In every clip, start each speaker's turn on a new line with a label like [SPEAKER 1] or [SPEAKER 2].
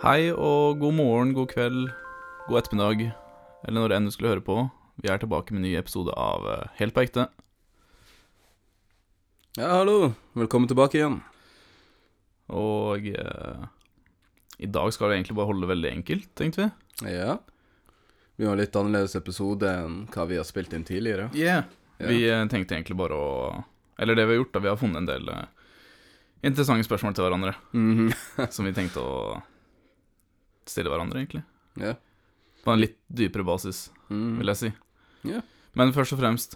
[SPEAKER 1] Hei og god morgen, god kveld, god ettermiddag, eller når enn du skulle høre på. Vi er tilbake med en ny episode av eh, Helt på ekte.
[SPEAKER 2] Ja, hallo. Velkommen tilbake igjen.
[SPEAKER 1] Og eh, i dag skal vi egentlig bare holde det veldig enkelt, tenkte vi.
[SPEAKER 2] Ja. Vi har en litt annerledes episode enn hva vi har spilt inn tidligere.
[SPEAKER 1] Yeah.
[SPEAKER 2] Ja.
[SPEAKER 1] Vi eh, tenkte egentlig bare å Eller det vi har gjort, da, vi har funnet en del eh, interessante spørsmål til hverandre
[SPEAKER 2] Mhm.
[SPEAKER 1] som vi tenkte å stille hverandre, egentlig.
[SPEAKER 2] Ja.
[SPEAKER 1] På en litt dypere basis,
[SPEAKER 2] Mm.
[SPEAKER 1] vil jeg si.
[SPEAKER 2] Ja.
[SPEAKER 1] Men først og fremst,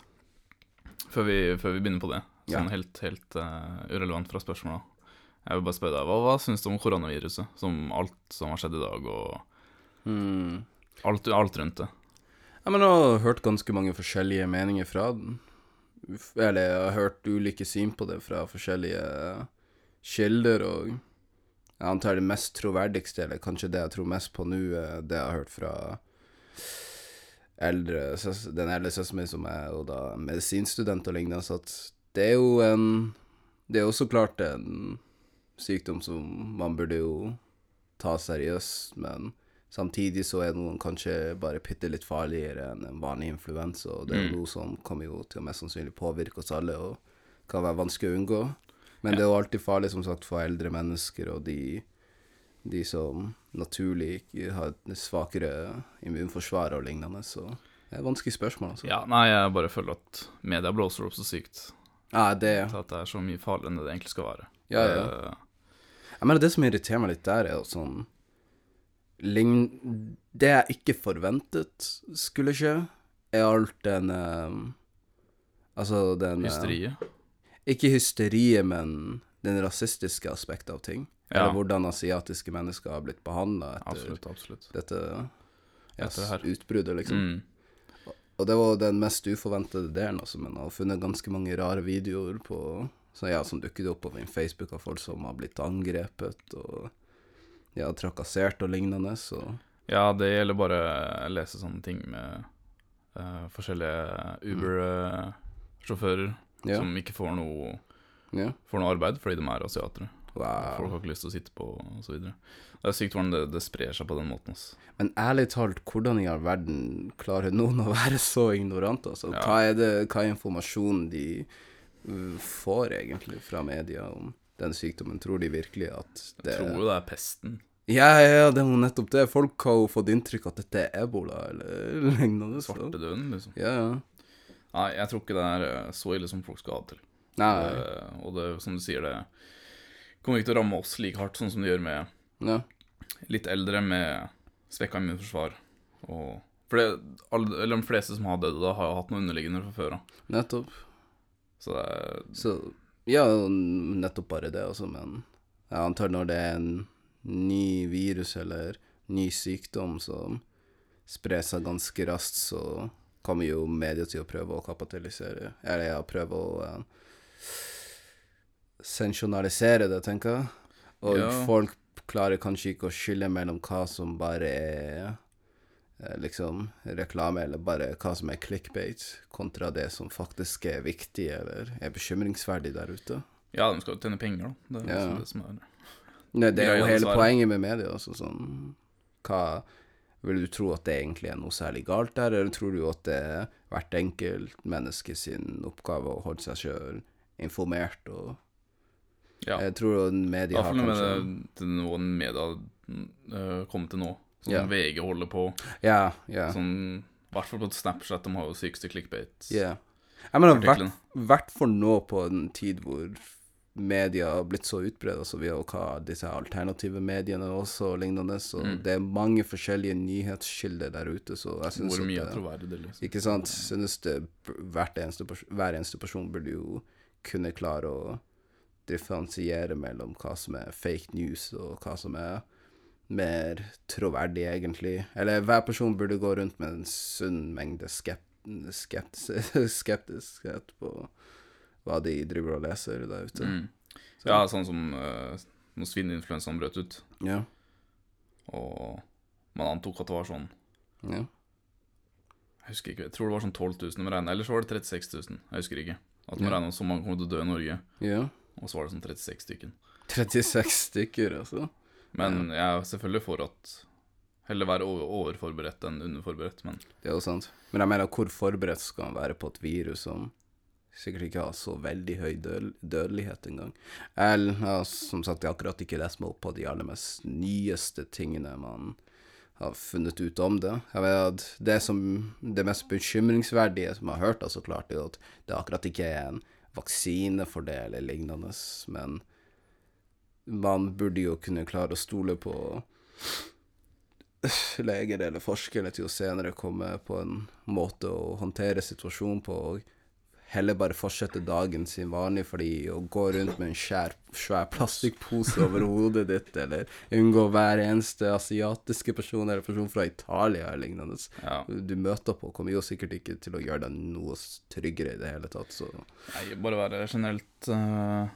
[SPEAKER 1] før vi, før vi begynner på det, sånn
[SPEAKER 2] Ja.
[SPEAKER 1] helt, helt eh, urelevant fra spørsmålet Jeg vil bare spørre deg, hva, hva syns du om koronaviruset? Som alt som har skjedd i dag, og
[SPEAKER 2] Mm.
[SPEAKER 1] alt, alt rundt det.
[SPEAKER 2] Ja, men jeg har hørt ganske mange forskjellige meninger fra den. Uff, Eller jeg har hørt ulike syn på det fra forskjellige kilder, og jeg antar det mest troverdigste, eller kanskje det jeg tror mest på nå, er det jeg har hørt fra eldre, søs- den eldre søsteren min som er jo da medisinstudent og lignende, så at det er jo en Det er jo så klart en sykdom som man burde jo ta seriøst, men samtidig så er noen kanskje bare bitte litt farligere enn en vanlig influensa, og det er jo noe som kommer jo til å mest sannsynlig påvirke oss alle, og kan være vanskelig å unngå. Men det er jo alltid farlig, som sagt, for eldre mennesker og de de som naturlig ikke har et svakere immunforsvar og lignende, så det er et vanskelig spørsmål, altså.
[SPEAKER 1] Ja, nei, jeg bare føler at media blåser opp så sykt
[SPEAKER 2] Ja, det
[SPEAKER 1] til at det er så mye farligere enn det det egentlig skal være.
[SPEAKER 2] Ja, ja.
[SPEAKER 1] Eh,
[SPEAKER 2] Jeg mener, det som irriterer meg litt der, er jo sånn lign- Det jeg ikke forventet skulle skje, er alt den eh, Altså den eh,
[SPEAKER 1] hysteriet.
[SPEAKER 2] Ikke hysteriet, men den rasistiske aspektet av ting.
[SPEAKER 1] Ja.
[SPEAKER 2] Eller hvordan asiatiske mennesker har blitt behandla etter
[SPEAKER 1] Absolutt, absolutt.
[SPEAKER 2] dette ja,
[SPEAKER 1] Etter det her.
[SPEAKER 2] utbruddet, liksom.
[SPEAKER 1] Mm.
[SPEAKER 2] Og det var den mest uforventede delen, altså, men jeg har funnet ganske mange rare videoer på så ja, som dukket opp på min Facebook av folk som har blitt angrepet og ja, trakassert og lignende, så
[SPEAKER 1] Ja, det gjelder bare å lese sånne ting med eh, forskjellige Uber-sjåfører
[SPEAKER 2] Mm. ja.
[SPEAKER 1] som ikke får noe
[SPEAKER 2] ja.
[SPEAKER 1] får noe arbeid fordi de er asiatere. Folk
[SPEAKER 2] Wow.
[SPEAKER 1] har ikke lyst til å sitte på og så videre. Det er sykt hvordan det, det sprer seg på den måten. ass.
[SPEAKER 2] Men ærlig talt, hvordan i all verden klarer noen å være så ignorant, altså?
[SPEAKER 1] Ja.
[SPEAKER 2] Hva er det, hva er informasjonen de uh, får egentlig fra media om den sykdommen? Tror de virkelig at det
[SPEAKER 1] Jeg tror jo det er pesten.
[SPEAKER 2] Ja, ja, ja, det er jo nettopp det. Folk har jo fått inntrykk at dette er ebola eller lignende. så-
[SPEAKER 1] Svartedauden, liksom.
[SPEAKER 2] Ja, ja.
[SPEAKER 1] Nei, jeg tror ikke det er eh, så ille som folk skal ha det til.
[SPEAKER 2] Nei,
[SPEAKER 1] Eh, Og det, som du sier, det kommer ikke til å ramme oss like hardt sånn som det gjør med
[SPEAKER 2] ja.
[SPEAKER 1] litt eldre med svekka immunforsvar. Og for det, alle, eller de fleste som har dødd da, har jo hatt noe underliggende fra før av.
[SPEAKER 2] nettopp.
[SPEAKER 1] Så det er
[SPEAKER 2] Så Ja, nettopp bare det, altså, men jeg antar når det er en ny virus eller ny sykdom som sprer seg ganske raskt, så kommer jo media til å prøve å kapitalisere Eller ja, prøve å eh, sensjonalisere det, tenker jeg. Og
[SPEAKER 1] Ja.
[SPEAKER 2] folk klarer kanskje ikke å skille mellom hva som bare er eh, liksom reklame, eller bare hva som er clickbait, kontra det som faktisk er viktig eller er bekymringsverdig der ute.
[SPEAKER 1] Ja, de skal jo tjene penger, da. Det er
[SPEAKER 2] Ja.
[SPEAKER 1] liksom det som er
[SPEAKER 2] Nei, det er jo
[SPEAKER 1] Greia
[SPEAKER 2] hele
[SPEAKER 1] svaret.
[SPEAKER 2] poenget med media, altså sånn Hva Vil du tro at det egentlig er noe særlig galt der, eller tror du at det er hvert enkelt menneske sin oppgave å holde seg sjøl informert og
[SPEAKER 1] Ja.
[SPEAKER 2] Jeg tror jo
[SPEAKER 1] I hvert
[SPEAKER 2] media har
[SPEAKER 1] fall med
[SPEAKER 2] kanskje
[SPEAKER 1] det, det noe media øh, kom til nå. Sånn
[SPEAKER 2] Ja.
[SPEAKER 1] VG holder på.
[SPEAKER 2] Ja, ja.
[SPEAKER 1] Sånn, I hvert fall på Snapchat, de har jo sykeste clickbait.
[SPEAKER 2] ja. Jeg mener, hvert
[SPEAKER 1] Artiklene.
[SPEAKER 2] hvert for nå på en tid hvor media har blitt så utbredt, altså vi har jo hva disse alternative mediene også og lignende, så
[SPEAKER 1] Mm.
[SPEAKER 2] det er mange forskjellige nyhetskilder der ute, så jeg synes
[SPEAKER 1] Hvor
[SPEAKER 2] at
[SPEAKER 1] mye
[SPEAKER 2] det-
[SPEAKER 1] er troverdig, liksom.
[SPEAKER 2] Ikke sant? Synes det b- hvert eneste pers hver eneste person burde jo kunne klare å differensiere mellom hva som er fake news og hva som er mer troverdig, egentlig. Eller hver person burde gå rundt med en sunn mengde skep skeptis skeptiskhet på hva de driver og leser der ute.
[SPEAKER 1] Mm. Ja, sånn som øh, når svineinfluensaen brøt ut,
[SPEAKER 2] Ja.
[SPEAKER 1] og man antok at det var sånn
[SPEAKER 2] ja.
[SPEAKER 1] Jeg husker ikke, jeg tror det var sånn 12 000 de regna, eller så var det 36 000. Jeg husker ikke. At de
[SPEAKER 2] Ja.
[SPEAKER 1] regna med så mange kommer til å dø i Norge,
[SPEAKER 2] ja.
[SPEAKER 1] og så var det sånn 36 stykken.
[SPEAKER 2] 36 stykker, altså.
[SPEAKER 1] Men jeg er selvfølgelig for at Heller være over- overforberedt enn underforberedt, men
[SPEAKER 2] Det er jo sant. Men jeg mener, hvor forberedt skal man være på et virus som sikkert ikke har så veldig høy død dødelighet engang? Jeg har som sagt akkurat ikke lest meg opp på de aller mest nyeste tingene man har funnet ut om det. Jeg vet at Det som det mest bekymringsverdige som jeg har hørt, da, så klart, er jo at det akkurat ikke er en vaksine for det eller lignende, men man burde jo kunne klare å stole på leger eller forskere til å senere komme på en måte å håndtere situasjonen på, og heller bare fortsette dagen sin vanlig, fordi å gå rundt med en skjær, svær plastikkpose over hodet ditt, eller unngå hver eneste asiatiske person eller person fra Italia eller lignende,
[SPEAKER 1] ja.
[SPEAKER 2] du møter på, kommer jo sikkert ikke til å gjøre deg noe s- tryggere i det hele tatt, så
[SPEAKER 1] Nei, bare være generelt eh,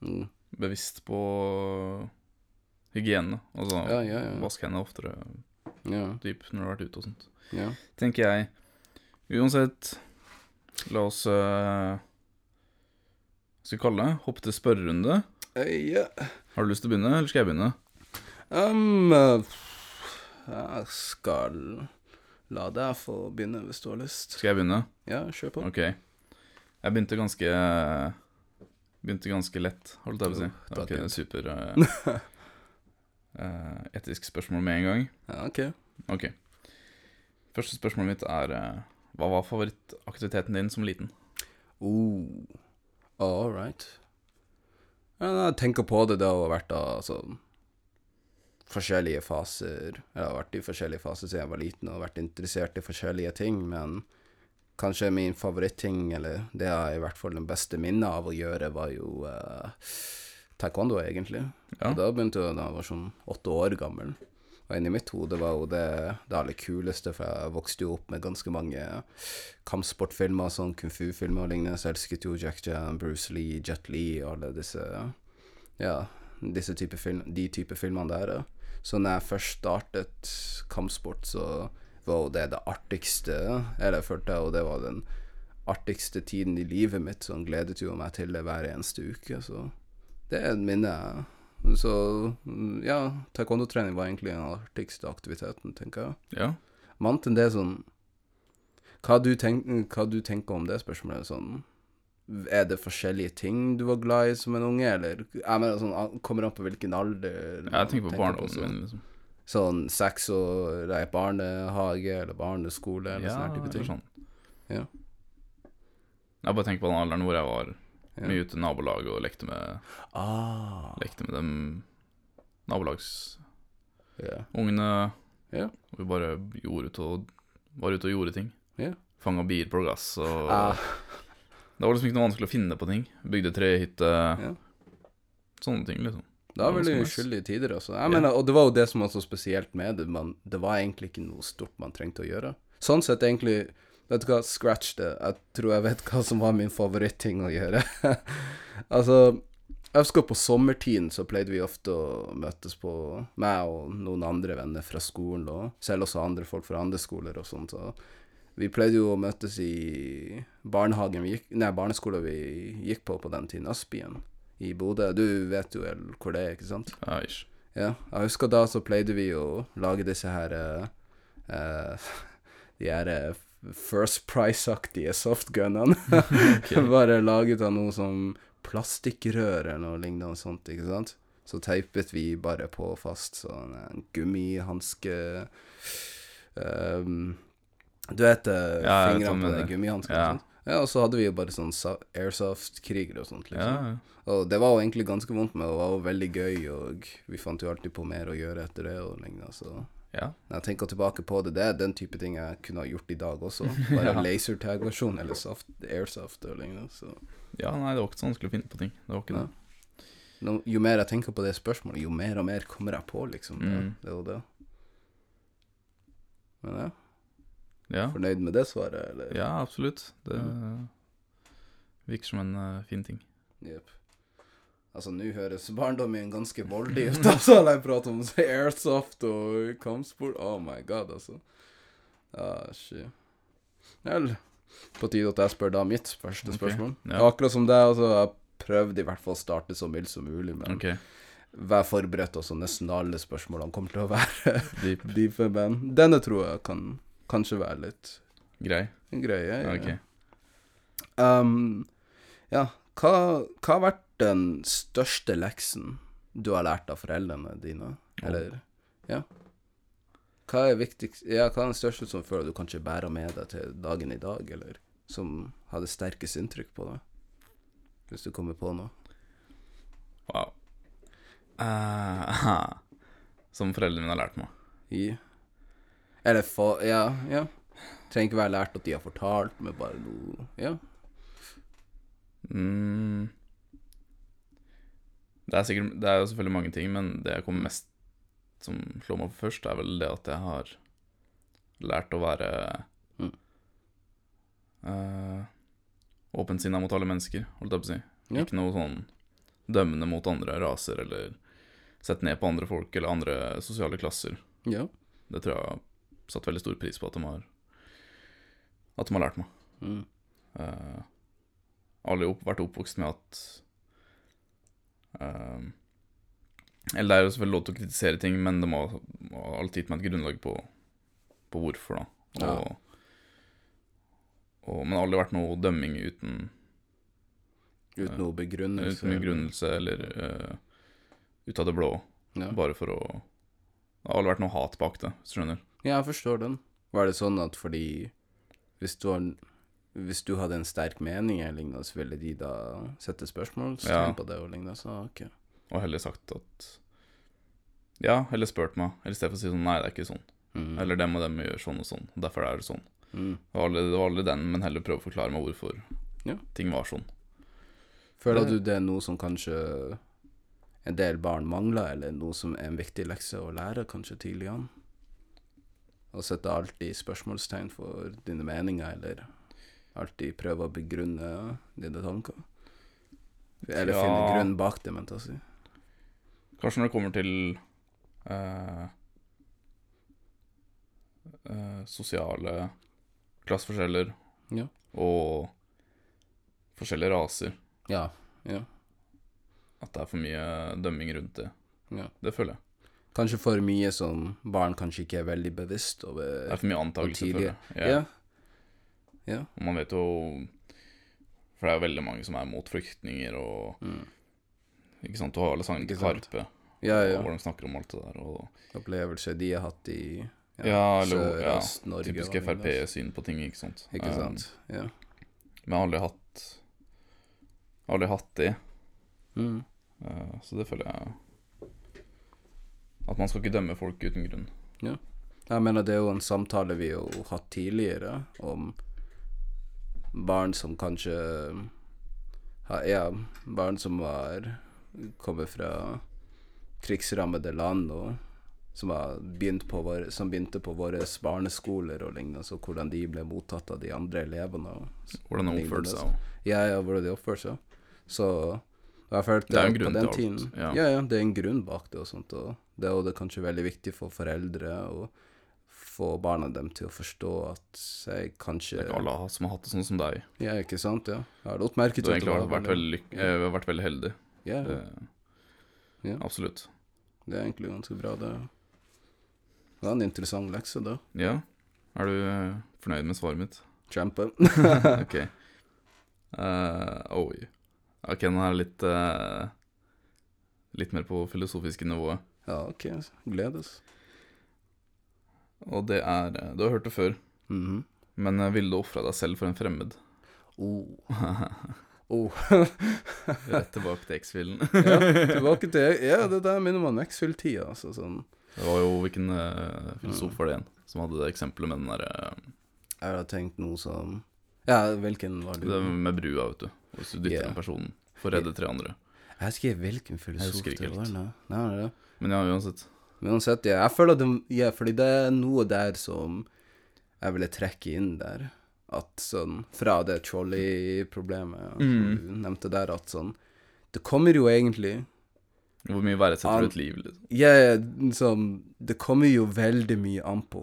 [SPEAKER 2] mm.
[SPEAKER 1] bevisst på hygiene. Altså
[SPEAKER 2] Ja, ja, ja.
[SPEAKER 1] vask hendene oftere
[SPEAKER 2] ja,
[SPEAKER 1] dyp når du har vært ute og sånt.
[SPEAKER 2] ja.
[SPEAKER 1] Tenker jeg. Uansett, la oss eh, Hva skal vi kalle det? Hoppe til spørrerunde.
[SPEAKER 2] Øy, Eh, ja.
[SPEAKER 1] Har du lyst til å begynne, eller skal jeg begynne?
[SPEAKER 2] Um, eh, jeg skal la deg få begynne hvis du har lyst.
[SPEAKER 1] Skal jeg begynne?
[SPEAKER 2] Ja, kjør på.
[SPEAKER 1] Ok. Jeg begynte ganske Begynte ganske lett, holdt jeg på å si.
[SPEAKER 2] da
[SPEAKER 1] Ok, det er
[SPEAKER 2] begynte.
[SPEAKER 1] super eh, eh, etisk spørsmål med en gang.
[SPEAKER 2] Ja, ok.
[SPEAKER 1] Ok. Første spørsmålet mitt er eh, Hva var favorittaktiviteten din som liten?
[SPEAKER 2] Oh, all right. Ja, når jeg tenker på det, det har vært da, altså, forskjellige faser. Jeg har vært i forskjellige faser siden jeg var liten og vært interessert i forskjellige ting, men kanskje min favorittting, eller det jeg har i hvert fall den beste minnet av å gjøre, var jo eh, taekwondo, egentlig.
[SPEAKER 1] Ja.
[SPEAKER 2] Og da begynte jeg da jeg var sånn åtte år gammel. Og inni mitt hode var jo det det aller kuleste, for jeg vokste jo opp med ganske mange kampsportfilmer, sånn kung fu-filmer og lignende, så jeg elsket jo Jack Jan, Bruce Lee, Jet Lee og alle disse ja, disse type film, de type filmene der. ja. Så når jeg først startet kampsport, så var jo det det artigste Eller jeg følte jeg, og det var den artigste tiden i livet mitt, så han gledet jo meg til det hver eneste uke, så det er et minne jeg Så mm, ja, taekwondo-trening var egentlig den artigste aktiviteten, tenker jeg.
[SPEAKER 1] Ja.
[SPEAKER 2] Men annet enn det sånn hva du, tenk, hva du tenker om det spørsmålet? Sånn, er det forskjellige ting du var glad i som en unge, eller jeg mener, sånn, Kommer an på hvilken alder man
[SPEAKER 1] Jeg tenker på barndommen
[SPEAKER 2] sånn-
[SPEAKER 1] min, liksom.
[SPEAKER 2] Sånn seks år, nei, barnehage eller barneskole eller
[SPEAKER 1] Ja,
[SPEAKER 2] sånne type
[SPEAKER 1] eller
[SPEAKER 2] ting.
[SPEAKER 1] sånn.
[SPEAKER 2] Ja.
[SPEAKER 1] Jeg bare tenker på den alderen hvor jeg var
[SPEAKER 2] Ja.
[SPEAKER 1] mye ute i nabolaget og lekte med,
[SPEAKER 2] Ah,
[SPEAKER 1] lekte med dem nabolagsungene.
[SPEAKER 2] ja. Ja.
[SPEAKER 1] Og vi bare gjorde ut og, var ute og gjorde ting.
[SPEAKER 2] Ja.
[SPEAKER 1] Fanga bier på gass og
[SPEAKER 2] Ah,
[SPEAKER 1] Det var liksom ikke noe vanskelig å finne på ting. Bygde trehytte, sånne ting, liksom.
[SPEAKER 2] det var veldig
[SPEAKER 1] ganske nice.
[SPEAKER 2] uskyldige tider, altså. Jeg mener, og det var jo det som var så spesielt med det, men det var egentlig ikke noe stort man trengte å gjøre. Sånn sett egentlig, vet du hva, scratch det. Jeg tror jeg vet hva som var min favorittting å gjøre. altså, jeg husker på sommertiden så pleide vi ofte å møtes på meg og noen andre venner fra skolen, og selv også andre folk fra andre skoler og sånt, så Vi pleide jo å møtes i barnehagen vi gikk, nei, barneskolen vi gikk på på den tiden, Aspien i Bodø. Du vet jo vel hvor det er, ikke sant?
[SPEAKER 1] Ja, ish.
[SPEAKER 2] Ja, jeg husker da så pleide vi å lage disse her eh, eh, De her eh, First Price-aktige softgunene. Bare laget av noe som plastikkrør eller noe lignende sånt, ikke sant? Så teipet vi bare på fast sånn en gummihanske ehm, Du vet eh,
[SPEAKER 1] Ja, jeg vet hva du
[SPEAKER 2] fingrene på
[SPEAKER 1] mener.
[SPEAKER 2] de gummihanskene?
[SPEAKER 1] Ja.
[SPEAKER 2] Ja. ja, og så hadde vi jo bare sånn sa- airsoft-kriger og sånt, liksom.
[SPEAKER 1] Ja,
[SPEAKER 2] Og det var jo egentlig ganske vondt, men det var jo veldig gøy, og vi fant jo alltid på mer å gjøre etter det og lignende, så
[SPEAKER 1] ja.
[SPEAKER 2] når jeg tenker tilbake på det, det er den type ting jeg kunne ha gjort i dag også. Bare
[SPEAKER 1] Ja.
[SPEAKER 2] lasertag-versjon eller soft, airsoft og lignende, så
[SPEAKER 1] ja, nei, det var ikke så vanskelig å finne på ting. Det var ikke det.
[SPEAKER 2] nå, jo mer jeg tenker på det spørsmålet, jo mer og mer kommer jeg på, liksom. Det,
[SPEAKER 1] Mm.
[SPEAKER 2] det er jo det. Men ja,
[SPEAKER 1] Ja,
[SPEAKER 2] fornøyd med det svaret, eller?
[SPEAKER 1] ja absolutt. Det virker som en eh, fin ting.
[SPEAKER 2] Jep. Altså, nå høres barndommen min ganske voldig ut, altså, når jeg prater om airsoft og kampsport. Oh my god, altså. Ah, shit. Vel, på tide at jeg spør da mitt første
[SPEAKER 1] Ok,
[SPEAKER 2] spørsmål.
[SPEAKER 1] ja.
[SPEAKER 2] Akkurat som deg, altså, jeg prøvde i hvert fall å starte så mildt som mulig, men
[SPEAKER 1] Ok.
[SPEAKER 2] Vær forberedt også, nesten alle spørsmålene kommer til å være dype, men denne tror jeg kan kanskje være litt
[SPEAKER 1] Grei?
[SPEAKER 2] greie.
[SPEAKER 1] Ja, ok.
[SPEAKER 2] Um, ja, hva, hva har vært den største leksen du har lært av foreldrene dine? Eller, ja. Hva er viktigst, ja, hva er den største som føler du kanskje bærer med deg til dagen i dag, eller som hadde sterkest inntrykk på deg? Hvis du kommer på noe.
[SPEAKER 1] Wow. Eh, som foreldrene mine har lært meg.
[SPEAKER 2] I, eller for, ja, ja. Trenger ikke være lært at de har fortalt, men bare noe, ja.
[SPEAKER 1] Mm. Det, er sikkert, det er jo selvfølgelig mange ting, men det jeg kommer mest som slår meg på først, er vel det at jeg har lært å være
[SPEAKER 2] Mm.
[SPEAKER 1] eh, åpensinna mot alle mennesker, holdt jeg på å si.
[SPEAKER 2] Ja.
[SPEAKER 1] Ikke noe sånn dømmende mot andre raser eller sette ned på andre folk eller andre sosiale klasser.
[SPEAKER 2] Ja.
[SPEAKER 1] Det tror jeg har satt veldig stor pris på at de har, at de har lært meg.
[SPEAKER 2] Mm.
[SPEAKER 1] Eh, alle opp, vært oppvokst med at eh, Eller det er jo selvfølgelig lov til å kritisere ting, men det må, må alltid gitt meg et grunnlag på, på hvorfor, da. Og, og, men det har aldri vært noe dømming uten,
[SPEAKER 2] Uten noe begrunnelse.
[SPEAKER 1] uten begrunnelse eller eh, ut av det blå.
[SPEAKER 2] Ja.
[SPEAKER 1] Bare for å Det har aldri vært noe hat bak det, hvis du skjønner.
[SPEAKER 2] Ja, jeg forstår den. Var det sånn at fordi hvis du, har, hvis du hadde en sterk mening eller lignende, så ville de da sette spørsmålstegn
[SPEAKER 1] Ja.
[SPEAKER 2] på det og lignende? Så ok.
[SPEAKER 1] Og heller sagt at Ja, heller spurt meg, eller i stedet for å si sånn Nei, det er ikke sånn.
[SPEAKER 2] Mm.
[SPEAKER 1] Eller dem og dem gjør sånn og sånn, og derfor er det sånn.
[SPEAKER 2] Mm.
[SPEAKER 1] Det var aldri, det var aldri den, men heller prøve å forklare meg hvorfor
[SPEAKER 2] Ja.
[SPEAKER 1] ting var sånn.
[SPEAKER 2] Føler
[SPEAKER 1] Det-
[SPEAKER 2] du det er noe som kanskje en del barn mangler, eller noe som er en viktig lekse å lære kanskje tidlig an? Å sette alltid spørsmålstegn for dine meninger, eller alltid prøve å begrunne dine tanker? Eller finne
[SPEAKER 1] Ja.
[SPEAKER 2] grunn bak det, mente jeg å si.
[SPEAKER 1] Kanskje når det kommer til eh, eh, sosiale klasseforskjeller
[SPEAKER 2] Ja.
[SPEAKER 1] og forskjellige raser,
[SPEAKER 2] Ja. ja.
[SPEAKER 1] at det er for mye dømming rundt det.
[SPEAKER 2] Ja.
[SPEAKER 1] Det føler jeg.
[SPEAKER 2] Kanskje for mye som barn kanskje ikke er veldig bevisst
[SPEAKER 1] Det
[SPEAKER 2] over.
[SPEAKER 1] er for mye antakelser,
[SPEAKER 2] tidlig.
[SPEAKER 1] føler jeg. Ja.
[SPEAKER 2] Ja.
[SPEAKER 1] Og man vet jo For det er jo veldig mange som er mot flyktninger og
[SPEAKER 2] Mm.
[SPEAKER 1] Ikke sant, du har alle sangene til
[SPEAKER 2] Ikke sant.
[SPEAKER 1] Karpe,
[SPEAKER 2] ja, ja.
[SPEAKER 1] og hvor de snakker om alt det der. Og,
[SPEAKER 2] Opplevelser de har hatt i
[SPEAKER 1] Ja, eller- ja,
[SPEAKER 2] Sørøst-Norge.
[SPEAKER 1] Typisk
[SPEAKER 2] og lignende.
[SPEAKER 1] Frp-syn på ting, ikke sant.
[SPEAKER 2] Ikke
[SPEAKER 1] Eh,
[SPEAKER 2] sant. Ja.
[SPEAKER 1] Men jeg har aldri hatt Aldri hatt det,
[SPEAKER 2] Mm.
[SPEAKER 1] eh, så det føler jeg At man skal ikke dømme folk uten grunn.
[SPEAKER 2] Jeg mener, det er jo en samtale vi har hatt tidligere, om barn som kanskje har- Ja, barn som har kommet fra krigsrammede land, og som, har begynt på våre, som begynte på våre barneskoler og lignende, så hvordan de ble mottatt av de andre elevene. Og,
[SPEAKER 1] Hvordan de
[SPEAKER 2] Lignende,
[SPEAKER 1] oppførte seg.
[SPEAKER 2] altså.
[SPEAKER 1] og-
[SPEAKER 2] ja, ja, hvordan de oppførte seg. Så jeg følte
[SPEAKER 1] Det er en
[SPEAKER 2] på
[SPEAKER 1] grunn
[SPEAKER 2] den
[SPEAKER 1] til alt,
[SPEAKER 2] tiden-
[SPEAKER 1] ja.
[SPEAKER 2] ja, ja, det er en grunn bak det og sånt, og det er jo det kanskje veldig viktig for foreldre å få barna dem til å forstå at jeg kanskje
[SPEAKER 1] Ikke alle har- som har hatt det sånn som deg.
[SPEAKER 2] Ja, ikke sant, ja. Jeg har lagt merke
[SPEAKER 1] Du
[SPEAKER 2] til
[SPEAKER 1] har egentlig vært,
[SPEAKER 2] det var
[SPEAKER 1] vært veldig, lyk- eh, vært veldig heldig.
[SPEAKER 2] Ja, ja.
[SPEAKER 1] Det,
[SPEAKER 2] Ja.
[SPEAKER 1] Absolutt.
[SPEAKER 2] Det er egentlig ganske bra, det. Det er en interessant lekse, da.
[SPEAKER 1] Ja. Er du eh, fornøyd med svaret mitt?
[SPEAKER 2] Kjempe.
[SPEAKER 1] ok. Eh, oi. Ok, nå er det litt eh, Litt mer på filosofiske nivået.
[SPEAKER 2] Ja, OK. altså. Gledes.
[SPEAKER 1] Og det er eh, Du har hørt det før.
[SPEAKER 2] Mhm.
[SPEAKER 1] Men eh, ville du ofra deg selv for en fremmed?
[SPEAKER 2] Oh. Oh.
[SPEAKER 1] Rett tilbake til X-filen.
[SPEAKER 2] ja, tilbake til Ja, det der minner meg om X-Fill-tida, altså sånn.
[SPEAKER 1] Det var jo hvilken eh, filosof var det igjen som hadde det eksempelet med den der eh,
[SPEAKER 2] Jeg har tenkt noe som Ja, hvilken var du?
[SPEAKER 1] det med brua, vet du. Hvis du dytter
[SPEAKER 2] Ja.
[SPEAKER 1] en person for å redde tre andre.
[SPEAKER 2] Jeg husker ikke hvilken
[SPEAKER 1] Jeg
[SPEAKER 2] filosof
[SPEAKER 1] husker ikke
[SPEAKER 2] det var.
[SPEAKER 1] helt.
[SPEAKER 2] Nei, nei, nei, nei.
[SPEAKER 1] Men ja, uansett.
[SPEAKER 2] Men uansett, ja, jeg føler det Ja, fordi det er noe der som jeg ville trekke inn der. At sånn Fra det trolley-problemet altså,
[SPEAKER 1] Mm.
[SPEAKER 2] du nevnte der, at sånn Det kommer jo egentlig
[SPEAKER 1] Hvor mye verdsetter du
[SPEAKER 2] Han-
[SPEAKER 1] et liv, liksom?
[SPEAKER 2] Ja, ja, liksom Det kommer jo veldig mye an på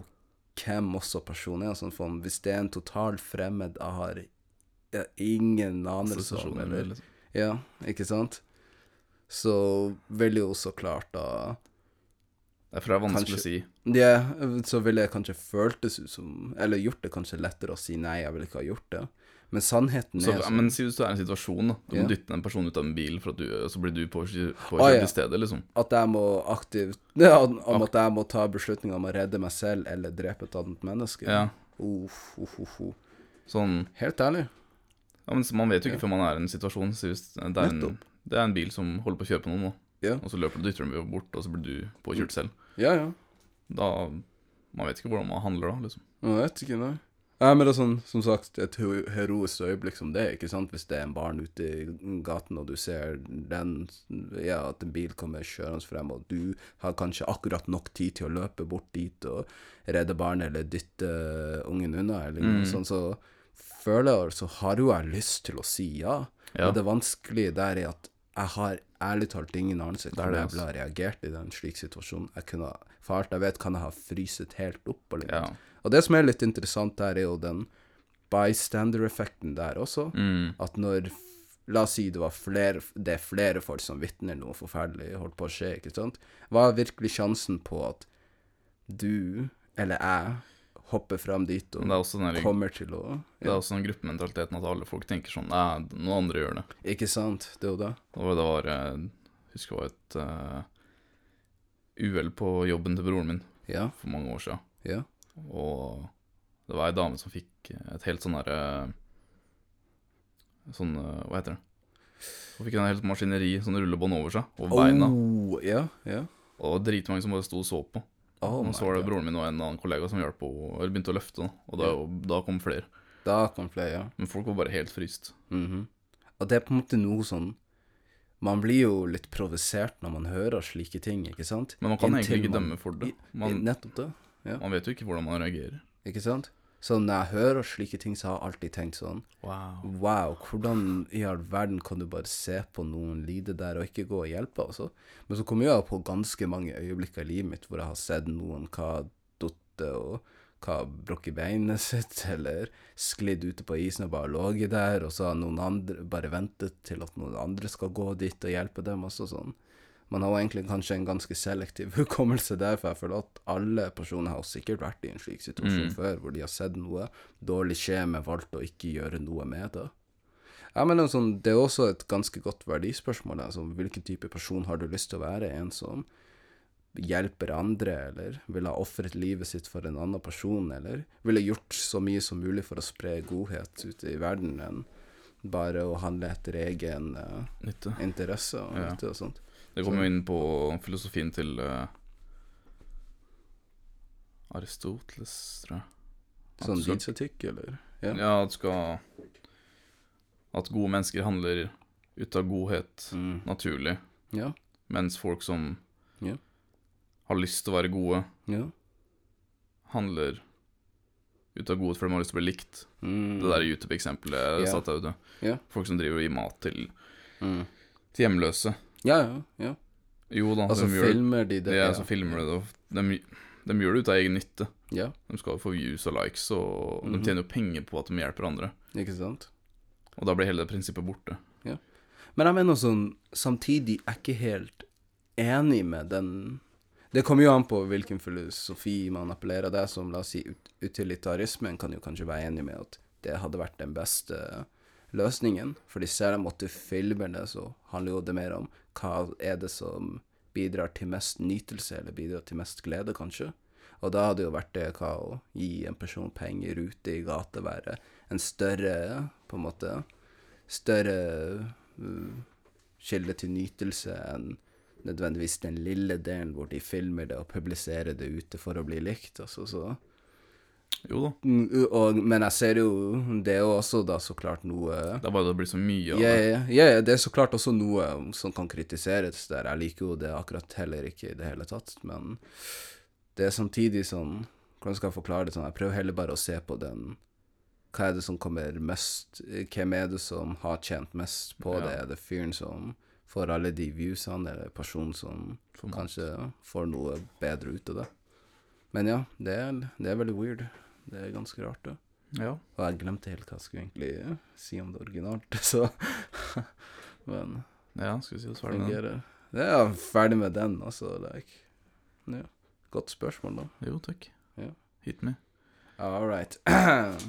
[SPEAKER 2] hvem også personen er. og Sånn, for om- hvis det er en total fremmed jeg har jeg har ingen anelse om,
[SPEAKER 1] Altså, Assosiasjoner,
[SPEAKER 2] eller
[SPEAKER 1] liksom.
[SPEAKER 2] Ja, ikke sant? så vil jo så klart da
[SPEAKER 1] Derfor er det vanskelig å
[SPEAKER 2] Kanskje-
[SPEAKER 1] si.
[SPEAKER 2] Ja, så ville det kanskje føltes ut som Eller gjort det kanskje lettere å si nei, jeg ville ikke ha gjort det. Men sannheten
[SPEAKER 1] Så,
[SPEAKER 2] er sånn
[SPEAKER 1] men si hvis du er i en situasjon, da. Du
[SPEAKER 2] Ja.
[SPEAKER 1] må dytte en person ut av en bil, for at du, eh, så blir du påkjørt på
[SPEAKER 2] Å, ja.
[SPEAKER 1] i stedet, liksom.
[SPEAKER 2] at jeg må aktivt ja, Om at jeg må ta beslutninger om å redde meg selv eller drepe et annet menneske.
[SPEAKER 1] Ja.
[SPEAKER 2] Uff, uff, uff, uff.
[SPEAKER 1] Sånn
[SPEAKER 2] Helt ærlig.
[SPEAKER 1] Ja, men så Man vet jo ikke før man er i en situasjon. Så hvis det, er en,
[SPEAKER 2] Nettopp.
[SPEAKER 1] det er en bil som holder på å kjøre på noen, da.
[SPEAKER 2] Ja.
[SPEAKER 1] og så løper du dytter dem bort, og så blir du påkjørt selv.
[SPEAKER 2] Ja, ja.
[SPEAKER 1] Da Man vet ikke hvordan man handler da, liksom.
[SPEAKER 2] Jeg vet ikke, nei. Nei, men det er sånn, som sagt, et he- heroisk øyeblikk som det, ikke sant? Hvis det er en barn ute i gaten, og du ser den, ja, at en bil kommer kjørende frem, og du har kanskje akkurat nok tid til å løpe bort dit og redde barnet, eller dytte ungen unna, eller noe sånt, så føler jeg, så har jo jeg lyst til å si ja.
[SPEAKER 1] Ja.
[SPEAKER 2] Og det vanskelige der er at jeg har ærlig talt ingen anelse
[SPEAKER 1] er
[SPEAKER 2] hvordan
[SPEAKER 1] det,
[SPEAKER 2] jeg ville ha reagert i den slik situasjonen. Jeg kunne ha, for alt jeg vet, kan jeg ha fryset helt opp og litt.
[SPEAKER 1] Ja.
[SPEAKER 2] Og det som er litt interessant der, er jo den bystander-effekten der også.
[SPEAKER 1] Mm.
[SPEAKER 2] At når f- La oss si det, var flere, det er flere folk som vitner noe forferdelig holdt på å skje, ikke sant? Hva er virkelig sjansen på at du, eller jeg, hopper fram dit
[SPEAKER 1] Men det
[SPEAKER 2] og
[SPEAKER 1] er også den der,
[SPEAKER 2] kommer til å
[SPEAKER 1] det er også den gruppementaliteten at alle folk tenker sånn Nei, noen andre gjør det.
[SPEAKER 2] Ikke sant? Det er jo det.
[SPEAKER 1] Det var, det var eh, husker jeg det var et eh, uhell på jobben til broren min
[SPEAKER 2] Ja.
[SPEAKER 1] for mange år siden.
[SPEAKER 2] Ja.
[SPEAKER 1] Og det var ei dame som fikk et helt sånn derre Sånn eh, Hva heter det? Hun fikk en helt maskineri, sånn rullebånd over seg, og beina.
[SPEAKER 2] Oh, ja, ja.
[SPEAKER 1] Og det var dritmange som bare sto og så på.
[SPEAKER 2] Oh
[SPEAKER 1] og
[SPEAKER 2] my
[SPEAKER 1] så var det
[SPEAKER 2] God.
[SPEAKER 1] broren min og en annen kollega som hjalp henne, eller begynte å løfte henne. Og da, da kom flere.
[SPEAKER 2] Da kan flere, ja.
[SPEAKER 1] Men folk var bare helt fryst.
[SPEAKER 2] Mhm. Og det er på en måte noe sånn Man blir jo litt provosert når man hører slike ting, ikke sant?
[SPEAKER 1] Men man kan
[SPEAKER 2] Inntil
[SPEAKER 1] egentlig ikke
[SPEAKER 2] man-
[SPEAKER 1] dømme for det.
[SPEAKER 2] I-
[SPEAKER 1] Man,
[SPEAKER 2] Nettopp det,
[SPEAKER 1] man vet jo ikke hvordan man reagerer.
[SPEAKER 2] ikke sant? Så når jeg hører slike ting, så har jeg alltid tenkt sånn
[SPEAKER 1] Wow.
[SPEAKER 2] Wow, hvordan i all verden kan du bare se på noen lide der og ikke gå og hjelpe, altså? Men så kommer jeg på ganske mange øyeblikker i livet mitt hvor jeg har sett noen hva dotte og hva brukket beinet sitt, eller sklidd ute på isen og bare låget der, og så har noen andre bare ventet til at noen andre skal gå dit og hjelpe dem, altså sånn. Man har jo egentlig kanskje en ganske selektiv hukommelse der, for jeg føler at alle personer har sikkert vært i en slik situasjon før, hvor de har sett noe, dårlig skje, men valgt å ikke gjøre noe med det. Jeg mener sånn, Det er også et ganske godt verdispørsmål. Altså, hvilken type person har du lyst til å være? En som hjelper andre, eller ville ha ofret livet sitt for en annen person, eller ville gjort så mye som mulig for å spre godhet ute i verden, enn bare å handle etter egen eh,
[SPEAKER 1] Nytte.
[SPEAKER 2] interesse og,
[SPEAKER 1] Ja.
[SPEAKER 2] nytte og sånn. sånt.
[SPEAKER 1] Det kommer jo inn på filosofien til eh, Aristoteles, tror jeg. At
[SPEAKER 2] Sånn
[SPEAKER 1] du skal-
[SPEAKER 2] livsetikk, eller? Ja.
[SPEAKER 1] Ja, at du skal At gode mennesker handler ut av godhet
[SPEAKER 2] Mm.
[SPEAKER 1] naturlig,
[SPEAKER 2] Ja.
[SPEAKER 1] mens folk som
[SPEAKER 2] Ja.
[SPEAKER 1] har lyst til å være gode,
[SPEAKER 2] ja.
[SPEAKER 1] handler ut av godhet fordi de har lyst til å bli likt.
[SPEAKER 2] Mm.
[SPEAKER 1] Det der YouTube-eksempelet
[SPEAKER 2] Ja.
[SPEAKER 1] satt jeg ute.
[SPEAKER 2] Ja.
[SPEAKER 1] Folk som driver og gir mat til,
[SPEAKER 2] Mm.
[SPEAKER 1] til hjemløse.
[SPEAKER 2] Ja, ja. ja.
[SPEAKER 1] Jo da, de
[SPEAKER 2] Altså,
[SPEAKER 1] gjør det.
[SPEAKER 2] filmer de det?
[SPEAKER 1] det ja, så filmer de det. og De, de gjør det ut av egen nytte.
[SPEAKER 2] Ja,
[SPEAKER 1] De skal få views og likes, og
[SPEAKER 2] Mhm.
[SPEAKER 1] de tjener jo penger på at de hjelper andre.
[SPEAKER 2] ikke sant?
[SPEAKER 1] Og da blir hele det prinsippet borte.
[SPEAKER 2] Men jeg mener sånn, samtidig er jeg ikke helt enig med den Det kommer jo an på hvilken filosofi man appellerer det som, la oss si ut utilitarismen kan jo kanskje være enig med at det hadde vært den beste løsningen. Fordi selv om at du filmer det, så handler jo det mer om hva er det som bidrar til mest nytelse, eller bidrar til mest glede, kanskje. Og da hadde jo vært det hva å gi en person penger ute i gata være en større, på en måte, større uh, kilde til nytelse enn nødvendigvis den lille delen hvor de filmer det og publiserer det ute for å bli likt. Altså, så.
[SPEAKER 1] Jo da.
[SPEAKER 2] Mm, Og, men jeg ser jo Det er jo også da så klart noe
[SPEAKER 1] Det er bare det blir så mye
[SPEAKER 2] ja,
[SPEAKER 1] av
[SPEAKER 2] ja,
[SPEAKER 1] det.
[SPEAKER 2] ja, ja, det er så klart også noe som kan kritiseres der. Jeg liker jo det akkurat heller ikke i det hele tatt, men det er samtidig sånn Hvordan skal jeg forklare det sånn? Jeg prøver heller bare å se på den Hva er det som kommer mest Hvem er det som har tjent mest på
[SPEAKER 1] Ja.
[SPEAKER 2] det? Er det fyren som får alle de viewsene, eller personen som
[SPEAKER 1] For mat.
[SPEAKER 2] kanskje får noe bedre ut av det? Men ja, det er, det er veldig weird. Det er ganske rart, det.
[SPEAKER 1] Ja.
[SPEAKER 2] Og eh, jeg glemte helt hva jeg skulle egentlig si om det originalt, så Men
[SPEAKER 1] Ja, skal vi si oss ferdig med den?
[SPEAKER 2] fungerer. Ja, ferdig med den, altså. Like. Ja. Godt spørsmål, da.
[SPEAKER 1] Jo, takk.
[SPEAKER 2] Ja.
[SPEAKER 1] Hit me.
[SPEAKER 2] All right.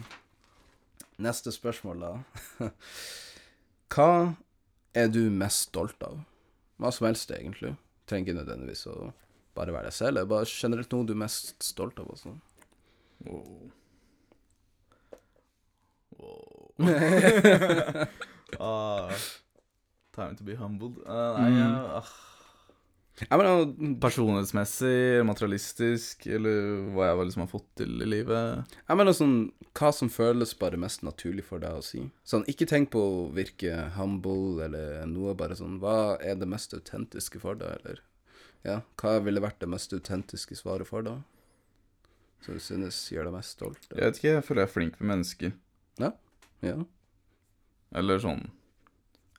[SPEAKER 2] Neste spørsmål, da. Hva er du mest stolt av? Hva som helst, egentlig. Trenger ikke nødvendigvis å bare være deg selv. Det er Bare generelt noe du er mest stolt av. altså. Også.
[SPEAKER 1] Wow. Wow. time to be humbled. Eh, nei, eh, ah.
[SPEAKER 2] Jeg mener,
[SPEAKER 1] Personlighetsmessig, materialistisk, eller hva jeg liksom har fått til i livet.
[SPEAKER 2] jeg mener sånn Hva som føles bare mest naturlig for deg å si. Sånn, ikke tenk på å virke humble eller noe, bare sånn Hva er det mest autentiske for deg, eller Ja, hva ville vært det mest autentiske svaret for deg? Som du synes gjør deg mest stolt?
[SPEAKER 1] Jeg vet ikke, jeg føler jeg er flink med mennesker.
[SPEAKER 2] Ja.
[SPEAKER 1] Eller sånn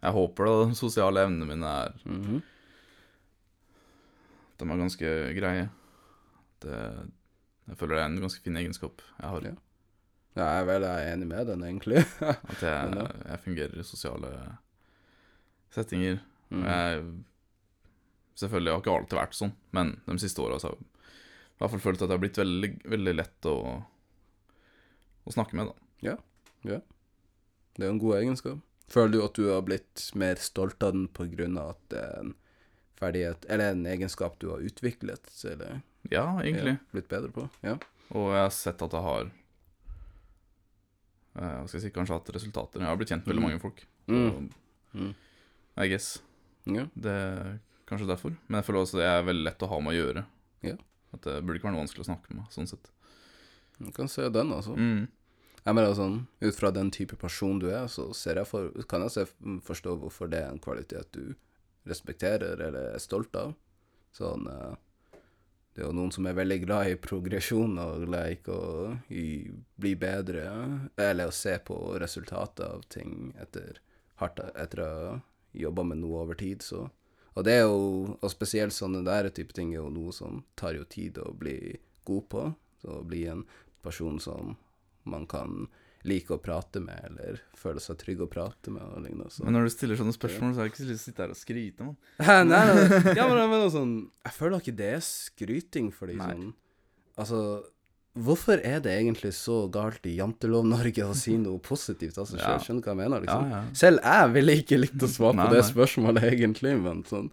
[SPEAKER 1] Jeg håper da de sosiale evnene mine er
[SPEAKER 2] Mhm.
[SPEAKER 1] De er ganske greie. Det, jeg føler det er en ganske fin egenskap jeg har.
[SPEAKER 2] Ja. Ja, jeg er vel jeg er enig med den, egentlig.
[SPEAKER 1] At jeg,
[SPEAKER 2] Men
[SPEAKER 1] jeg fungerer i sosiale settinger. Og
[SPEAKER 2] Mhm.
[SPEAKER 1] Jeg, selvfølgelig har ikke alltid vært sånn, men de siste åra har jeg i hvert fall følt at det har blitt veldig, veldig lett å, å snakke med. da.
[SPEAKER 2] Det er jo en god egenskap. Føler du at du har blitt mer stolt av den på grunn av at det er en ferdighet, eller en egenskap du har utviklet, eller
[SPEAKER 1] Ja, egentlig.
[SPEAKER 2] Ja, blitt bedre på? Ja.
[SPEAKER 1] Og jeg har sett at jeg har eh, hva skal jeg si, kanskje hatt resultater. Jeg har blitt kjent med veldig mange folk.
[SPEAKER 2] Mm.
[SPEAKER 1] Og,
[SPEAKER 2] Mm.
[SPEAKER 1] I guess.
[SPEAKER 2] ja.
[SPEAKER 1] Det er kanskje derfor. Men jeg føler også det er veldig lett å ha med å gjøre.
[SPEAKER 2] Ja.
[SPEAKER 1] At det burde ikke være noe vanskelig å snakke med, sånn sett.
[SPEAKER 2] Du kan se den, altså.
[SPEAKER 1] Mm.
[SPEAKER 2] Jeg mener sånn, ut fra den type person du er, så ser jeg for, kan jeg se, forstå hvorfor det er en kvalitet du respekterer eller er stolt av. Sånn, eh, det er jo noen som er veldig glad i progresjon og like og i, bli bedre, eller å se på resultatet av ting etter, hardt, etter å ha jobbet med noe over tid, så. Og det er jo, og spesielt sånne der type ting er jo noe som tar jo tid å bli god på, så å bli en person som man kan like å prate med, eller føle seg trygg å prate med, og lignende. Så.
[SPEAKER 1] Men når du stiller sånne spørsmål, så har jeg ikke så lyst til å sitte her og skryte, mann.
[SPEAKER 2] Hæ, nei, nei. Ja, men jeg mener sånn Jeg føler ikke det er skryting, fordi
[SPEAKER 1] Nei.
[SPEAKER 2] sånn Altså, hvorfor er det egentlig så galt i Jantelov Norge å si noe positivt? Altså,
[SPEAKER 1] Ja.
[SPEAKER 2] skjønner, skjønner du hva jeg mener, liksom?
[SPEAKER 1] ja.
[SPEAKER 2] Selv jeg ville ikke likt å svare
[SPEAKER 1] Nei,
[SPEAKER 2] på det
[SPEAKER 1] nei.
[SPEAKER 2] spørsmålet, egentlig, men sånn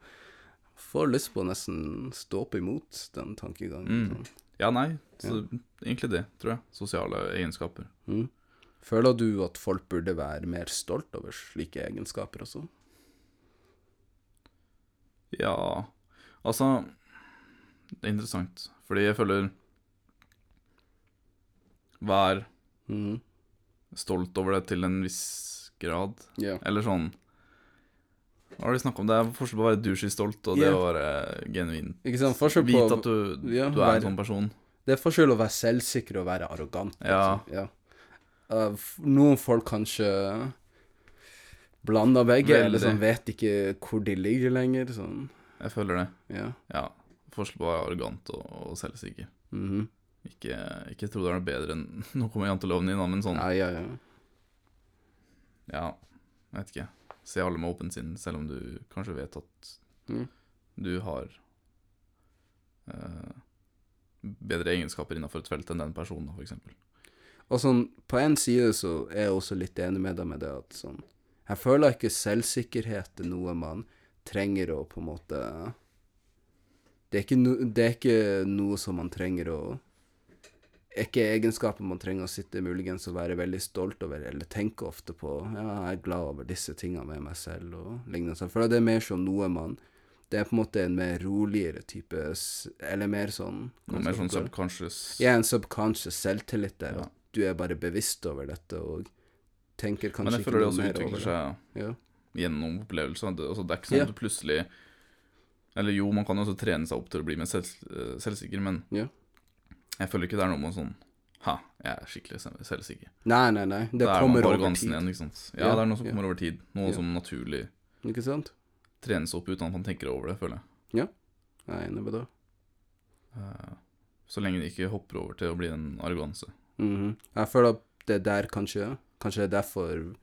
[SPEAKER 2] Får lyst på å nesten stå opp imot den tankegangen.
[SPEAKER 1] Mm.
[SPEAKER 2] Sånn.
[SPEAKER 1] ja, nei. Så egentlig det, tror jeg. Sosiale egenskaper.
[SPEAKER 2] Mm. Føler du at folk burde være mer stolt over slike egenskaper også?
[SPEAKER 1] Ja Altså Det er interessant, fordi jeg føler Vær
[SPEAKER 2] Mhm.
[SPEAKER 1] stolt over det til en viss grad.
[SPEAKER 2] Ja.
[SPEAKER 1] Eller sånn Hva har de snakka om? Det er forskjell på å være douchey-stolt og det
[SPEAKER 2] Ja.
[SPEAKER 1] å være genuint
[SPEAKER 2] Ikke sant? Forskjell på
[SPEAKER 1] Vite at du,
[SPEAKER 2] Ja,
[SPEAKER 1] du er
[SPEAKER 2] være-
[SPEAKER 1] en sånn person.
[SPEAKER 2] Det er forskjell å være selvsikker og være arrogant.
[SPEAKER 1] Ja.
[SPEAKER 2] liksom. ja. Eh, f- noen folk kanskje blander begge,
[SPEAKER 1] Veldig.
[SPEAKER 2] eller sånn vet ikke hvor de ligger lenger. Sånn.
[SPEAKER 1] Jeg føler det.
[SPEAKER 2] Ja.
[SPEAKER 1] Ja. Forskjell på å være arrogant og, og selvsikker.
[SPEAKER 2] Mhm.
[SPEAKER 1] Ikke, ikke tro det er noe bedre enn Nå kommer janteloven inn, da, men sånn
[SPEAKER 2] ja, ja, ja.
[SPEAKER 1] Ja, jeg vet ikke. Se alle med åpent sinn, selv om du kanskje vet at
[SPEAKER 2] Mm.
[SPEAKER 1] du har eh, bedre egenskaper innafor et felt enn den personen, f.eks.
[SPEAKER 2] Og sånn, på en side så er jeg også litt enig med deg med det at sånn Jeg føler ikke selvsikkerhet er noe man trenger å på en måte Det er ikke, no, det er ikke noe som man trenger å Ikke egenskaper man trenger å sitte muligens og være veldig stolt over, eller tenke ofte på Ja, jeg er glad over disse tinga med meg selv, og lignende. Så Jeg føler det er mer som noe man Det er på en måte en mer roligere type s- Eller mer sånn
[SPEAKER 1] Noe mer sånn
[SPEAKER 2] Hvordan skal jeg forklare?
[SPEAKER 1] subconscious
[SPEAKER 2] Ja, en subconscious selvtillit der.
[SPEAKER 1] Ja.
[SPEAKER 2] At du er bare bevisst over dette og tenker
[SPEAKER 1] Men
[SPEAKER 2] kanskje
[SPEAKER 1] jeg
[SPEAKER 2] ikke
[SPEAKER 1] føler det
[SPEAKER 2] noe
[SPEAKER 1] også
[SPEAKER 2] mer
[SPEAKER 1] utvikler
[SPEAKER 2] over det.
[SPEAKER 1] seg
[SPEAKER 2] Ja.
[SPEAKER 1] gjennom opplevelser. Det, altså, det er ikke sånn
[SPEAKER 2] Ja.
[SPEAKER 1] at du plutselig Eller jo, man kan jo også trene seg opp til å bli mer selv, eh, selvsikker, men
[SPEAKER 2] Ja.
[SPEAKER 1] jeg føler ikke det er noe med sånn Ha, jeg er skikkelig selv- selvsikker.
[SPEAKER 2] Nei, nei, nei. Det
[SPEAKER 1] Da er man
[SPEAKER 2] kommer
[SPEAKER 1] på
[SPEAKER 2] over
[SPEAKER 1] arrogansen
[SPEAKER 2] tid.
[SPEAKER 1] Igjen, ikke sant? Ja,
[SPEAKER 2] Ja,
[SPEAKER 1] det er noe som
[SPEAKER 2] ja.
[SPEAKER 1] kommer over tid. Noe
[SPEAKER 2] Ja.
[SPEAKER 1] som naturlig
[SPEAKER 2] Ikke sant?
[SPEAKER 1] trenes opp uten at man tenker over det, føler jeg.
[SPEAKER 2] Jeg er enig med det.
[SPEAKER 1] Eh, Så lenge de ikke hopper over til å bli en arroganse.
[SPEAKER 2] Mhm. Jeg føler at det der kanskje Kanskje det er derfor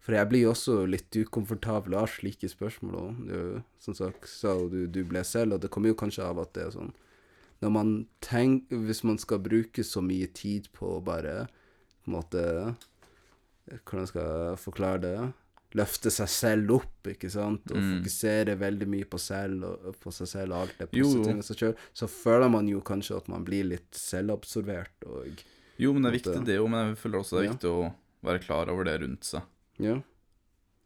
[SPEAKER 2] For jeg blir jo også litt ukomfortabel av slike spørsmål. Og det er jo, som sagt, sa jo du, du ble selv, og det kommer jo kanskje av at det er sånn Når man tenker Hvis man skal bruke så mye tid på å bare på en måte Hvordan skal jeg forklare det? Løfte seg selv opp, ikke sant? Og
[SPEAKER 1] Mm.
[SPEAKER 2] fokusere veldig mye på, selv, og, på seg selv og alt det
[SPEAKER 1] Jo, jo.
[SPEAKER 2] positive med seg selv, så føler man jo kanskje at man blir litt selvabsorbert og
[SPEAKER 1] Jo, men det er
[SPEAKER 2] At det-
[SPEAKER 1] viktig, det jo, men jeg føler også det er
[SPEAKER 2] Ja.
[SPEAKER 1] viktig å være klar over det rundt seg.
[SPEAKER 2] Ja,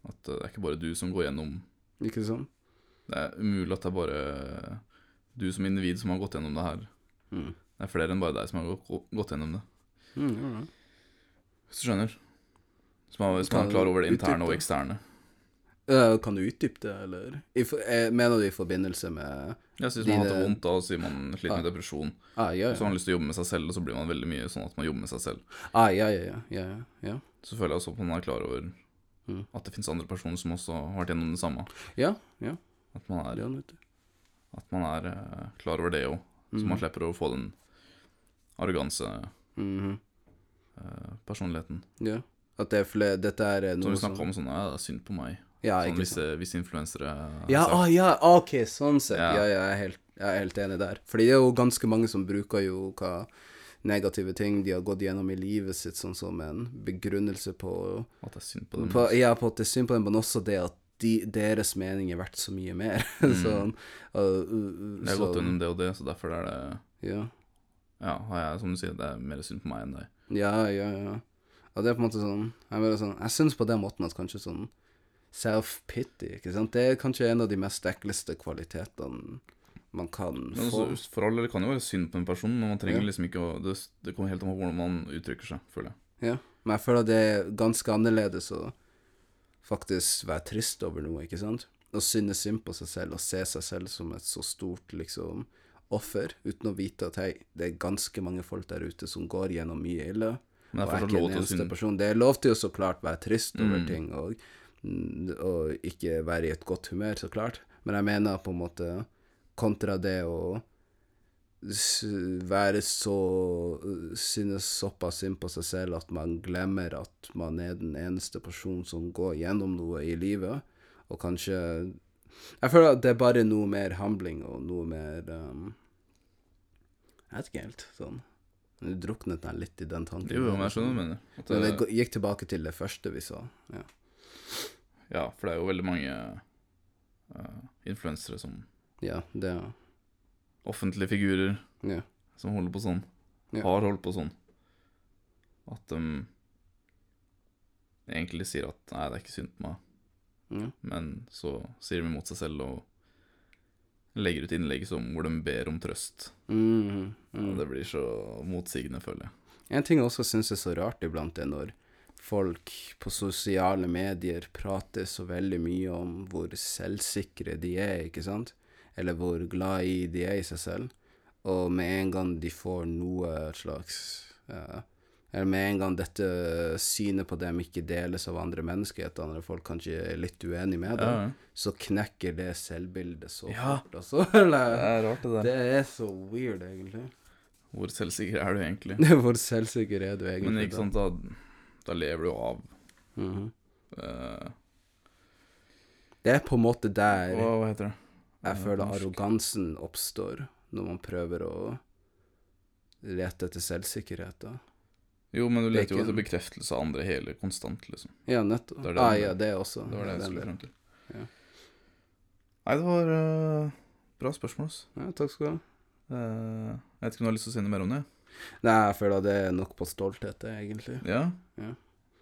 [SPEAKER 1] At eh, det er ikke bare du som går gjennom
[SPEAKER 2] ikke sant?
[SPEAKER 1] Det er umulig at det er bare du som individ som har gått gjennom det her.
[SPEAKER 2] Mm.
[SPEAKER 1] Det er flere enn bare deg som har gå- gå- gått gjennom det,
[SPEAKER 2] Mm, all right.
[SPEAKER 1] hvis du skjønner. Som er, som
[SPEAKER 2] Kan
[SPEAKER 1] er
[SPEAKER 2] du
[SPEAKER 1] klar over det
[SPEAKER 2] utdype
[SPEAKER 1] interne og
[SPEAKER 2] det?
[SPEAKER 1] eksterne.
[SPEAKER 2] Eh, Kan du utdype det, eller? I, for- eh, mener du i forbindelse med
[SPEAKER 1] Jeg synes man har hatt det
[SPEAKER 2] Dine-
[SPEAKER 1] vondt, da og sier man sliter med
[SPEAKER 2] Ja.
[SPEAKER 1] depresjon.
[SPEAKER 2] Ah, ja,
[SPEAKER 1] Så har
[SPEAKER 2] ja.
[SPEAKER 1] man lyst til å jobbe med seg selv, og så blir man veldig mye sånn at man jobber med seg selv.
[SPEAKER 2] Ah, ja, ja, ja, ja, ja, ja.
[SPEAKER 1] Så føler jeg også at man er klar over
[SPEAKER 2] Mm.
[SPEAKER 1] at det finnes andre personer som også har vært gjennom det samme.
[SPEAKER 2] Ja, ja.
[SPEAKER 1] At man
[SPEAKER 2] Det
[SPEAKER 1] er,
[SPEAKER 2] er han, vet du.
[SPEAKER 1] at man er eh, klar over det òg,
[SPEAKER 2] Mm.
[SPEAKER 1] så man slipper å få den arroganse-personligheten.
[SPEAKER 2] Mhm. Ja. At det er flere Dette er eh,
[SPEAKER 1] Som
[SPEAKER 2] noe
[SPEAKER 1] vi snakka om sånn Ja, det er synd på meg.
[SPEAKER 2] Ja,
[SPEAKER 1] Sånn,
[SPEAKER 2] ikke sant.
[SPEAKER 1] visse, visse influensere
[SPEAKER 2] Ja,
[SPEAKER 1] sagt.
[SPEAKER 2] ah, ja, ah, OK, sånn sett.
[SPEAKER 1] Ja.
[SPEAKER 2] Ja, ja, jeg er, helt, jeg er helt enig der. Fordi det er jo ganske mange som bruker jo hva negative ting de har gått gjennom i livet sitt, sånn som en begrunnelse på
[SPEAKER 1] At det er synd på dem.
[SPEAKER 2] På, ja, på at det er synd på dem, men også det at de, deres mening er verdt så mye mer. sånn, uh, uh,
[SPEAKER 1] Jeg har gått
[SPEAKER 2] så-
[SPEAKER 1] gjennom Mm. det og det, så derfor er det
[SPEAKER 2] Ja.
[SPEAKER 1] Ja, har jeg, som du sier, det er mer synd på meg enn deg.
[SPEAKER 2] ja, ja, ja. Og det er på en måte sånn Jeg, mener sånn, jeg syns på den måten at kanskje sånn self-pity, ikke sant, det er kanskje en av de mest ekleste kvalitetene man kan
[SPEAKER 1] Men altså,
[SPEAKER 2] få.
[SPEAKER 1] også, for all del kan det jo være synd på en person, men man trenger
[SPEAKER 2] Ja.
[SPEAKER 1] liksom ikke å det, det kommer helt an på hvordan man uttrykker seg, føler jeg.
[SPEAKER 2] Ja. Men jeg føler det er ganske annerledes å faktisk være trist over noe, ikke sant? Å synes synd på seg selv og se seg selv som et så stort liksom offer, uten å vite at hei, det er ganske mange folk der ute som går gjennom mye ille.
[SPEAKER 1] Men det er
[SPEAKER 2] og jeg er
[SPEAKER 1] fortsatt
[SPEAKER 2] ikke
[SPEAKER 1] lov
[SPEAKER 2] en
[SPEAKER 1] til å
[SPEAKER 2] eneste
[SPEAKER 1] synes.
[SPEAKER 2] person. Det er lov til å så klart være trist over
[SPEAKER 1] Mm.
[SPEAKER 2] ting og, mm, og ikke være i et godt humør, så klart. Men jeg mener på en måte kontra det å s- være så Synes såpass synd på seg selv at man glemmer at man er den eneste personen som går gjennom noe i livet, og kanskje Jeg føler at det er bare noe mer handling og noe mer um, Jeg vet ikke helt, sånn Nå druknet jeg litt i den tanken.
[SPEAKER 1] Jo, jo, men jeg skjønner hva du mener. At
[SPEAKER 2] Men det
[SPEAKER 1] det,
[SPEAKER 2] gå- gikk tilbake til det første vi sa. Ja.
[SPEAKER 1] ja, for det er jo veldig mange eh, influensere som
[SPEAKER 2] ja det
[SPEAKER 1] offentlige figurer
[SPEAKER 2] ja.
[SPEAKER 1] som holder på sånn,
[SPEAKER 2] Ja.
[SPEAKER 1] har holdt på sånn, at de egentlig sier at nei, det er ikke synd på meg.
[SPEAKER 2] ja.
[SPEAKER 1] Men så sier de imot seg selv og legger ut innlegg som hvor de ber om trøst.
[SPEAKER 2] Mhm,
[SPEAKER 1] Og
[SPEAKER 2] mhm.
[SPEAKER 1] det blir så motsigende, føler jeg.
[SPEAKER 2] En ting jeg også syns er så rart iblant, er når folk på sosiale medier prater så veldig mye om hvor selvsikre de er, ikke sant? Eller hvor glad i de er i seg selv. Og med en gang de får noe slags eh, Eller med en gang dette synet på dem ikke deles av andre mennesker, at andre folk kanskje er litt uenige med dem, så knekker det selvbildet så
[SPEAKER 1] Ja.
[SPEAKER 2] fort. Altså. Eller,
[SPEAKER 1] er rart,
[SPEAKER 2] det er så weird, egentlig.
[SPEAKER 1] Hvor selvsikker er du egentlig?
[SPEAKER 2] Hvor selvsikker er du egentlig?
[SPEAKER 1] Men ikke sant, da, da lever du jo av
[SPEAKER 2] da? Mhm.
[SPEAKER 1] eh,
[SPEAKER 2] Det er på en måte der
[SPEAKER 1] hva, hva heter det?
[SPEAKER 2] jeg
[SPEAKER 1] eh,
[SPEAKER 2] føler
[SPEAKER 1] norsk.
[SPEAKER 2] arrogansen oppstår, når man prøver å lete etter selvsikkerhet. da.
[SPEAKER 1] Jo, men du
[SPEAKER 2] Det er
[SPEAKER 1] leter jo
[SPEAKER 2] ikke-
[SPEAKER 1] etter bekreftelse av andre hele konstant, liksom.
[SPEAKER 2] Ja, nettopp.
[SPEAKER 1] Det er det
[SPEAKER 2] ah,
[SPEAKER 1] den-
[SPEAKER 2] ja, det også.
[SPEAKER 1] Det var det jeg
[SPEAKER 2] den
[SPEAKER 1] skulle
[SPEAKER 2] delen.
[SPEAKER 1] fram til.
[SPEAKER 2] Ja.
[SPEAKER 1] Nei, det var eh, bra spørsmål, ass.
[SPEAKER 2] Ja, takk skal du ha.
[SPEAKER 1] Eh, jeg vet ikke om du har lyst til å si noe mer om det?
[SPEAKER 2] Nei, jeg føler det er nok på stolthet, det, egentlig.
[SPEAKER 1] Ja?
[SPEAKER 2] Ja.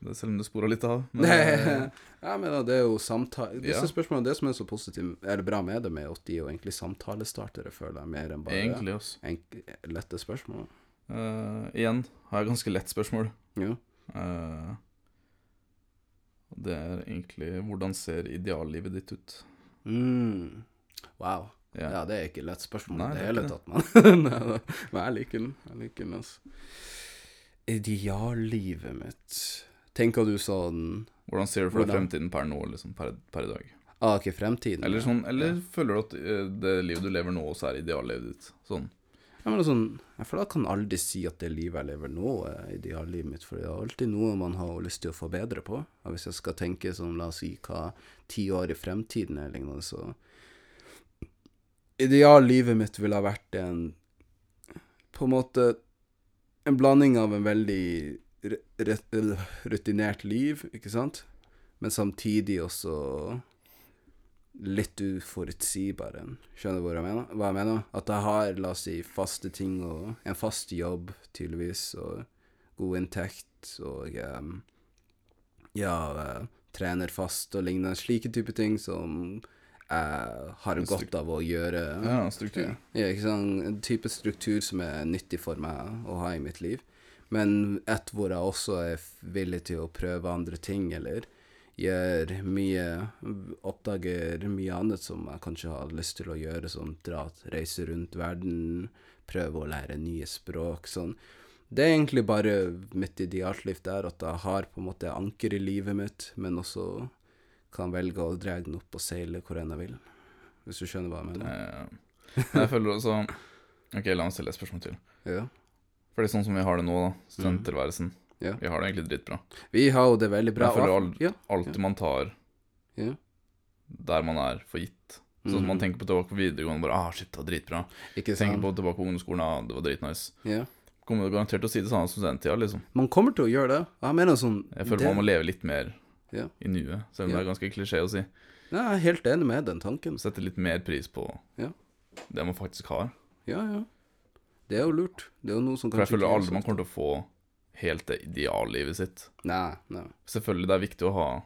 [SPEAKER 1] Det, selv om det spora litt av. men,
[SPEAKER 2] Nei,
[SPEAKER 1] eh,
[SPEAKER 2] jeg mener det er jo samtale... Disse
[SPEAKER 1] Ja.
[SPEAKER 2] spørsmålene, det som er så positivt, eller bra med dem, er at de er jo egentlig samtalestartere, føler jeg, mer enn bare
[SPEAKER 1] egentlig, altså.
[SPEAKER 2] enk- lette spørsmål.
[SPEAKER 1] Eh, igjen har jeg ganske lett spørsmål.
[SPEAKER 2] Ja.
[SPEAKER 1] Eh, det er egentlig hvordan ser ideallivet ditt ut?
[SPEAKER 2] Mm. Wow.
[SPEAKER 1] Ja.
[SPEAKER 2] Ja, det er ikke lett spørsmål
[SPEAKER 1] Nei,
[SPEAKER 2] i
[SPEAKER 1] det
[SPEAKER 2] det
[SPEAKER 1] er
[SPEAKER 2] hele
[SPEAKER 1] ikke
[SPEAKER 2] tatt, men Nei da. Men jeg liker den. Jeg liker den, altså. Ideallivet mitt Tenker du sånn
[SPEAKER 1] Hvordan ser du for deg
[SPEAKER 2] Hvordan?
[SPEAKER 1] fremtiden per nå, liksom, per, per i dag?
[SPEAKER 2] Ah, ok, fremtiden?
[SPEAKER 1] Eller,
[SPEAKER 2] ja.
[SPEAKER 1] sånn, eller føler du at eh, det livet du lever nå, også er ideallivet ditt? Sånn.
[SPEAKER 2] Ja, Ja, men sånn, jeg føler jeg kan aldri si at det livet jeg lever nå, er ideallivet mitt, for det er alltid noe man har lyst til å forbedre på. Og hvis jeg skal tenke sånn, la oss si hva ti år i fremtiden er lignende, så Ideallivet mitt ville ha vært en På en måte en blanding av en veldig re- re- rutinert liv, ikke sant, men samtidig også litt uforutsigbar enn. Skjønner du hvor jeg mener? hva jeg mener? At jeg har, la oss si, faste ting og en fast jobb, tydeligvis, og god inntekt, og em, ja, eh, trener fast og lignende. Slike type ting som jeg har godt av å gjøre.
[SPEAKER 1] Ja, struktur.
[SPEAKER 2] Ja, ikke sant? En type struktur som er nyttig for meg å ha i mitt liv. Men et hvor jeg også er f- villig til å prøve andre ting, eller gjør mye Oppdager mye annet som jeg kanskje har lyst til å gjøre, som dra reise rundt verden, prøve å lære nye språk, sånn. Det er egentlig bare mitt idealliv der, at jeg har på en måte anker i livet mitt, men også kan velge å dra den opp og seile hvor enn jeg vil. Hvis du skjønner hva jeg mener?
[SPEAKER 1] Eh, Men jeg føler også Ok, la meg stille et spørsmål til.
[SPEAKER 2] Ja.
[SPEAKER 1] Fordi sånn som vi har det nå, da, studenttilværelsen
[SPEAKER 2] Mhm. Ja.
[SPEAKER 1] Vi har det egentlig dritbra.
[SPEAKER 2] Vi har jo det veldig bra.
[SPEAKER 1] Men jeg føler all-
[SPEAKER 2] Ja.
[SPEAKER 1] Alt man tar
[SPEAKER 2] Ja. Mhm.
[SPEAKER 1] der man er, for gitt. Sånn at man tenker på tilbake på videregående bare ah, shit, det var dritbra.
[SPEAKER 2] Ikke
[SPEAKER 1] Tenker
[SPEAKER 2] sant?
[SPEAKER 1] på tilbake på ungdomsskolen, ah, det var dritnice.
[SPEAKER 2] Ja.
[SPEAKER 1] Kommer du garantert til å si det samme som studenttida, liksom.
[SPEAKER 2] Man kommer til å gjøre det. Jeg mener sånn
[SPEAKER 1] Jeg føler
[SPEAKER 2] det,
[SPEAKER 1] man må leve litt mer
[SPEAKER 2] Ja.
[SPEAKER 1] i nuet, selv om
[SPEAKER 2] Ja.
[SPEAKER 1] det er ganske klisjé å si.
[SPEAKER 2] Nei, Jeg er helt enig med den tanken.
[SPEAKER 1] Sette litt mer pris på
[SPEAKER 2] Ja.
[SPEAKER 1] det man faktisk har.
[SPEAKER 2] Ja, ja. Det er jo lurt. Det er jo noe som
[SPEAKER 1] For jeg
[SPEAKER 2] kanskje
[SPEAKER 1] føler
[SPEAKER 2] ikke er
[SPEAKER 1] aldri
[SPEAKER 2] så-
[SPEAKER 1] man kommer til å få helt det ideallivet sitt.
[SPEAKER 2] Nei, nei.
[SPEAKER 1] Selvfølgelig det er viktig å ha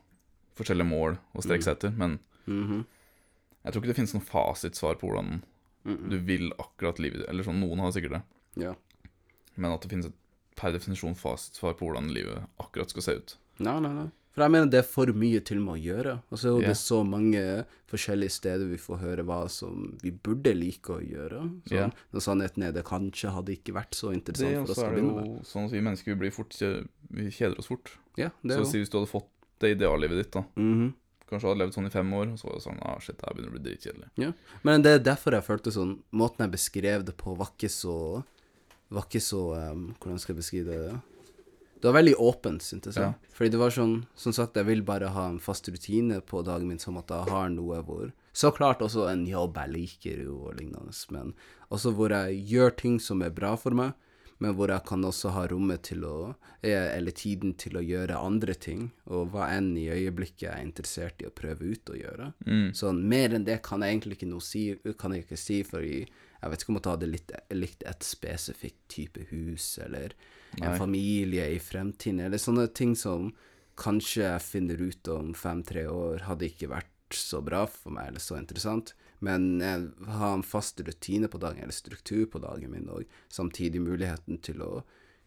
[SPEAKER 1] forskjellige mål å
[SPEAKER 2] Mm.
[SPEAKER 1] strekke seg etter, men
[SPEAKER 2] Mhm.
[SPEAKER 1] jeg tror ikke det finnes noe fasitsvar på hvordan
[SPEAKER 2] Mhm.
[SPEAKER 1] du vil akkurat livet Eller sånn, noen har sikkert det,
[SPEAKER 2] Ja.
[SPEAKER 1] men at det finnes et per definisjon fasitsvar på hvordan livet akkurat skal se ut.
[SPEAKER 2] Nei, nei, nei. For jeg mener det er for mye til med å gjøre. Og så er jo
[SPEAKER 1] Ja.
[SPEAKER 2] det så mange forskjellige steder vi får høre hva som vi burde like å gjøre.
[SPEAKER 1] Ja.
[SPEAKER 2] Sånn, Når sannheten er det kanskje hadde ikke vært så interessant for oss til å begynne med.
[SPEAKER 1] sånn at vi mennesker vi blir fort kje- Vi kjeder oss fort.
[SPEAKER 2] Ja, det er
[SPEAKER 1] Så
[SPEAKER 2] jo.
[SPEAKER 1] si hvis du hadde fått det ideallivet ditt, da.
[SPEAKER 2] Mhm.
[SPEAKER 1] Kanskje hadde levd sånn i fem år, og så var det sånn ah, shit, det her begynner å bli dritkjedelig.
[SPEAKER 2] Ja. Men det er derfor jeg følte sånn Måten jeg beskrev det på, var ikke så Var ikke så ehm, Hvordan skal jeg beskrive det? Det var veldig åpent, syntes jeg.
[SPEAKER 1] Ja.
[SPEAKER 2] Fordi det var sånn Som sagt, jeg vil bare ha en fast rutine på dagen min, som at jeg har noe hvor Så klart også en jobb jeg liker, jo, og lignende, men også hvor jeg gjør ting som er bra for meg. Men hvor jeg kan også ha rommet til å eh, Eller tiden til å gjøre andre ting, og hva enn i øyeblikket jeg er interessert i å prøve ut å gjøre. Sånn, mer enn det kan jeg egentlig ikke noe si, kan jeg ikke si, for jeg vet ikke om jeg hadde likt, likt et spesifikt type hus, eller en
[SPEAKER 1] Nei.
[SPEAKER 2] familie i fremtiden, eller sånne ting som kanskje jeg finner ut om fem-tre år hadde ikke vært så bra for meg, eller så interessant, men jeg har en fast rutine på dagen, eller struktur på dagen min, og samtidig muligheten til å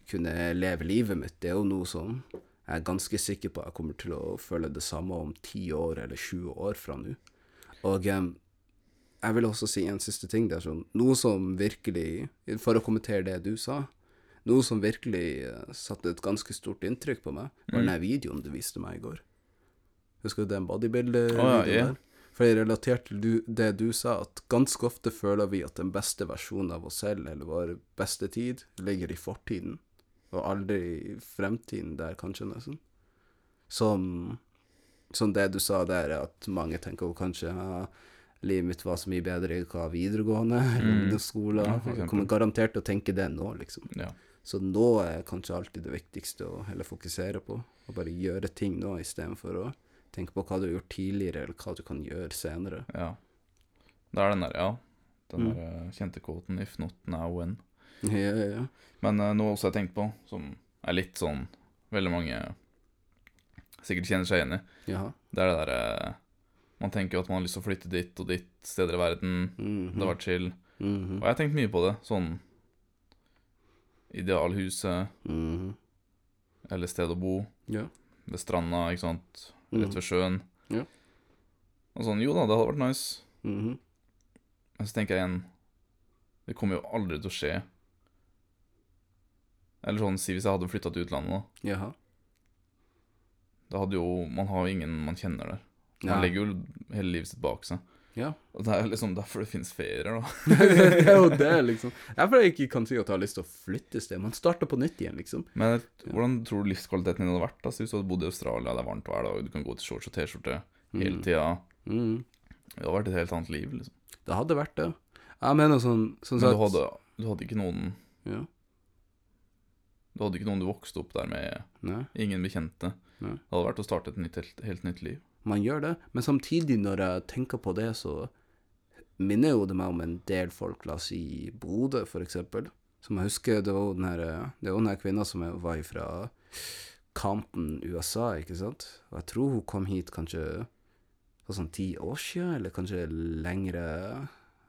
[SPEAKER 2] kunne leve livet mitt, det er jo noe som jeg er ganske sikker på at jeg kommer til å føle det samme om ti år eller 20 år fra nå. Og eh, jeg vil også si en siste ting. Det er sånn, noe som virkelig, for å kommentere det du sa, noe som virkelig eh, satte et ganske stort inntrykk på meg, var
[SPEAKER 1] Mm.
[SPEAKER 2] den her videoen du viste meg i går. Husker du den bodybuilder-videoen
[SPEAKER 1] Å, ja, ja.
[SPEAKER 2] der? For jeg relaterte til du, det du sa, at ganske ofte føler vi at den beste versjonen av oss selv, eller vår beste tid, ligger i fortiden, og aldri i fremtiden der, kanskje, nesten. Som som det du sa der, at mange tenker jo kanskje ja, livet mitt var så mye bedre i hva videregående, mm. skole
[SPEAKER 1] Ja, for
[SPEAKER 2] Jeg
[SPEAKER 1] eksempel.
[SPEAKER 2] Kommer garantert til å tenke det nå, liksom.
[SPEAKER 1] Ja.
[SPEAKER 2] Så nå er kanskje alltid det viktigste å heller fokusere på. Å bare gjøre ting nå istedenfor å tenke på hva du har gjort tidligere, eller hva du kan gjøre senere.
[SPEAKER 1] ja. Det er den der, ja. Den der eh, kjente kvoten 'if not now when'.
[SPEAKER 2] Ja, ja, ja.
[SPEAKER 1] Men eh, noe også jeg tenker på, som er litt sånn veldig mange sikkert kjenner seg igjen i,
[SPEAKER 2] Jaha.
[SPEAKER 1] det er det derre Man tenker jo at man har lyst til å flytte dit og dit, steder i verden.
[SPEAKER 2] Mhm.
[SPEAKER 1] Det har vært chill.
[SPEAKER 2] Mhm.
[SPEAKER 1] Og jeg har tenkt mye på det. Sånn Idealhuset,
[SPEAKER 2] Mhm.
[SPEAKER 1] eller sted å bo,
[SPEAKER 2] Ja. Mhm.
[SPEAKER 1] ved stranda, ikke sant. Rett ved sjøen.
[SPEAKER 2] Mm. Ja.
[SPEAKER 1] Og sånn, jo da, det hadde vært nice.
[SPEAKER 2] Mhm.
[SPEAKER 1] Men så tenker jeg igjen Det kommer jo aldri til å skje. Eller sånn, si hvis jeg hadde flytta til utlandet, da.
[SPEAKER 2] Jaha.
[SPEAKER 1] Da hadde jo Man har jo ingen man kjenner der. Man
[SPEAKER 2] Ja.
[SPEAKER 1] legger jo hele livet sitt bak seg.
[SPEAKER 2] Ja.
[SPEAKER 1] Og det er liksom derfor det fins ferier, da.
[SPEAKER 2] det er jo det, liksom. Derfor jeg ikke kan si at jeg har lyst til å flytte et sted. Man starter på nytt igjen, liksom.
[SPEAKER 1] Men hvordan tror du livskvaliteten din hadde vært da, hvis du hadde bodd i Australia, det er varmt hver dag, du kan gå til shorts og T-skjorte
[SPEAKER 2] Mhm.
[SPEAKER 1] hele tida?
[SPEAKER 2] Mm.
[SPEAKER 1] Det hadde vært et helt annet liv, liksom.
[SPEAKER 2] Det hadde vært det. Jeg mener sånn, sånn
[SPEAKER 1] Men
[SPEAKER 2] sagt
[SPEAKER 1] du hadde, du hadde ikke noen
[SPEAKER 2] Ja.
[SPEAKER 1] Du hadde ikke noen du vokste opp der med,
[SPEAKER 2] Nei.
[SPEAKER 1] ingen bekjente.
[SPEAKER 2] Nei.
[SPEAKER 1] Det hadde vært å starte et nytt, helt, helt nytt liv.
[SPEAKER 2] man gjør det. Men samtidig, når jeg tenker på det, så minner jo det meg om en del folk, la oss si i Bodø, for eksempel. Som jeg husker, det var jo den her, det var den her kvinna som jeg var fra Compton, USA, ikke sant? Og jeg tror hun kom hit kanskje for sånn ti år siden, eller kanskje lengre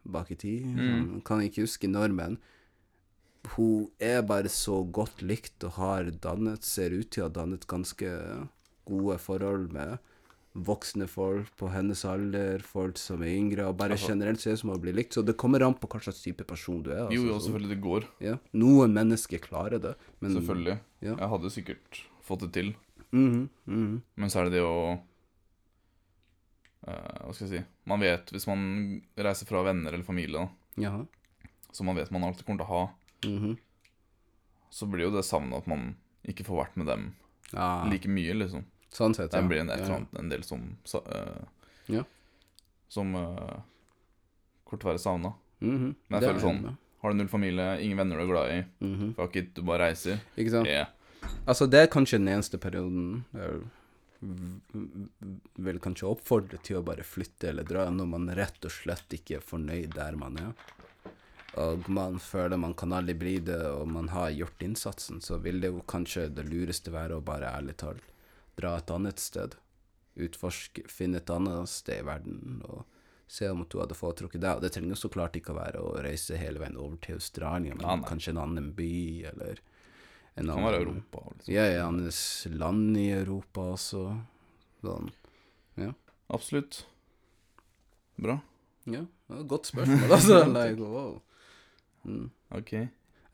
[SPEAKER 2] bak i tid. Sånn, Kan ikke huske når, men hun er bare så godt likt og har dannet, ser ut til å ha dannet ganske gode forhold med voksne folk på hennes alder, folk som er yngre, og bare
[SPEAKER 1] Altså-
[SPEAKER 2] generelt ser ut som å bli likt. Så det kommer an på hva slags type person du er.
[SPEAKER 1] Jo, altså. jo,
[SPEAKER 2] så-
[SPEAKER 1] selvfølgelig det går.
[SPEAKER 2] ja. Noen mennesker klarer det, men
[SPEAKER 1] Selvfølgelig.
[SPEAKER 2] Mm. Ja.
[SPEAKER 1] Jeg hadde sikkert fått det til.
[SPEAKER 2] Mhm, mhm.
[SPEAKER 1] Men så er det det å eh, Hva skal jeg si Man vet, hvis man reiser fra venner eller familie, da,
[SPEAKER 2] Jaha.
[SPEAKER 1] som man vet man alltid kommer til å ha,
[SPEAKER 2] Mhm.
[SPEAKER 1] så blir jo det savnet at man ikke får vært med dem
[SPEAKER 2] Ja,
[SPEAKER 1] like mye, liksom.
[SPEAKER 2] Ah, sånn sett,
[SPEAKER 1] Det
[SPEAKER 2] ja.
[SPEAKER 1] blir en, et
[SPEAKER 2] Ja,
[SPEAKER 1] eller
[SPEAKER 2] ja.
[SPEAKER 1] annet, en del som sa- eh,
[SPEAKER 2] Ja.
[SPEAKER 1] Som eh, kort være savna.
[SPEAKER 2] Mhm.
[SPEAKER 1] Men jeg
[SPEAKER 2] Det
[SPEAKER 1] føler
[SPEAKER 2] er
[SPEAKER 1] sånn-
[SPEAKER 2] med.
[SPEAKER 1] Har du null familie, ingen venner du er glad i,
[SPEAKER 2] Mhm.
[SPEAKER 1] fuck it, du bare reiser.
[SPEAKER 2] Ikke sant?
[SPEAKER 1] Yeah.
[SPEAKER 2] Altså, det er kanskje den eneste perioden jeg v- v- vil kanskje oppfordre til å bare flytte eller dra, når man rett og slett ikke er fornøyd der man er. Og man føler man kan aldri bli det, og man har gjort innsatsen, så vil det jo kanskje det lureste være å bare ærlig talt dra et annet sted. Utforske, finne et annet sted i verden, og se om du hadde foretrukket det. Og det trenger jo så klart ikke å være å reise hele veien over til Australia, men
[SPEAKER 1] Ja, nei.
[SPEAKER 2] kanskje en annen by, eller en
[SPEAKER 1] Kan være Europa. Liksom.
[SPEAKER 2] ja, ja, hans land i Europa også. Sånn.
[SPEAKER 1] Absolutt. Bra.
[SPEAKER 2] Ja, det var et godt spørsmål, altså. like, wow. Mm.
[SPEAKER 1] OK.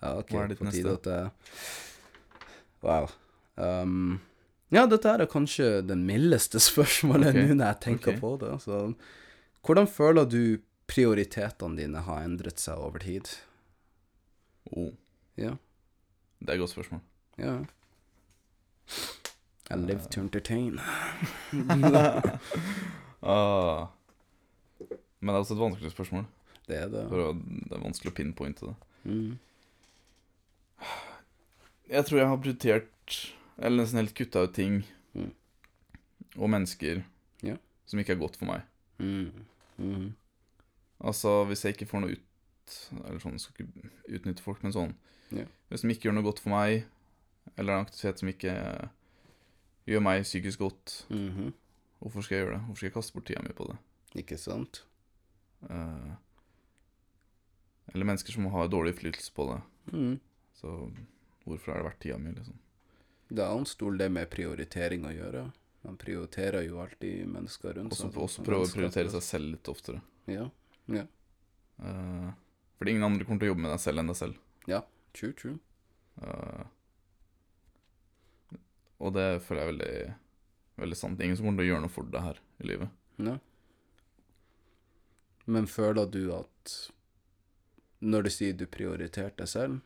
[SPEAKER 2] Ja, ok,
[SPEAKER 1] Hva er ditt
[SPEAKER 2] på tide
[SPEAKER 1] neste?
[SPEAKER 2] at jeg Wow. Um, ja, dette her er kanskje det mildeste spørsmålet
[SPEAKER 1] Ok,
[SPEAKER 2] nå når jeg tenker
[SPEAKER 1] ok.
[SPEAKER 2] på det. Altså. Hvordan føler du prioritetene dine har endret seg over tid?
[SPEAKER 1] Oh,
[SPEAKER 2] Ja.
[SPEAKER 1] det er et godt spørsmål.
[SPEAKER 2] ja. I live to entertain.
[SPEAKER 1] Ah. Men det er også et vanskelig spørsmål.
[SPEAKER 2] Det er det.
[SPEAKER 1] For å- det er vanskelig å pinpointe det.
[SPEAKER 2] Mm.
[SPEAKER 1] Jeg tror jeg har prioritert, eller nesten helt kutta ut ting
[SPEAKER 2] Mm.
[SPEAKER 1] og mennesker
[SPEAKER 2] Ja.
[SPEAKER 1] som ikke er godt for meg.
[SPEAKER 2] Mm. Mm.
[SPEAKER 1] Altså, hvis jeg ikke får noe ut Eller sånn, jeg skal ikke utnytte folk, men sånn
[SPEAKER 2] Ja.
[SPEAKER 1] Hvis de ikke gjør noe godt for meg, eller en aktivitet som ikke gjør meg psykisk godt,
[SPEAKER 2] Mhm.
[SPEAKER 1] hvorfor skal jeg gjøre det? Hvorfor skal jeg kaste bort tida mi på det?
[SPEAKER 2] Ikke sant?
[SPEAKER 1] Eh, eller mennesker som har dårlig innflytelse på det.
[SPEAKER 2] Mm.
[SPEAKER 1] Så hvorfor er det verdt tida mi, liksom?
[SPEAKER 2] Det er en stor del med prioritering å gjøre. Man prioriterer jo alltid mennesker rundt
[SPEAKER 1] Også,
[SPEAKER 2] seg.
[SPEAKER 1] også prøve å prioritere seg selv litt oftere.
[SPEAKER 2] Ja.
[SPEAKER 1] Eh, fordi ingen andre kommer til å jobbe med deg selv enn deg selv.
[SPEAKER 2] True, true.
[SPEAKER 1] Eh, og det føler jeg er veldig, veldig sant. Ingen som kommer til å gjøre noe for deg her i livet.
[SPEAKER 2] Ja. Men føler du at Når du sier du prioriterte deg selv,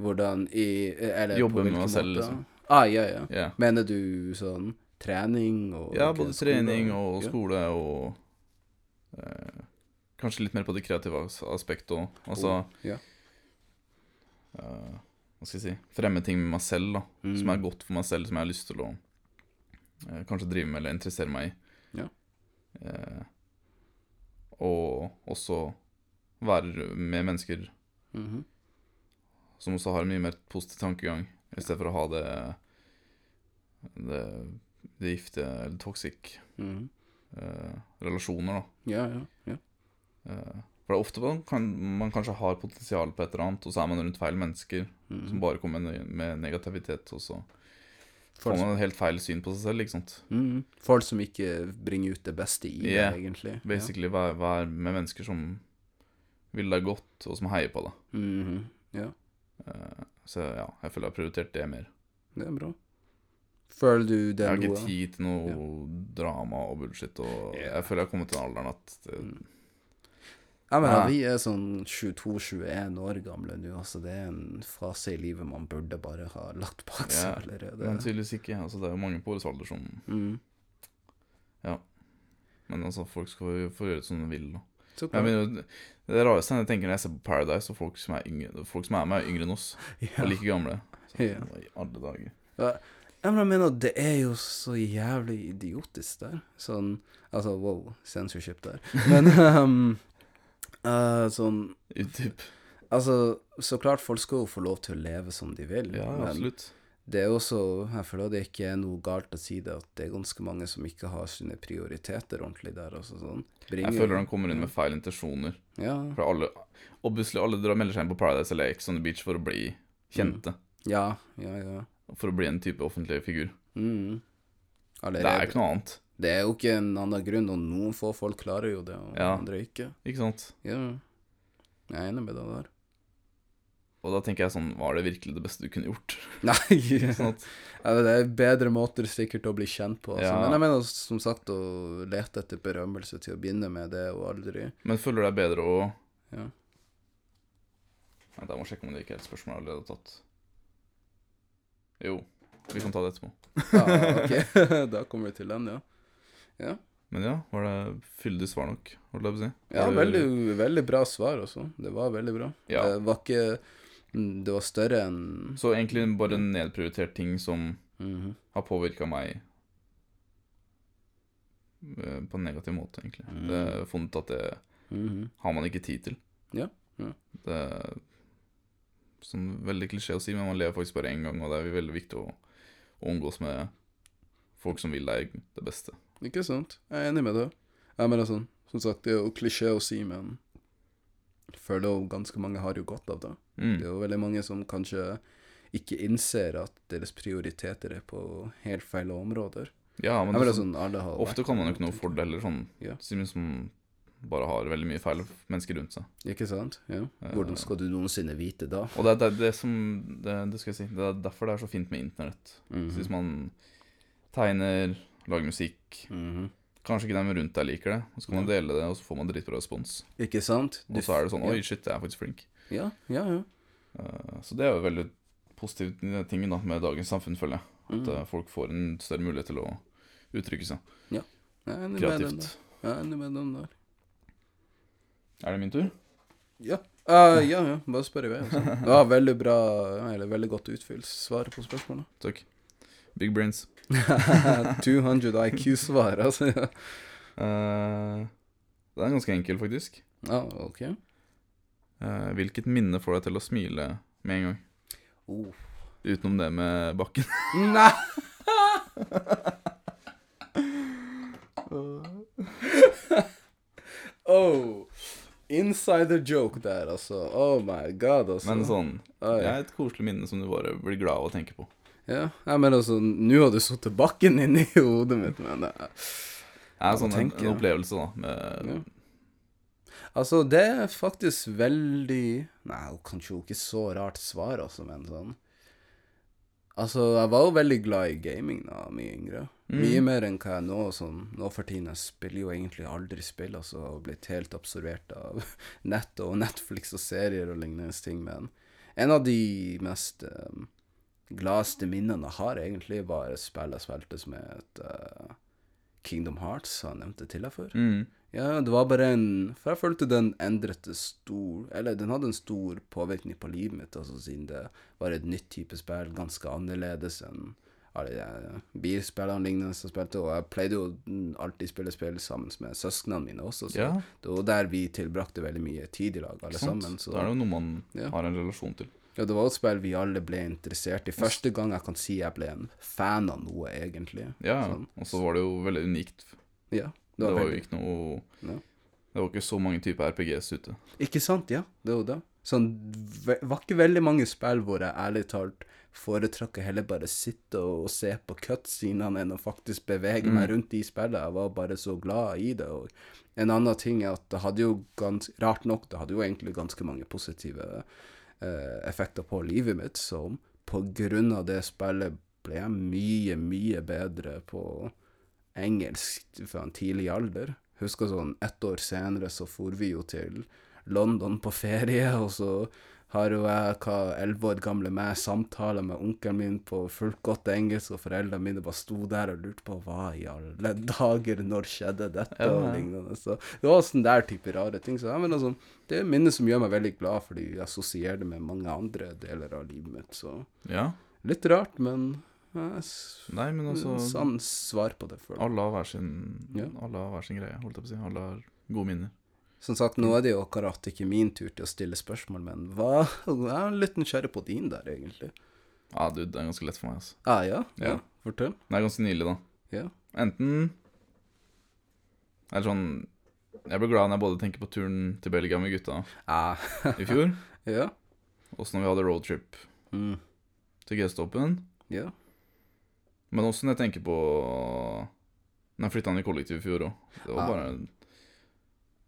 [SPEAKER 2] hvordan i Eller
[SPEAKER 1] Jobbe
[SPEAKER 2] på
[SPEAKER 1] med
[SPEAKER 2] hvilken
[SPEAKER 1] meg selv,
[SPEAKER 2] måte?
[SPEAKER 1] liksom.
[SPEAKER 2] Ah, ja, ja.
[SPEAKER 1] Ja.
[SPEAKER 2] Mener du sånn trening og
[SPEAKER 1] Ja,
[SPEAKER 2] ok,
[SPEAKER 1] både
[SPEAKER 2] skole
[SPEAKER 1] trening og
[SPEAKER 2] ja.
[SPEAKER 1] skole og eh, Kanskje litt mer på det kreative as- aspektet òg. Altså
[SPEAKER 2] ja.
[SPEAKER 1] eh, Hva skal jeg si Fremme ting med meg selv, da.
[SPEAKER 2] Mm.
[SPEAKER 1] Som er godt for meg selv, som jeg har lyst til å eh, kanskje drive med eller interessere meg i.
[SPEAKER 2] Ja.
[SPEAKER 1] Eh, og også være med mennesker
[SPEAKER 2] Mhm.
[SPEAKER 1] som også har en mye mer positiv tankegang, i stedet for å ha det det, det giftige eller toxic
[SPEAKER 2] Mhm.
[SPEAKER 1] eh, relasjoner, da.
[SPEAKER 2] Ja, ja. ja.
[SPEAKER 1] Eh, for det er ofte man, kan, man kanskje har potensial på et eller annet, og så er man rundt feil mennesker
[SPEAKER 2] Mhm.
[SPEAKER 1] som bare kommer med, med negativitet, og så
[SPEAKER 2] Folk
[SPEAKER 1] får man et helt feil syn på seg selv, ikke sant.
[SPEAKER 2] Mm. Folk som ikke bringer ut det beste i
[SPEAKER 1] Yeah.
[SPEAKER 2] deg, egentlig.
[SPEAKER 1] Basically være vær med mennesker som vil deg godt, og som heier på deg.
[SPEAKER 2] Ja. Mhm. ja,
[SPEAKER 1] Eh, Så ja, jeg føler jeg har prioritert det mer.
[SPEAKER 2] det er bra. Føler du det
[SPEAKER 1] Jeg har
[SPEAKER 2] er
[SPEAKER 1] ikke
[SPEAKER 2] noe
[SPEAKER 1] tid til noe drama og bullshit, og
[SPEAKER 2] Ja.
[SPEAKER 1] jeg føler jeg har kommet til den alderen at eh,
[SPEAKER 2] Mm. Jeg mener,
[SPEAKER 1] Ja.
[SPEAKER 2] vi er sånn 22-21 år gamle nå, altså det er en fase i livet man burde bare ha latt bak seg
[SPEAKER 1] Ja, Men
[SPEAKER 2] allerede.
[SPEAKER 1] tydeligvis ikke. Altså, det er jo mange på årets alder som
[SPEAKER 2] Mm.
[SPEAKER 1] Men altså, folk skal jo få gjøre det som de vil. Da.
[SPEAKER 2] Så
[SPEAKER 1] Jeg
[SPEAKER 2] klart.
[SPEAKER 1] mener, det rareste er, jeg tenker når jeg ser på Paradise, og folk som er, yngre, folk som er med, er yngre enn oss. Og like gamle. Så,
[SPEAKER 2] Ja.
[SPEAKER 1] I alle dager.
[SPEAKER 2] Jeg bare mener, det er jo så jævlig idiotisk der. Sånn Altså, wow, censorship der. Men ehm, eh, sånn
[SPEAKER 1] Utdyp.
[SPEAKER 2] Altså, så klart folk skal jo få lov til å leve som de vil,
[SPEAKER 1] Ja,
[SPEAKER 2] men
[SPEAKER 1] absolutt.
[SPEAKER 2] det er også Jeg føler det ikke er noe galt å si det, at det er ganske mange som ikke har sine prioriteter ordentlig der, altså sånn.
[SPEAKER 1] Jeg føler de kommer inn med feil intensjoner.
[SPEAKER 2] Ja.
[SPEAKER 1] For alle, obviously, alle drar melder seg inn på Paradise eller Ex on the Beach for å bli kjente.
[SPEAKER 2] Ja, ja, ja.
[SPEAKER 1] For å bli en type offentlig figur.
[SPEAKER 2] Mm.
[SPEAKER 1] Det er
[SPEAKER 2] Allerede.
[SPEAKER 1] jo ikke noe annet,
[SPEAKER 2] Det er jo ikke en annen grunn, og noen få folk klarer jo det, og
[SPEAKER 1] Ja.
[SPEAKER 2] andre ikke.
[SPEAKER 1] ikke sant?
[SPEAKER 2] Ja. Jeg er enig med deg der.
[SPEAKER 1] Og da tenker jeg sånn, var det virkelig det beste du kunne gjort?
[SPEAKER 2] Nei,
[SPEAKER 1] Sånn at,
[SPEAKER 2] ja, det er bedre måter sikkert å bli kjent på. Altså.
[SPEAKER 1] Ja.
[SPEAKER 2] Men jeg mener som sagt å lete etter berømmelse til å begynne med, det er jo aldri
[SPEAKER 1] men føler du deg bedre å
[SPEAKER 2] Ja.
[SPEAKER 1] Vent, jeg må sjekke om det ikke er et spørsmål jeg allerede har tatt. Jo, vi kan ta det etterpå.
[SPEAKER 2] Ja, ok. da kommer vi til den, ja.
[SPEAKER 1] Men ja, var det fyldig svar nok, holdt jeg på å si?
[SPEAKER 2] Ja,
[SPEAKER 1] Var det-
[SPEAKER 2] veldig, veldig bra svar også. Det var veldig bra.
[SPEAKER 1] Eh, Ja.
[SPEAKER 2] Det var ikke mm, Det var større enn
[SPEAKER 1] Så egentlig bare en nedprioritert ting som
[SPEAKER 2] Mhm.
[SPEAKER 1] har påvirka meg eh, på en negativ måte, egentlig.
[SPEAKER 2] Mm.
[SPEAKER 1] Det er funnet at det
[SPEAKER 2] Mhm.
[SPEAKER 1] har man ikke tid til.
[SPEAKER 2] Ja, ja.
[SPEAKER 1] Det er sånn veldig klisjé å si, men man lever faktisk bare én gang, og det er veldig viktig å, å omgås med folk som vil deg det beste.
[SPEAKER 2] Ikke sant? Jeg er enig med deg. Jeg mener sånn, som sagt, det er jo klisjé å si, men jeg føler jo ganske mange har jo godt av det. Det er
[SPEAKER 1] Mm.
[SPEAKER 2] jo veldig mange som kanskje ikke innser at deres prioriteter er på helt feil områder.
[SPEAKER 1] Ja,
[SPEAKER 2] Jeg
[SPEAKER 1] men
[SPEAKER 2] mener
[SPEAKER 1] det,
[SPEAKER 2] sånn, alle har
[SPEAKER 1] liksom ofte
[SPEAKER 2] vært-
[SPEAKER 1] kan man jo ikke noe for det heller, sånn
[SPEAKER 2] Ja.
[SPEAKER 1] siden som bare har veldig mye feil mennesker rundt seg.
[SPEAKER 2] Ikke sant? Ja.
[SPEAKER 1] Eh,
[SPEAKER 2] Hvordan skal du noensinne vite da?
[SPEAKER 1] Og det er det, er det som det, det skal jeg si, det er derfor det er så fint med internett.
[SPEAKER 2] Mhm.
[SPEAKER 1] Så hvis man tegner, lager musikk,
[SPEAKER 2] Mhm.
[SPEAKER 1] Kanskje ikke dem rundt deg liker det, og så kan man dele det, og så får man dritbra respons.
[SPEAKER 2] Ikke sant?
[SPEAKER 1] Og så er det sånn
[SPEAKER 2] ja.
[SPEAKER 1] Oi, shit, jeg er faktisk flink.
[SPEAKER 2] Ja, ja, ja.
[SPEAKER 1] Eh, Så det er jo veldig positivt i den tingen da, med dagens samfunn, føler jeg.
[SPEAKER 2] Mm.
[SPEAKER 1] At eh, folk får en større mulighet til å uttrykke seg
[SPEAKER 2] Jeg er enig med den
[SPEAKER 1] kreativt.
[SPEAKER 2] der. Jeg er enig med den der.
[SPEAKER 1] Er det min tur?
[SPEAKER 2] Ja. Eh, ja, ja, bare spør i vei. Altså. Det var veldig bra, eller veldig godt utfylt svar på spørsmålet.
[SPEAKER 1] Takk. Big brains.
[SPEAKER 2] 200 IQ-svar, altså. Ja,
[SPEAKER 1] Eh, Det er ganske enkel, faktisk.
[SPEAKER 2] Ja, ok.
[SPEAKER 1] Eh, Hvilket minne får deg til å smile med en gang?
[SPEAKER 2] Oh.
[SPEAKER 1] Utenom det med bakken.
[SPEAKER 2] Nei! oh. Insider joke der, altså. Oh my god, altså.
[SPEAKER 1] Men sånn,
[SPEAKER 2] Oi.
[SPEAKER 1] det er et koselig minne som du bare blir glad av å tenke på.
[SPEAKER 2] Ja, jeg mener altså, nå har du satt bakken inn i hodet mitt, men eh,
[SPEAKER 1] Det er
[SPEAKER 2] Ja,
[SPEAKER 1] sånn en,
[SPEAKER 2] tenker
[SPEAKER 1] en
[SPEAKER 2] jeg.
[SPEAKER 1] opplevelse, da. Med,
[SPEAKER 2] Ja. Altså, det er faktisk veldig Nei, kanskje jo ikke så rart svar, altså, men sånn Altså, jeg var jo veldig glad i gaming da, mye yngre. Mye mer enn hva jeg nå sånn Nå for tiden jeg spiller jo egentlig aldri spill, altså, og blitt helt absorbert av nett og Netflix og serier og lignende ting, men en av de mest eh, gladeste minnene jeg har, egentlig, var et spill jeg spilte som het eh, Kingdom Hearts, som jeg nevnte til deg før.
[SPEAKER 1] Mm.
[SPEAKER 2] Ja, det var bare en For jeg følte den endret stor Eller den hadde en stor påvirkning på livet mitt, altså siden det var et nytt type spill, ganske annerledes enn alle de bilspillene og lignende som jeg spilte, og jeg pleide jo mm, alltid spille spill sammen med søsknene mine også, så
[SPEAKER 1] Ja,
[SPEAKER 2] det var der vi tilbrakte veldig mye tid i lag, alle
[SPEAKER 1] ikke sant?
[SPEAKER 2] sammen. Så
[SPEAKER 1] Da er det jo noe man
[SPEAKER 2] Ja.
[SPEAKER 1] har en relasjon til.
[SPEAKER 2] ja, det var et spill vi alle ble interessert i. Første gang jeg kan si jeg ble en fan av noe, egentlig.
[SPEAKER 1] Ja,
[SPEAKER 2] Sånn.
[SPEAKER 1] Og så var det jo veldig unikt.
[SPEAKER 2] Ja.
[SPEAKER 1] Det var,
[SPEAKER 2] veldig-
[SPEAKER 1] jo ikke noe
[SPEAKER 2] Ja.
[SPEAKER 1] Det var ikke så mange typer RPGs ute.
[SPEAKER 2] Ikke sant, ja. Det er jo det. Sånn, ve- var ikke veldig mange spill hvor jeg ærlig talt foretrakk å heller bare sitte og, og se på cutscenene enn å faktisk bevege meg rundt de spillene. Jeg var bare så glad i det. Og en annen ting er at det hadde jo gans, rart nok, det hadde jo egentlig ganske mange positive eh, effekter på livet mitt, som på grunn av det spillet ble jeg mye, mye bedre på engelsk fra en tidlig alder. husker sånn ett år senere så for vi jo til London på ferie, og så har jo jeg, hva elleve år gamle meg, samtaler med onkelen min på fullt godt engelsk, og foreldrene mine bare sto der og lurte på hva i alle dager, når skjedde dette,
[SPEAKER 1] Ja,
[SPEAKER 2] og
[SPEAKER 1] ja.
[SPEAKER 2] lignende. Så det var sånn der type rare ting. Så ja, men altså, det er minner som gjør meg veldig glad, fordi jeg assosierer det med mange andre deler av livet mitt, så
[SPEAKER 1] Ja.
[SPEAKER 2] Litt rart, men ja, s-
[SPEAKER 1] Nei, men altså
[SPEAKER 2] Sann svar på det. Føler. jeg.
[SPEAKER 1] Alle har hver sin
[SPEAKER 2] Mm, Ja.
[SPEAKER 1] Alle har hver sin greie, holdt jeg på å si. Alle har gode minner.
[SPEAKER 2] Som sagt, nå er det jo akkurat ikke min tur til å stille spørsmål, men hva Jeg er litt nysgjerrig på din der, egentlig.
[SPEAKER 1] Ja, du, det er ganske lett for meg, altså.
[SPEAKER 2] Ah, ja? ja?
[SPEAKER 1] Ja.
[SPEAKER 2] Fortell.
[SPEAKER 1] Det er ganske nylig, da.
[SPEAKER 2] Ja.
[SPEAKER 1] Enten Eller sånn Jeg ble glad når jeg både tenker på turen til Belgia med gutta
[SPEAKER 2] Ah,
[SPEAKER 1] i fjor,
[SPEAKER 2] ja.
[SPEAKER 1] også når vi hadde roadtrip
[SPEAKER 2] Mm,
[SPEAKER 1] til Gastoppen,
[SPEAKER 2] ja.
[SPEAKER 1] men også når jeg tenker på Når jeg flytta inn i kollektiv i fjor òg. Det var
[SPEAKER 2] Ja.
[SPEAKER 1] bare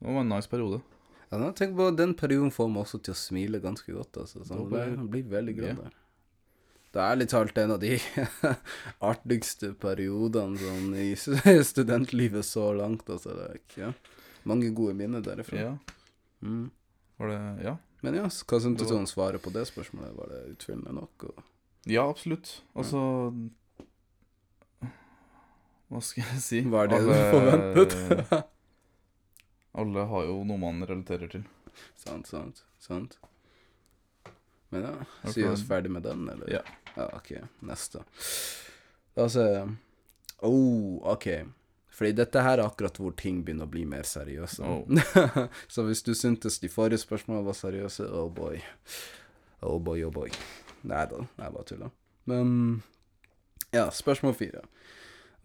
[SPEAKER 1] Det var en nice periode.
[SPEAKER 2] ja nå, tenk på den perioden får meg også til å smile ganske godt, altså. Så
[SPEAKER 1] Da blir-
[SPEAKER 2] jeg blir veldig glad
[SPEAKER 1] Ja.
[SPEAKER 2] der. Det er ærlig talt en av de artigste periodene sånn i s- studentlivet så langt, altså. Det er ikke, ja. Mange gode minner derifra.
[SPEAKER 1] Ja,
[SPEAKER 2] Mm.
[SPEAKER 1] var det Ja.
[SPEAKER 2] Men ja, s- hva syntes
[SPEAKER 1] Det
[SPEAKER 2] du
[SPEAKER 1] var-
[SPEAKER 2] om svaret på det spørsmålet? Var det utfyllende nok? Og...
[SPEAKER 1] Ja, absolutt. Altså Hva skal jeg si?
[SPEAKER 2] Var det
[SPEAKER 1] Alle-
[SPEAKER 2] du forventet?
[SPEAKER 1] alle har jo noe man relaterer til.
[SPEAKER 2] sant, sant, sant. Men ja,
[SPEAKER 1] Ok.
[SPEAKER 2] sier vi oss ferdig med den, eller?
[SPEAKER 1] Ja.
[SPEAKER 2] Ja, ok, neste. La oss se. Oh, ok. Fordi dette her er akkurat hvor ting begynner å bli mer seriøse.
[SPEAKER 1] Oh.
[SPEAKER 2] Så hvis du syntes de forrige spørsmålene var seriøse, oh boy. Oh boy, oh boy. Nei da, jeg bare tuller. Men ja, spørsmål fire.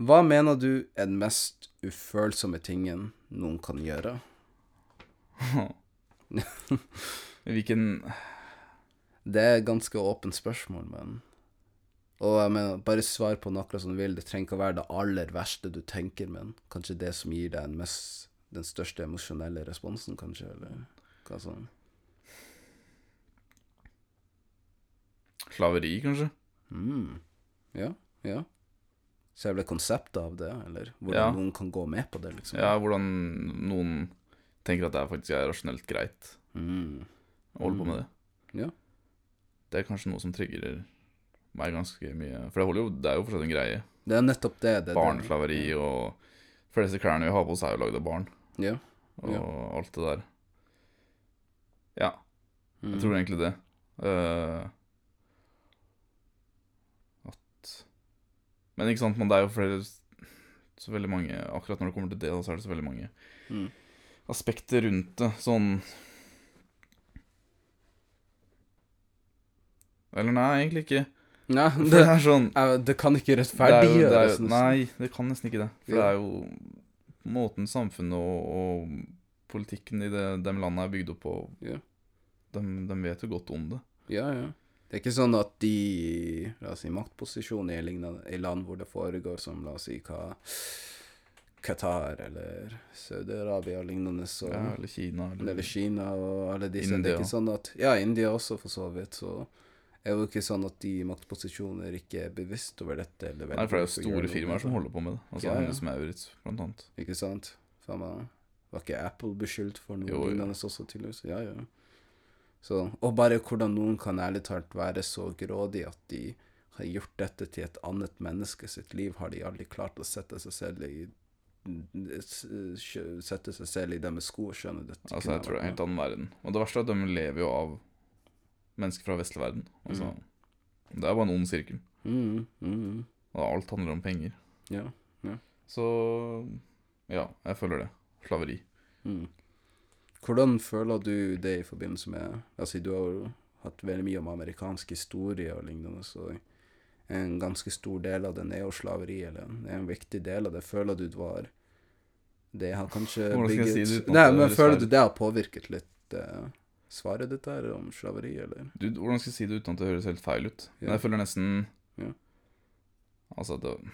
[SPEAKER 2] Hva mener du er den mest ufølsomme tingen noen kan gjøre?
[SPEAKER 1] Hvilken
[SPEAKER 2] Det er et ganske åpent spørsmål, men Og jeg mener, bare svar på noe som du vil. Det trenger ikke å være det aller verste du tenker, men kanskje det som gir deg den, mest, den største emosjonelle responsen, kanskje, eller hva sånn.
[SPEAKER 1] Slaveri, kanskje?
[SPEAKER 2] Mm. Ja, ja. Selve konseptet av det, eller hvordan
[SPEAKER 1] Ja.
[SPEAKER 2] noen kan gå med på det, liksom.
[SPEAKER 1] Ja, hvordan noen tenker at det er faktisk er rasjonelt greit
[SPEAKER 2] Mm.
[SPEAKER 1] å holde på med det.
[SPEAKER 2] Ja.
[SPEAKER 1] Det er kanskje noe som trigger meg ganske mye. For det, holder jo, det er jo fortsatt en greie.
[SPEAKER 2] Det er nettopp det. det, er det.
[SPEAKER 1] Barneslaveri og De fleste klærne vi har på oss, er jo lagd av barn.
[SPEAKER 2] Ja.
[SPEAKER 1] Og
[SPEAKER 2] Ja.
[SPEAKER 1] alt det der. Ja,
[SPEAKER 2] Mm.
[SPEAKER 1] jeg tror egentlig det. Eh, at Men ikke sant, men det er jo flere Så veldig mange Akkurat når det kommer til det, da, så er det så veldig mange
[SPEAKER 2] Mm.
[SPEAKER 1] aspekter rundt det, sånn Eller nei, egentlig ikke.
[SPEAKER 2] Nei,
[SPEAKER 1] For det
[SPEAKER 2] det,
[SPEAKER 1] er sånn
[SPEAKER 2] eh, det kan ikke
[SPEAKER 1] det er jo, det er
[SPEAKER 2] rettferdiggjøres.
[SPEAKER 1] jo,
[SPEAKER 2] nesten.
[SPEAKER 1] Nei, det kan nesten ikke det. For det
[SPEAKER 2] Ja.
[SPEAKER 1] er jo måten samfunnet og, og politikken i det, de landene er bygd opp på
[SPEAKER 2] Ja.
[SPEAKER 1] de, de vet jo godt om det.
[SPEAKER 2] Ja, ja. Det er ikke sånn at de i, la oss si, maktposisjoner i, lignende- i land hvor det foregår som, la oss si, hva Qatar eller Saudi-Arabia og lignende, så,
[SPEAKER 1] Ja, eller Kina, eller,
[SPEAKER 2] eller Kina og alle disse Det
[SPEAKER 1] India.
[SPEAKER 2] er ikke sånn at Ja, India også, for så vidt, så er jo ikke sånn at de i maktposisjoner ikke er bevisst over dette. Eller
[SPEAKER 1] Nei, for det er jo
[SPEAKER 2] velger å
[SPEAKER 1] store
[SPEAKER 2] gjøre noe med
[SPEAKER 1] firmaer som
[SPEAKER 2] det.
[SPEAKER 1] holder på med det. Altså
[SPEAKER 2] Ja, ja.
[SPEAKER 1] Hennes Maurits, blant annet.
[SPEAKER 2] Ikke sant? Faen meg. Var ikke Apple beskyldt for noe
[SPEAKER 1] Jo, jo.
[SPEAKER 2] lignende også, tydeligvis? Ja, ja. Så, og bare hvordan noen kan ærlig talt være så grådig at de har gjort dette til et annet menneske sitt liv, har de aldri klart å sette seg selv i s- skjø- Sette seg selv i deres sko og skjønne dette.
[SPEAKER 1] Altså,
[SPEAKER 2] kunne
[SPEAKER 1] jeg tror det er en
[SPEAKER 2] vært
[SPEAKER 1] helt annen verden. Og det verste er at de lever jo av mennesker fra vestlig verden. Altså,
[SPEAKER 2] Mm.
[SPEAKER 1] Det er bare en ond sirkel.
[SPEAKER 2] noe. Mm, mm, mm.
[SPEAKER 1] Og alt handler om penger.
[SPEAKER 2] Ja.
[SPEAKER 1] Så ja, jeg føler det. Slaveri.
[SPEAKER 2] Mm. Hvordan føler du det i forbindelse med Altså, du har jo hatt veldig mye om amerikansk historie og lignende, så en ganske stor del av den er jo slaveri, eller en- er en viktig del av det. Føler du det var Det har kanskje
[SPEAKER 1] Hvordan skal jeg
[SPEAKER 2] bygget
[SPEAKER 1] si det uten at
[SPEAKER 2] Nei,
[SPEAKER 1] det
[SPEAKER 2] men
[SPEAKER 1] er
[SPEAKER 2] føler
[SPEAKER 1] rettferdig?
[SPEAKER 2] du det har påvirket litt eh, svaret ditt der om slaveri, eller?
[SPEAKER 1] Du, hvordan skal jeg si det uten at det høres helt feil ut?
[SPEAKER 2] Ja.
[SPEAKER 1] Men jeg føler nesten
[SPEAKER 2] Ja.
[SPEAKER 1] Altså, det,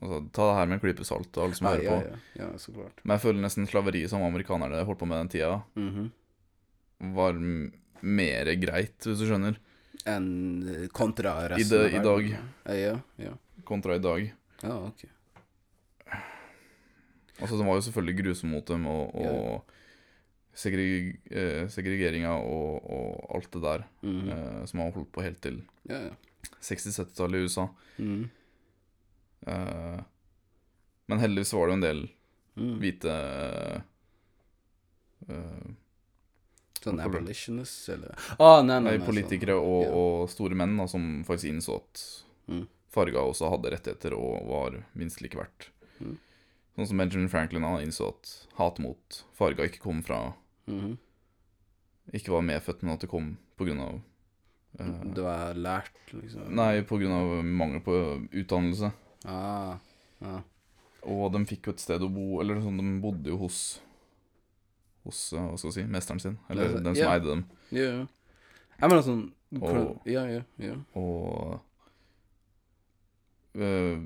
[SPEAKER 1] altså, ta det her med en klype salt og alle som
[SPEAKER 2] Ja,
[SPEAKER 1] hører
[SPEAKER 2] ja,
[SPEAKER 1] på.
[SPEAKER 2] ja, ja, så klart.
[SPEAKER 1] Men jeg føler nesten slaveriet som amerikanerne holdt på med den tida,
[SPEAKER 2] Mhm.
[SPEAKER 1] var m- mer greit, hvis du skjønner,
[SPEAKER 2] En eh, kontra resten
[SPEAKER 1] det- i dag.
[SPEAKER 2] verden. Ja, ja. ja.
[SPEAKER 1] kontra i dag.
[SPEAKER 2] Ja, ok.
[SPEAKER 1] Altså, den var jo selvfølgelig grusom mot dem, og, og segre- eh, segregeringa og, og alt det der
[SPEAKER 2] Mm.
[SPEAKER 1] eh, som har holdt på helt til
[SPEAKER 2] Mm-hmm. Ja, ja.
[SPEAKER 1] 60-70-tallet i USA.
[SPEAKER 2] Mm.
[SPEAKER 1] Eh, men heldigvis var det jo en del
[SPEAKER 2] Mm.
[SPEAKER 1] hvite eh,
[SPEAKER 2] Sånn
[SPEAKER 1] Hvorfor det?
[SPEAKER 2] abolitionists, eller ah, nei, nei,
[SPEAKER 1] nei,
[SPEAKER 2] nei,
[SPEAKER 1] eh, politikere og,
[SPEAKER 2] ja.
[SPEAKER 1] og store menn da, som faktisk innså at
[SPEAKER 2] Mm.
[SPEAKER 1] farga også hadde rettigheter og var minst like verdt.
[SPEAKER 2] Mm.
[SPEAKER 1] Sånn som Benjamin Franklin han innså at hat mot farga ikke kom fra
[SPEAKER 2] Sånn. Mhm.
[SPEAKER 1] Ikke var medfødt, men at det kom pga. Uh,
[SPEAKER 2] Det var lært, liksom.
[SPEAKER 1] nei, pga. mangel på utdannelse.
[SPEAKER 2] Ah, ja.
[SPEAKER 1] Og de fikk jo et sted å bo Eller sånn, de bodde jo hos Hos, eh, hva skal jeg si, mesteren sin. Eller
[SPEAKER 2] Det-
[SPEAKER 1] den som
[SPEAKER 2] Eh, ja.
[SPEAKER 1] eide dem.
[SPEAKER 2] Ja, ja. Jeg mener sånn
[SPEAKER 1] Og-
[SPEAKER 2] Ja, ja, ja.
[SPEAKER 1] Og eh,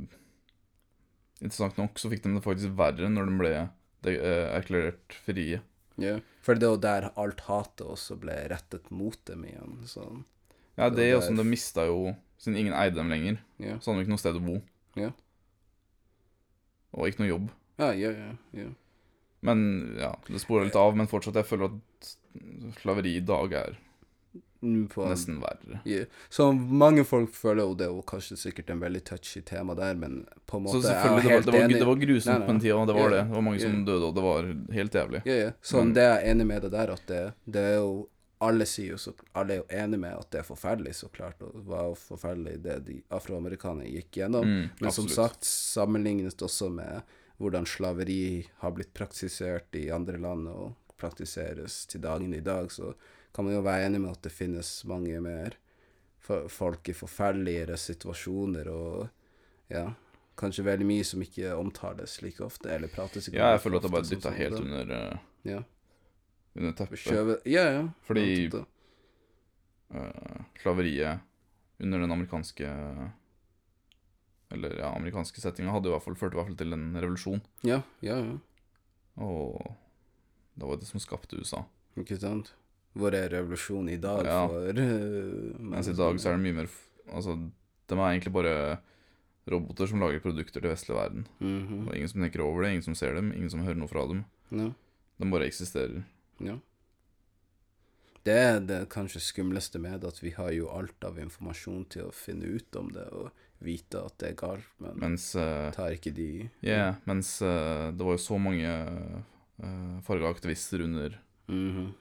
[SPEAKER 1] Interessant nok så fikk de det faktisk verre når de ble de, eh, erklært frie.
[SPEAKER 2] ja. For det er jo der alt hatet også ble rettet mot dem igjen, sånn.
[SPEAKER 1] Ja,
[SPEAKER 2] Det
[SPEAKER 1] det
[SPEAKER 2] var
[SPEAKER 1] er sånn,
[SPEAKER 2] der-
[SPEAKER 1] De mista jo Siden ingen eide dem lenger,
[SPEAKER 2] Ja.
[SPEAKER 1] så hadde de ikke noe sted å bo.
[SPEAKER 2] Ja.
[SPEAKER 1] Og ikke noe jobb.
[SPEAKER 2] Ja, ja, ja. ja.
[SPEAKER 1] Men ja, det sporer litt av. Men fortsatt, jeg føler at slaveri i dag er
[SPEAKER 2] Mm, På,
[SPEAKER 1] nesten verre.
[SPEAKER 2] Ja. Så mange folk føler jo det er jo kanskje sikkert en veldig touchy tema der, men på en måte
[SPEAKER 1] Så
[SPEAKER 2] jeg er
[SPEAKER 1] selvfølgelig, det var,
[SPEAKER 2] helt
[SPEAKER 1] det var,
[SPEAKER 2] enig.
[SPEAKER 1] det var grusomt
[SPEAKER 2] Nei, nei,
[SPEAKER 1] på den tida, det var
[SPEAKER 2] Ja,
[SPEAKER 1] det. Det var mange som
[SPEAKER 2] ja.
[SPEAKER 1] døde, og det var helt jævlig.
[SPEAKER 2] Ja, ja. Sånn,
[SPEAKER 1] Men-
[SPEAKER 2] det er jeg enig med deg der, at det, det er jo alle, sier jo så, alle er jo enige med at det er forferdelig, så klart, og det var jo forferdelig det de afroamerikanere gikk gjennom.
[SPEAKER 1] Mm,
[SPEAKER 2] Men som
[SPEAKER 1] absolutt.
[SPEAKER 2] sagt, sammenlignet også med hvordan slaveri har blitt praktisert i andre land og praktiseres til dagen i dag, så kan man jo være enig med at det finnes mange mer fo- folk i forferdeligere situasjoner og ja, kanskje veldig mye som ikke omtales like ofte, eller prates ikke
[SPEAKER 1] Ja, jeg
[SPEAKER 2] like
[SPEAKER 1] føler at det bare
[SPEAKER 2] ofte som
[SPEAKER 1] dytta
[SPEAKER 2] sånn
[SPEAKER 1] helt
[SPEAKER 2] det.
[SPEAKER 1] under, eh,
[SPEAKER 2] Ja.
[SPEAKER 1] under teppet.
[SPEAKER 2] Skjøve Ja, ja.
[SPEAKER 1] Fordi-
[SPEAKER 2] Ja,
[SPEAKER 1] Eh, Slaveriet under den amerikanske Eller ja, amerikanske settinga hadde i hvert fall ført i hvert fall til en revolusjon.
[SPEAKER 2] ja, ja. ja.
[SPEAKER 1] Og det var det som skapte USA.
[SPEAKER 2] Ikke sant? Hvor er revolusjonen i dag
[SPEAKER 1] Ja.
[SPEAKER 2] for eh,
[SPEAKER 1] Mens i dag så er det mye mer f- Altså, de er egentlig bare roboter som lager produkter til vestlig verden.
[SPEAKER 2] Mhm.
[SPEAKER 1] Og ingen som tenker over det, ingen som ser dem, ingen som hører noe fra dem.
[SPEAKER 2] Ja.
[SPEAKER 1] De bare eksisterer.
[SPEAKER 2] Ja. Det er det kanskje skumleste med det, at vi har jo alt av informasjon til å finne ut om det og vite at det er galt, men
[SPEAKER 1] Mens eh,
[SPEAKER 2] tar ikke de
[SPEAKER 1] Ja, mens eh, det var jo så mange uh, farga aktivister under
[SPEAKER 2] Mhm.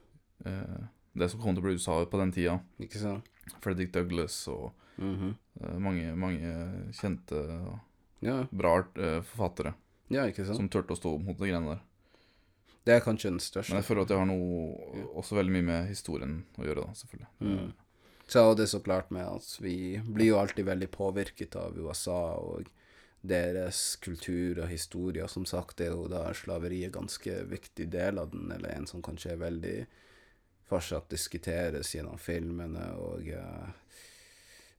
[SPEAKER 1] eh, det som kom til å bli USA på den tida.
[SPEAKER 2] Ikke sant?
[SPEAKER 1] Fredrik Douglas og
[SPEAKER 2] Mhm.
[SPEAKER 1] eh, mange, mange kjente,
[SPEAKER 2] ja.
[SPEAKER 1] bra eh, forfattere
[SPEAKER 2] ja, ikke sant?
[SPEAKER 1] som turte å stå opp mot de greiene der.
[SPEAKER 2] Det er kanskje den
[SPEAKER 1] Men
[SPEAKER 2] største.
[SPEAKER 1] jeg føler at det har noe også veldig mye med historien å gjøre, da, selvfølgelig.
[SPEAKER 2] Mm. Så det er så klart med at vi blir jo alltid veldig påvirket av USA og deres kultur og historie, og som sagt er jo da slaveri en ganske viktig del av den, eller en som kanskje er veldig fortsatt diskuteres gjennom filmene og eh,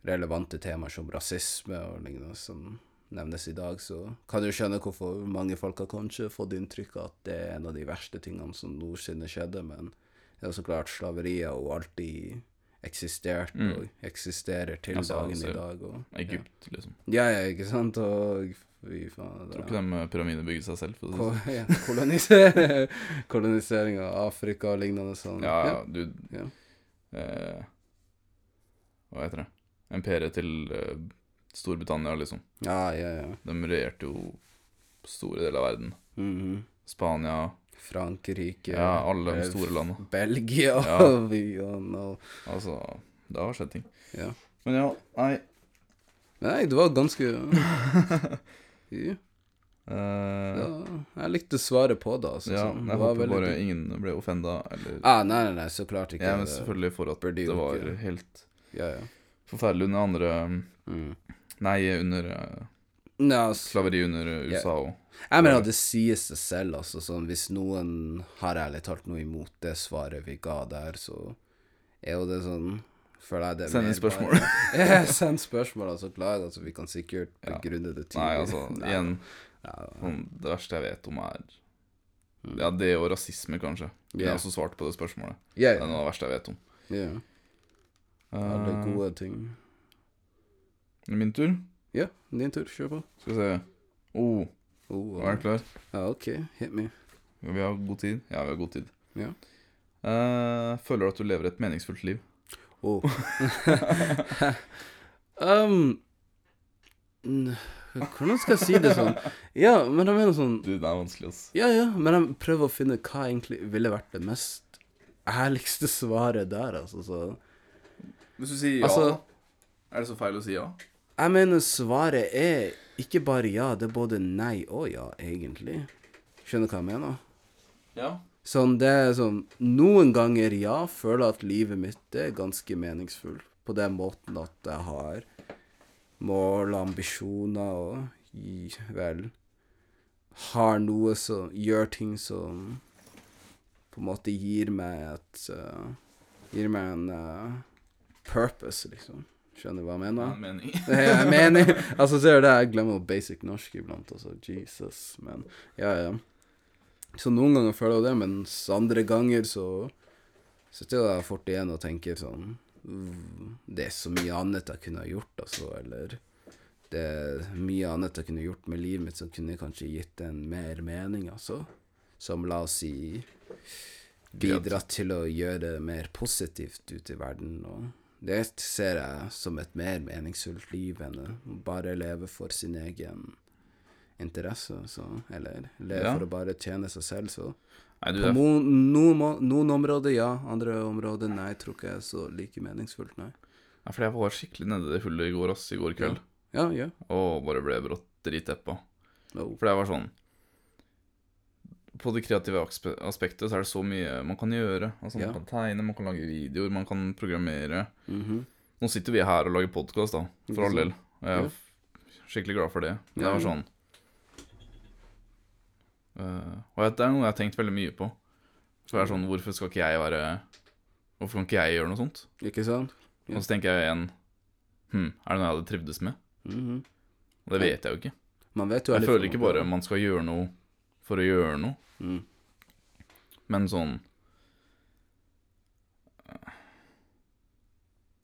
[SPEAKER 2] relevante temaer som rasisme og lignende som nevnes i dag, så kan du skjønne hvorfor mange folk har kanskje fått inntrykk av at det er en av de verste tingene som noensinne skjedde, men det er jo så klart slaveriet har jo alltid eksistert
[SPEAKER 1] Mm.
[SPEAKER 2] og eksisterer til
[SPEAKER 1] Altså,
[SPEAKER 2] dagen
[SPEAKER 1] altså,
[SPEAKER 2] i dag. Og,
[SPEAKER 1] Egypt, liksom.
[SPEAKER 2] ja, ja, ikke sant? Og fy faen
[SPEAKER 1] Tror ikke de pyramidene bygde seg selv. For å si det. sånn.
[SPEAKER 2] Ko- ja, koloniser Kolonisering av Afrika og lignende sånn.
[SPEAKER 1] sånn. Ja, ja, du
[SPEAKER 2] Ja.
[SPEAKER 1] Eh, Hva heter det? Imperiet til eh, Storbritannia, liksom.
[SPEAKER 2] ja, ja. ja.
[SPEAKER 1] De regjerte jo store deler av verden.
[SPEAKER 2] Mhm.
[SPEAKER 1] Spania
[SPEAKER 2] Frankrike
[SPEAKER 1] Ja, alle de
[SPEAKER 2] eh,
[SPEAKER 1] store landene.
[SPEAKER 2] Belgia
[SPEAKER 1] Ja.
[SPEAKER 2] vi- og nå-
[SPEAKER 1] Altså, det har skjedd ting.
[SPEAKER 2] Ja.
[SPEAKER 1] Men ja, nei
[SPEAKER 2] Men nei, det var ganske ja,
[SPEAKER 1] eh,
[SPEAKER 2] ja, Jeg likte svaret på det, altså.
[SPEAKER 1] Ja,
[SPEAKER 2] sånn.
[SPEAKER 1] men
[SPEAKER 2] det
[SPEAKER 1] jeg
[SPEAKER 2] var
[SPEAKER 1] håper
[SPEAKER 2] veldig
[SPEAKER 1] bare ingen ble offenda, eller
[SPEAKER 2] ah, Nei, nei, nei, så klart ikke.
[SPEAKER 1] Ja, men
[SPEAKER 2] det-
[SPEAKER 1] selvfølgelig for at
[SPEAKER 2] burde
[SPEAKER 1] det
[SPEAKER 2] jo
[SPEAKER 1] var
[SPEAKER 2] ikke-
[SPEAKER 1] helt
[SPEAKER 2] Ja, ja.
[SPEAKER 1] forferdelig under andre
[SPEAKER 2] Mm.
[SPEAKER 1] Nei, under eh,
[SPEAKER 2] Nei, altså,
[SPEAKER 1] slaveri under eh,
[SPEAKER 2] Ja.
[SPEAKER 1] USA og
[SPEAKER 2] Jeg mener at det sier seg selv, altså. Sånn, hvis noen har ærlig talt noe imot det svaret vi ga der, så er jo det sånn Føler jeg det er
[SPEAKER 1] Send inn
[SPEAKER 2] mer
[SPEAKER 1] spørsmål.
[SPEAKER 2] bare- Ja, send spørsmål, altså. Klar, altså. Vi kan sikkert
[SPEAKER 1] Ja.
[SPEAKER 2] begrunne det tidlig.
[SPEAKER 1] Nei, altså,
[SPEAKER 2] Nei,
[SPEAKER 1] igjen
[SPEAKER 2] ja,
[SPEAKER 1] sånn, Det verste jeg vet om, er Ja, det og rasisme, kanskje. Jeg
[SPEAKER 2] Mm. Ja.
[SPEAKER 1] har også svart på det spørsmålet.
[SPEAKER 2] ja,
[SPEAKER 1] Det er
[SPEAKER 2] ja,
[SPEAKER 1] noe Eh. av det verste jeg vet om.
[SPEAKER 2] ja.
[SPEAKER 1] Eh,
[SPEAKER 2] Alle gode ting.
[SPEAKER 1] Eh, Min tur?
[SPEAKER 2] Ja, din tur. Kjør på.
[SPEAKER 1] Skal vi se oh,
[SPEAKER 2] Oh,
[SPEAKER 1] Er du klar?
[SPEAKER 2] ja, OK. Hit me.
[SPEAKER 1] Vi har god tid. Ja, vi har god tid.
[SPEAKER 2] Ja.
[SPEAKER 1] Eh, føler du at du lever et meningsfullt liv?
[SPEAKER 2] Oh. um, n- hvordan skal jeg si det sånn? Ja, men jeg mener sånn
[SPEAKER 1] Du, det er vanskelig, ass.
[SPEAKER 2] Ja, ja, men jeg prøver å finne hva egentlig ville vært det mest ærligste svaret der, altså. Så.
[SPEAKER 1] Hvis du sier ja,
[SPEAKER 2] Altså-
[SPEAKER 1] er det så feil å si ja?
[SPEAKER 2] Jeg mener svaret er ikke bare ja, det er både nei og ja, egentlig. Skjønner du hva jeg mener?
[SPEAKER 1] Ja.
[SPEAKER 2] Sånn, det er sånn Noen ganger, ja, føler jeg at livet mitt er ganske meningsfullt. På den måten at jeg har mål, ambisjoner og i- vel Har noe som Gjør ting som på en måte gir meg et eh, Gir meg en eh, purpose, liksom. Skjønner du hva jeg
[SPEAKER 1] Det er
[SPEAKER 2] mener?
[SPEAKER 1] mening.
[SPEAKER 2] Det er jeg mener. Altså, ser du det, jeg glemmer jo basic norsk iblant, altså. Jesus, men ja, ja. Så noen ganger føler jeg jo det, mens andre ganger så sitter jeg der fort igjen og tenker sånn «Mm, Det er så mye annet jeg kunne ha gjort, altså, eller Det er mye annet jeg kunne gjort med livet mitt som kunne kanskje gitt en mer mening, altså. Som la oss si bidratt til å gjøre mer positivt ut i verden. Og det ser jeg som et mer meningsfullt liv enn å bare leve for sin egen interesse, så, eller leve
[SPEAKER 1] Ja.
[SPEAKER 2] for å bare tjene seg selv. Så
[SPEAKER 1] Nei, du,
[SPEAKER 2] på
[SPEAKER 1] det er,
[SPEAKER 2] mo- noen, må- noen områder ja, andre områder nei, tror ikke jeg er så like meningsfullt, nei.
[SPEAKER 1] ja, fordi jeg var skikkelig nede i det hullet i går, ass, i går kveld.
[SPEAKER 2] Ja, ja. Oh,
[SPEAKER 1] Og bare ble brått dritdeppa.
[SPEAKER 2] No.
[SPEAKER 1] For det var sånn På det kreative aspe- aspektet så er det så mye man kan gjøre. Altså,
[SPEAKER 2] Ja.
[SPEAKER 1] Man kan tegne, man kan lage videoer, man kan programmere.
[SPEAKER 2] Mhm.
[SPEAKER 1] Nå sitter vi her og lager podkast, da, for all del. Og jeg er
[SPEAKER 2] Ja.
[SPEAKER 1] f- skikkelig glad for det. Men
[SPEAKER 2] Ja,
[SPEAKER 1] det var
[SPEAKER 2] ja.
[SPEAKER 1] sånn Eh, Og jeg- det er noe jeg har tenkt veldig mye på. For det er sånn, Hvorfor skal ikke jeg være Hvorfor kan ikke jeg gjøre noe sånt?
[SPEAKER 2] Ikke sant? Ja.
[SPEAKER 1] Og så tenker jeg igjen Hm, er det noe jeg hadde trivdes med?
[SPEAKER 2] Mhm.
[SPEAKER 1] Og det vet jeg jo ikke.
[SPEAKER 2] Man vet jo
[SPEAKER 1] Jeg
[SPEAKER 2] aldri-
[SPEAKER 1] føler ikke bare man skal gjøre noe for å gjøre noe,
[SPEAKER 2] Mm.
[SPEAKER 1] men sånn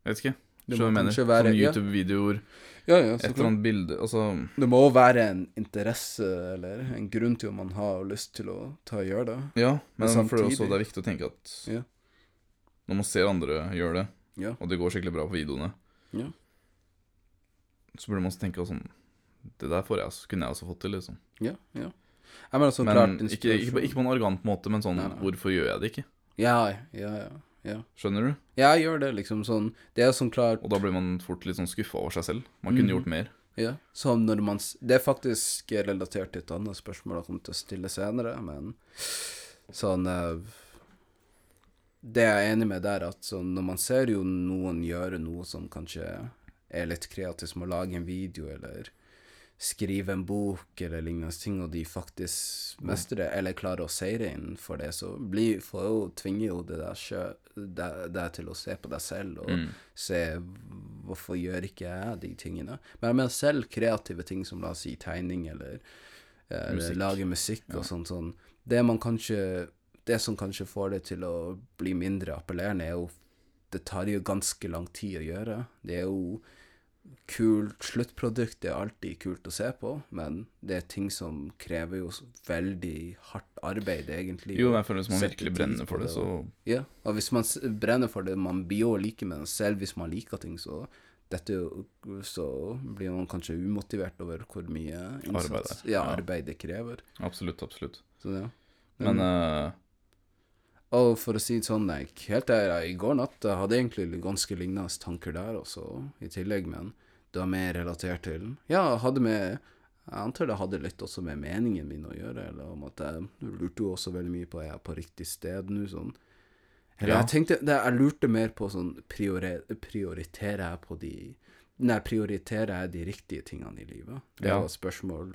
[SPEAKER 1] Jeg vet ikke. Skjønner
[SPEAKER 2] Det må
[SPEAKER 1] hva jeg mener?
[SPEAKER 2] kanskje være-
[SPEAKER 1] Sånn
[SPEAKER 2] ja.
[SPEAKER 1] YouTube-videoer,
[SPEAKER 2] Ja, ja,
[SPEAKER 1] et
[SPEAKER 2] så
[SPEAKER 1] eller
[SPEAKER 2] klart.
[SPEAKER 1] annet bilde Altså
[SPEAKER 2] Det må være en interesse eller en grunn til om man har lyst til å ta og gjøre det.
[SPEAKER 1] Ja, men
[SPEAKER 2] Men
[SPEAKER 1] for det, er også,
[SPEAKER 2] samtidig-
[SPEAKER 1] det er viktig å tenke at
[SPEAKER 2] Ja.
[SPEAKER 1] når man ser andre gjøre det,
[SPEAKER 2] Ja.
[SPEAKER 1] og det går skikkelig bra på videoene,
[SPEAKER 2] Ja.
[SPEAKER 1] så burde man også tenke sånn Det der får jeg, altså, kunne jeg også fått til, liksom.
[SPEAKER 2] Ja, ja. Jeg mener så
[SPEAKER 1] men
[SPEAKER 2] Sånn klart
[SPEAKER 1] ikke, ikke, på-
[SPEAKER 2] inspirasjon.
[SPEAKER 1] ikke på en arrogant måte, men sånn
[SPEAKER 2] Nei, nei.
[SPEAKER 1] Hvorfor gjør jeg det ikke?
[SPEAKER 2] Ja, ja, ja. Ja,
[SPEAKER 1] Skjønner du?
[SPEAKER 2] ja jeg gjør det, liksom sånn Det er sånn klart
[SPEAKER 1] Og da blir man fort litt sånn skuffa over seg selv. Man
[SPEAKER 2] Mm.
[SPEAKER 1] kunne gjort mer.
[SPEAKER 2] ja. Som når man s- Det er faktisk relatert til et annet spørsmål jeg kommer til å stille senere, men sånn eh, Det jeg er enig med der, at sånn når man ser jo noen gjøre noe som kanskje er litt kreativt, som å lage en video eller skrive en bok eller lignende ting, og de faktisk mestrer det, eller klarer å seire innenfor det, så blir, får jo, tvinger jo det der sjø- deg deg til å se på deg selv og se hvorfor gjør ikke jeg de tingene. Men jeg mener selv kreative ting som la oss si tegning eller, eller
[SPEAKER 1] Musikk.
[SPEAKER 2] Eh, lage musikk og sånn sånn. Det man kanskje det som kanskje får det til å bli mindre appellerende, er jo det tar jo ganske lang tid å gjøre. Det er jo kult sluttprodukt, det er alltid kult å se på, men det er ting som krever jo så veldig hardt arbeid, egentlig.
[SPEAKER 1] Jo, men jeg føler hvis man
[SPEAKER 2] Sette
[SPEAKER 1] virkelig
[SPEAKER 2] pris
[SPEAKER 1] brenner
[SPEAKER 2] på
[SPEAKER 1] for det,
[SPEAKER 2] det,
[SPEAKER 1] så
[SPEAKER 2] Ja, og hvis man s- brenner for det, man blir jo like med det selv hvis man liker ting, så dette er jo- så blir man kanskje umotivert over hvor mye innsats
[SPEAKER 1] Arbeid er, ja.
[SPEAKER 2] ja, arbeid det krever.
[SPEAKER 1] absolutt, absolutt.
[SPEAKER 2] Så, ja.
[SPEAKER 1] Men eh,
[SPEAKER 2] Og for å si det sånn, jeg, helt ærlig, i går natt jeg hadde egentlig ganske lignende tanker der også, i tillegg, men det var mer relatert til Ja, jeg hadde med Jeg antar det hadde litt også med meningen min å gjøre, eller om at jeg lurte jo også veldig mye på er jeg på riktig sted nå, sånn. Eller
[SPEAKER 1] Ja.
[SPEAKER 2] jeg tenkte det, Jeg lurte mer på sånn priori, Prioriterer jeg på de Nei, prioriterer jeg de riktige tingene i livet? Det
[SPEAKER 1] Ja.
[SPEAKER 2] var et spørsmål.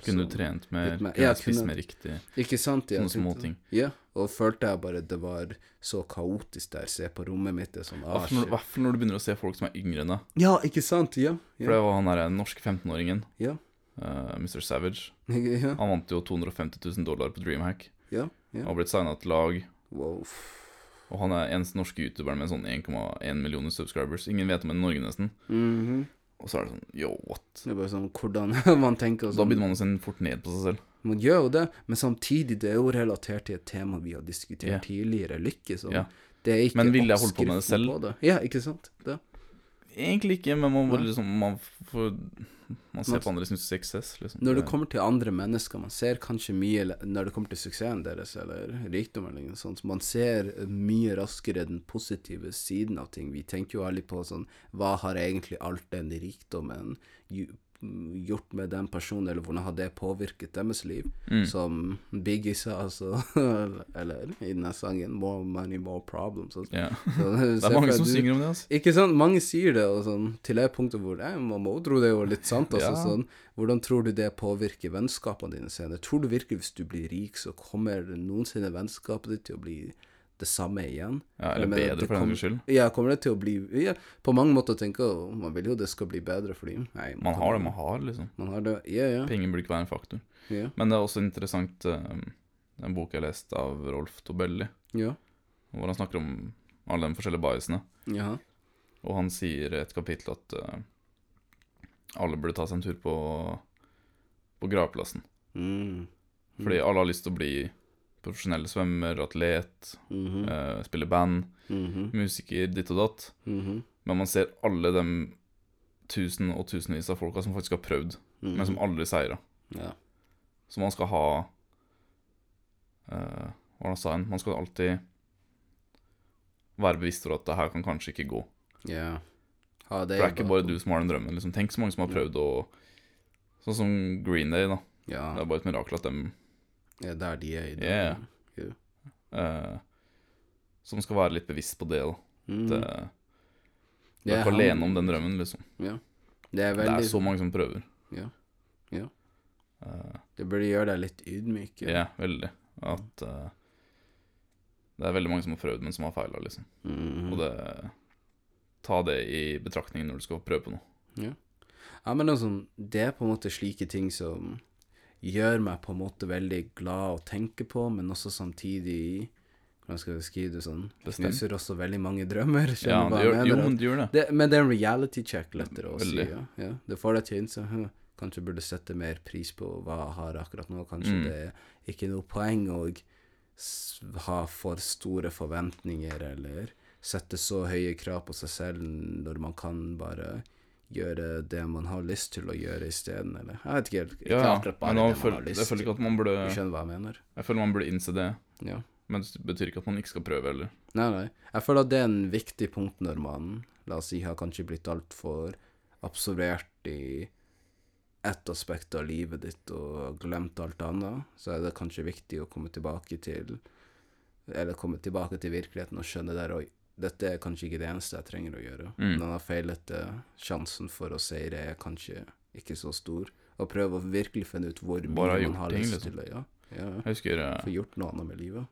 [SPEAKER 1] kunne sånn
[SPEAKER 2] som-
[SPEAKER 1] du trent mer?
[SPEAKER 2] litt mer-
[SPEAKER 1] Kunne
[SPEAKER 2] Ja,
[SPEAKER 1] jeg spist
[SPEAKER 2] kunne-
[SPEAKER 1] mer riktig?
[SPEAKER 2] ikke sant? jeg
[SPEAKER 1] Sånne små
[SPEAKER 2] tenkte-
[SPEAKER 1] ting.
[SPEAKER 2] Ja, og følte jeg bare det var så kaotisk der. Se på rommet mitt, det er sånn
[SPEAKER 1] Hva
[SPEAKER 2] ah,
[SPEAKER 1] for når-
[SPEAKER 2] shit.
[SPEAKER 1] hva for når du begynner å se folk som er yngre enn deg?
[SPEAKER 2] Ja, ikke sant? Ja.
[SPEAKER 1] For
[SPEAKER 2] Ja.
[SPEAKER 1] det var han der norske 15-åringen,
[SPEAKER 2] Ja.
[SPEAKER 1] eh, Mr. Savage.
[SPEAKER 2] ja,
[SPEAKER 1] Han vant jo 250 000 dollar på Dreamhack.
[SPEAKER 2] ja,
[SPEAKER 1] Han
[SPEAKER 2] ja.
[SPEAKER 1] har blitt signa til lag,
[SPEAKER 2] Wow.
[SPEAKER 1] og han er eneste norske youtuberen med sånn 1,1 millioner subscribers. Ingen vet om ham i Norge, nesten.
[SPEAKER 2] Mhm.
[SPEAKER 1] Og så er det sånn Yo, what?
[SPEAKER 2] Det er bare sånn hvordan man tenker og
[SPEAKER 1] Da
[SPEAKER 2] sånn.
[SPEAKER 1] begynner man å se fort ned på seg selv.
[SPEAKER 2] Man gjør jo det, men samtidig, det er jo relatert til et tema vi har diskutert
[SPEAKER 1] Ja.
[SPEAKER 2] tidligere, lykke, sånn.
[SPEAKER 1] Ja.
[SPEAKER 2] Det er ikke
[SPEAKER 1] Men ville jeg holdt på med det
[SPEAKER 2] oppskriften
[SPEAKER 1] selv?
[SPEAKER 2] på det. Ja, ikke sant? Det.
[SPEAKER 1] Egentlig ikke, men man bare
[SPEAKER 2] Nei.
[SPEAKER 1] liksom Man, får, man ser
[SPEAKER 2] Man-
[SPEAKER 1] på andres suksess, liksom.
[SPEAKER 2] Når det
[SPEAKER 1] Det-
[SPEAKER 2] kommer til andre mennesker, man ser kanskje mye eller- Når det kommer til suksessen deres eller rikdom eller noe sånt, så man ser mye raskere den positive siden av ting. Vi tenker jo aldri på sånn Hva har egentlig all den rikdommen gj- gjort med den personen, eller hvordan har det påvirket deres liv?
[SPEAKER 1] Mm.
[SPEAKER 2] Som Biggie sa, altså Eller i den her sangen More money, more problems. Altså.
[SPEAKER 1] Ja.
[SPEAKER 2] Så,
[SPEAKER 1] Det er mange som synger om det, altså.
[SPEAKER 2] Ikke sant? Mange sier det, og sånn, til det punktet hvor eh, mamma også tro det var litt sant. Altså,
[SPEAKER 1] Ja.
[SPEAKER 2] sånn, hvordan tror du det påvirker vennskapene dine senere? Tror du virkelig hvis du blir rik, så kommer noensinne vennskapet ditt til å bli det samme igjen?
[SPEAKER 1] Ja, eller
[SPEAKER 2] Jeg mener,
[SPEAKER 1] bedre,
[SPEAKER 2] det
[SPEAKER 1] for den
[SPEAKER 2] kom-
[SPEAKER 1] saks skyld.
[SPEAKER 2] Ja, kommer det til å bli ja, På mange måter tenker jeg «Å, man vil jo det skal bli bedre, fordi nei,
[SPEAKER 1] Man har det man har, liksom.
[SPEAKER 2] man har det. Ja, ja.
[SPEAKER 1] Penger burde ikke være en faktor.
[SPEAKER 2] ja,
[SPEAKER 1] Men det er også interessant eh, en bok jeg leste av Rolf Tobelli,
[SPEAKER 2] ja.
[SPEAKER 1] hvor han snakker om alle de forskjellige biasene.
[SPEAKER 2] Jaha.
[SPEAKER 1] Og han sier i et kapittel at eh, alle burde ta seg en tur på, på gravplassen.
[SPEAKER 2] Mm.
[SPEAKER 1] Fordi alle har lyst til å bli profesjonelle svømmer, atlet,
[SPEAKER 2] mhm,
[SPEAKER 1] eh, spille band,
[SPEAKER 2] mhm,
[SPEAKER 1] musiker, ditt og datt.
[SPEAKER 2] mhm,
[SPEAKER 1] Men man ser alle de tusen og tusenvis av folka som faktisk har prøvd,
[SPEAKER 2] mhm.
[SPEAKER 1] men som aldri seira.
[SPEAKER 2] Ja.
[SPEAKER 1] Så man skal ha eh, Hva var det han sa igjen? Man skal alltid være bevisst over at det her kan kanskje ikke gå.
[SPEAKER 2] ja. Ha det
[SPEAKER 1] For det er ikke
[SPEAKER 2] i
[SPEAKER 1] bare
[SPEAKER 2] bak-
[SPEAKER 1] du som har den drømmen. Liksom. Tenk så mange som har prøvd å Sånn som Green Day, da. Det
[SPEAKER 2] Ja,
[SPEAKER 1] er bare et mirakel at dem
[SPEAKER 2] ja, der de er i dag.
[SPEAKER 1] Yeah. eh, Som skal være litt bevisst på det, da.
[SPEAKER 2] Mm.
[SPEAKER 1] At, eh, Du er ikke
[SPEAKER 2] han-
[SPEAKER 1] alene om den drømmen, liksom.
[SPEAKER 2] Det er
[SPEAKER 1] Det
[SPEAKER 2] veldig
[SPEAKER 1] er så mange som prøver.
[SPEAKER 2] Ja. Ja.
[SPEAKER 1] Eh,
[SPEAKER 2] Det burde gjøre deg litt ydmyk.
[SPEAKER 1] ja, veldig. At eh, det er veldig mange som har prøvd, men som har feila, liksom.
[SPEAKER 2] Mhm.
[SPEAKER 1] Og det Ta det i betraktning når du skal prøve på noe.
[SPEAKER 2] Ja, men altså, det er på en måte slike ting som gjør meg på en måte veldig glad å tenke på, men også samtidig Hvordan skal jeg skrive det sånn?
[SPEAKER 1] Bestemt.
[SPEAKER 2] Knuser også veldig mange drømmer.
[SPEAKER 1] Ja,
[SPEAKER 2] Skjønner du
[SPEAKER 1] det
[SPEAKER 2] hva jeg
[SPEAKER 1] gjør,
[SPEAKER 2] mener?
[SPEAKER 1] jo,
[SPEAKER 2] At-
[SPEAKER 1] men det gjør det.
[SPEAKER 2] det, men det er en reality check lettere å si.
[SPEAKER 1] Veldig.
[SPEAKER 2] Ja. Ja, det får deg til å innse «Hm, Kanskje burde sette mer pris på hva jeg har akkurat nå. Kanskje
[SPEAKER 1] Mm.
[SPEAKER 2] det er ikke noe poeng å s- ha for store forventninger eller sette så høye krav på seg selv når man kan bare gjøre det man har lyst til å gjøre isteden, eller Jeg vet ikke helt. Ikke
[SPEAKER 1] Ja, ja.
[SPEAKER 2] akkurat bare
[SPEAKER 1] Men nå
[SPEAKER 2] det man har
[SPEAKER 1] føler,
[SPEAKER 2] lyst
[SPEAKER 1] jeg føler
[SPEAKER 2] til.
[SPEAKER 1] ikke at man burde
[SPEAKER 2] Du skjønner hva jeg mener?
[SPEAKER 1] Jeg føler man burde innse det,
[SPEAKER 2] Ja.
[SPEAKER 1] men det betyr ikke at man ikke skal prøve heller.
[SPEAKER 2] Nei, nei. Jeg føler at det er en viktig punkt når man, la oss si, har kanskje blitt altfor absorbert i ett aspekt av livet ditt og glemt alt annet, så er det kanskje viktig å komme tilbake til Eller komme tilbake til virkeligheten og skjønne der Oi, dette er kanskje ikke det eneste jeg trenger å gjøre.
[SPEAKER 1] Mm.
[SPEAKER 2] Når man har feilet, eh, sjansen for å seire er kanskje ikke så stor. Og prøve å virkelig finne ut hvor
[SPEAKER 1] Bare ha
[SPEAKER 2] mye
[SPEAKER 1] gjort
[SPEAKER 2] man har
[SPEAKER 1] ting,
[SPEAKER 2] lyst
[SPEAKER 1] liksom.
[SPEAKER 2] til å gjøre. Ja, ja.
[SPEAKER 1] Jeg husker, eh,
[SPEAKER 2] Få gjort noe annet med livet.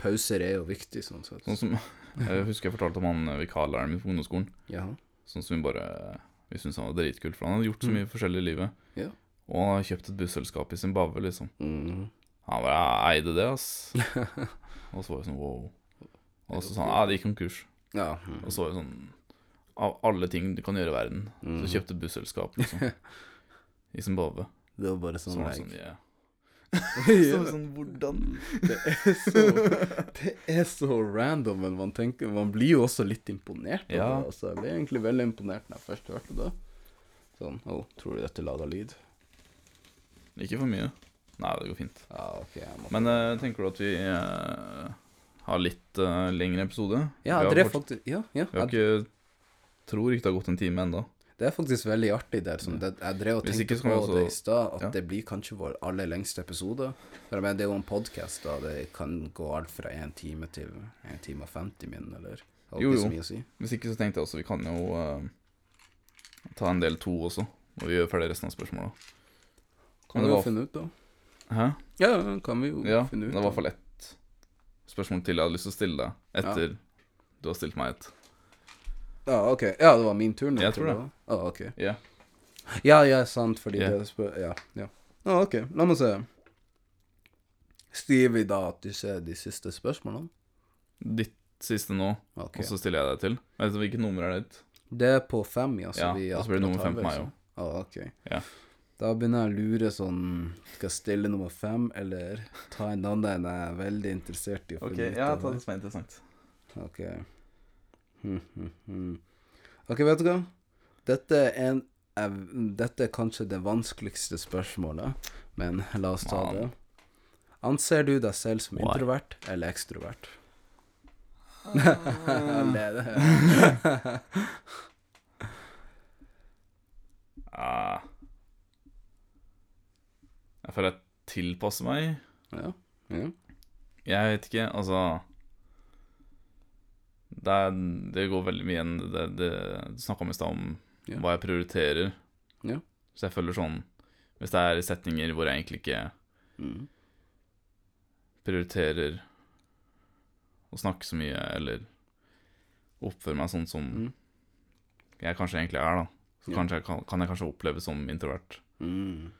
[SPEAKER 2] Pauser er jo viktig, sånn sett.
[SPEAKER 1] sånn som, jeg husker jeg fortalte om han eh, vikarlæreren min på ungdomsskolen.
[SPEAKER 2] Jaha.
[SPEAKER 1] Sånn som vi bare Vi syntes han var dritkul, for han hadde gjort så mye forskjellig i livet.
[SPEAKER 2] Mm. Ja.
[SPEAKER 1] Og han har kjøpt et busselskap i Zimbabwe, liksom.
[SPEAKER 2] Mhm.
[SPEAKER 1] Han bare «Jeg eide det, ass. og så var jeg sånn wow. Og så sa han ja, det gikk konkurs.
[SPEAKER 2] Ja. hmm.
[SPEAKER 1] Og så var det sånn Av alle ting du kan gjøre i verden,
[SPEAKER 2] Mm.
[SPEAKER 1] så kjøpte busselskap, liksom. I Zimbabwe.
[SPEAKER 2] Det var bare
[SPEAKER 1] Så
[SPEAKER 2] sånn
[SPEAKER 1] var det
[SPEAKER 2] like,
[SPEAKER 1] sånn, yeah.
[SPEAKER 2] Ja,
[SPEAKER 1] sånn, hvordan
[SPEAKER 2] det, er så, det er så random, men man tenker Man blir jo også litt imponert. over
[SPEAKER 1] Ja.
[SPEAKER 2] det, Altså, jeg ble egentlig veldig imponert når jeg først hørte det. Sånn Å, tror du dette laga lyd?
[SPEAKER 1] Ikke for mye. Nei, det går fint.
[SPEAKER 2] Ja, OK, jeg må
[SPEAKER 1] Men eh, tenker du at vi eh, har litt eh, lengre episode?
[SPEAKER 2] Ja,
[SPEAKER 1] vi har,
[SPEAKER 2] det er
[SPEAKER 1] forts-
[SPEAKER 2] faktisk Ja, ja.
[SPEAKER 1] vi har
[SPEAKER 2] Jeg,
[SPEAKER 1] ikke Tror ikke det har gått en time ennå.
[SPEAKER 2] det er faktisk veldig artig der. Sånn, det, jeg drev og
[SPEAKER 1] Hvis
[SPEAKER 2] tenkte
[SPEAKER 1] ikke så
[SPEAKER 2] på
[SPEAKER 1] kan vi også-
[SPEAKER 2] det i stad, at
[SPEAKER 1] ja.
[SPEAKER 2] det blir kanskje vår aller lengste episode. For jeg mener, det er jo en podkast, da. Det kan gå alt fra én time til én time og 50 min, eller? Jeg har
[SPEAKER 1] Jo,
[SPEAKER 2] ikke så
[SPEAKER 1] jo.
[SPEAKER 2] mye å si.
[SPEAKER 1] Hvis ikke så tenkte jeg også vi kan jo eh, ta en del to også. Og vi gjør ferdig resten av spørsmåla.
[SPEAKER 2] Kan
[SPEAKER 1] Men
[SPEAKER 2] vi
[SPEAKER 1] det
[SPEAKER 2] jo
[SPEAKER 1] var-
[SPEAKER 2] finne ut, da.
[SPEAKER 1] Hæ?
[SPEAKER 2] Ja, Ja, kan vi jo
[SPEAKER 1] Ja,
[SPEAKER 2] finne
[SPEAKER 1] det
[SPEAKER 2] ut.
[SPEAKER 1] var i
[SPEAKER 2] da.
[SPEAKER 1] hvert fall ett spørsmål til jeg hadde lyst til å stille deg etter du har stilt meg et.
[SPEAKER 2] Ja, ok. Ja, det var min tur nå.
[SPEAKER 1] Jeg tror det.
[SPEAKER 2] var. Ja, Ah, ok.
[SPEAKER 1] Ja.
[SPEAKER 2] Ja, ja, sant, fordi
[SPEAKER 1] Ja.
[SPEAKER 2] det spør... Ja, ja. Ja, ok. La meg se. Skriver vi da at du ser de siste spørsmålene?
[SPEAKER 1] Ditt siste nå,
[SPEAKER 2] Ok.
[SPEAKER 1] og så stiller jeg deg til. Jeg vet ikke hvilket nummer er ditt.
[SPEAKER 2] Det er på fem, ja. Så
[SPEAKER 1] Ja,
[SPEAKER 2] vi
[SPEAKER 1] og så blir det nummer fem på meg
[SPEAKER 2] også. Ah, ok.
[SPEAKER 1] Ja.
[SPEAKER 2] Da begynner jeg å lure sånn Skal jeg stille nummer fem, eller ta en annen jeg er veldig interessert i å finne ut av?
[SPEAKER 1] som er interessant.
[SPEAKER 2] Ok. Hm, hm, hm. Ok, vet du hva? Dette er, en, ev- dette er kanskje det vanskeligste spørsmålet, men la oss ta
[SPEAKER 1] Wow.
[SPEAKER 2] det. Anser du deg selv som
[SPEAKER 1] Why?
[SPEAKER 2] introvert eller ekstrovert? det er det.
[SPEAKER 1] Ah. Jeg føler jeg tilpasser meg.
[SPEAKER 2] Ja. ja.
[SPEAKER 1] Jeg vet ikke, altså Det, er, det går veldig mye igjen det, det, Du snakka om i stad om
[SPEAKER 2] Ja.
[SPEAKER 1] hva jeg prioriterer.
[SPEAKER 2] Ja.
[SPEAKER 1] Så jeg føler sånn Hvis det er setninger hvor jeg egentlig ikke
[SPEAKER 2] Mm.
[SPEAKER 1] prioriterer å snakke så mye, eller oppføre meg sånn som
[SPEAKER 2] Mm.
[SPEAKER 1] jeg kanskje egentlig er, da, så
[SPEAKER 2] Ja.
[SPEAKER 1] kanskje jeg kan, kan jeg kanskje oppleves som introvert.
[SPEAKER 2] Mm.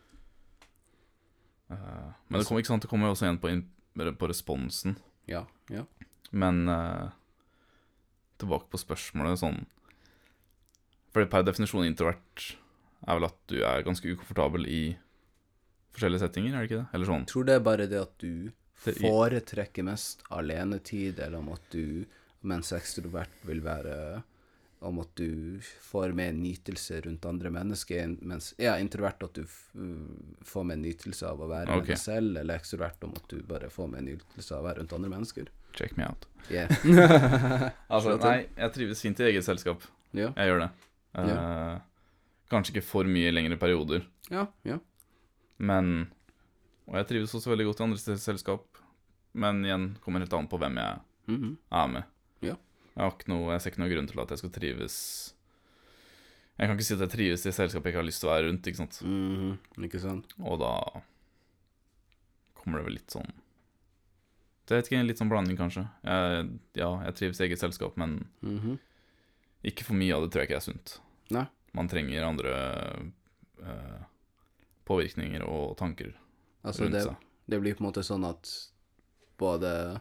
[SPEAKER 1] Eh, men det kommer, ikke sant, det kommer jo også igjen på, in på responsen.
[SPEAKER 2] Ja. Ja.
[SPEAKER 1] Men eh, tilbake på spørsmålet sånn Fordi per definisjon introvert er vel at du er ganske ukomfortabel i forskjellige settinger, er det ikke det? Eller sånn.
[SPEAKER 2] tror det er bare det at du
[SPEAKER 1] Det er-
[SPEAKER 2] foretrekker mest alenetid, eller om at du, mens ekstrovert vil være om at du får med en nytelse rundt andre mennesker, mens ja, introvert at du f- mm, får med en nytelse av å være
[SPEAKER 1] Ok.
[SPEAKER 2] med deg selv, eller ekstrovert om at du bare får med en nytelse av å være rundt andre mennesker.
[SPEAKER 1] Check me out.
[SPEAKER 2] Yeah.
[SPEAKER 1] Altså,
[SPEAKER 2] Slå til.
[SPEAKER 1] nei, jeg trives fint i eget selskap.
[SPEAKER 2] ja.
[SPEAKER 1] Jeg gjør det. Eh, Kanskje ikke for mye i lengre perioder,
[SPEAKER 2] Ja, ja.
[SPEAKER 1] men Og jeg trives også veldig godt i andre steds selskap, men igjen kommer helt an på hvem jeg
[SPEAKER 2] Mhm.
[SPEAKER 1] er med.
[SPEAKER 2] Ja.
[SPEAKER 1] Jeg, har ikke noe, jeg ser ikke noen grunn til at jeg skal trives Jeg kan ikke si at jeg trives i selskap jeg ikke har lyst til å være rundt, ikke sant.
[SPEAKER 2] Mhm. Ikke sant?
[SPEAKER 1] Og da kommer det vel litt sånn Jeg vet ikke, en litt sånn blanding, kanskje. Jeg, ja, jeg trives i eget selskap, men
[SPEAKER 2] Mhm.
[SPEAKER 1] ikke for mye av det tror jeg ikke er sunt.
[SPEAKER 2] Nei.
[SPEAKER 1] Man trenger andre eh, påvirkninger og tanker
[SPEAKER 2] Altså,
[SPEAKER 1] rundt
[SPEAKER 2] det,
[SPEAKER 1] seg.
[SPEAKER 2] Det blir på en måte sånn at både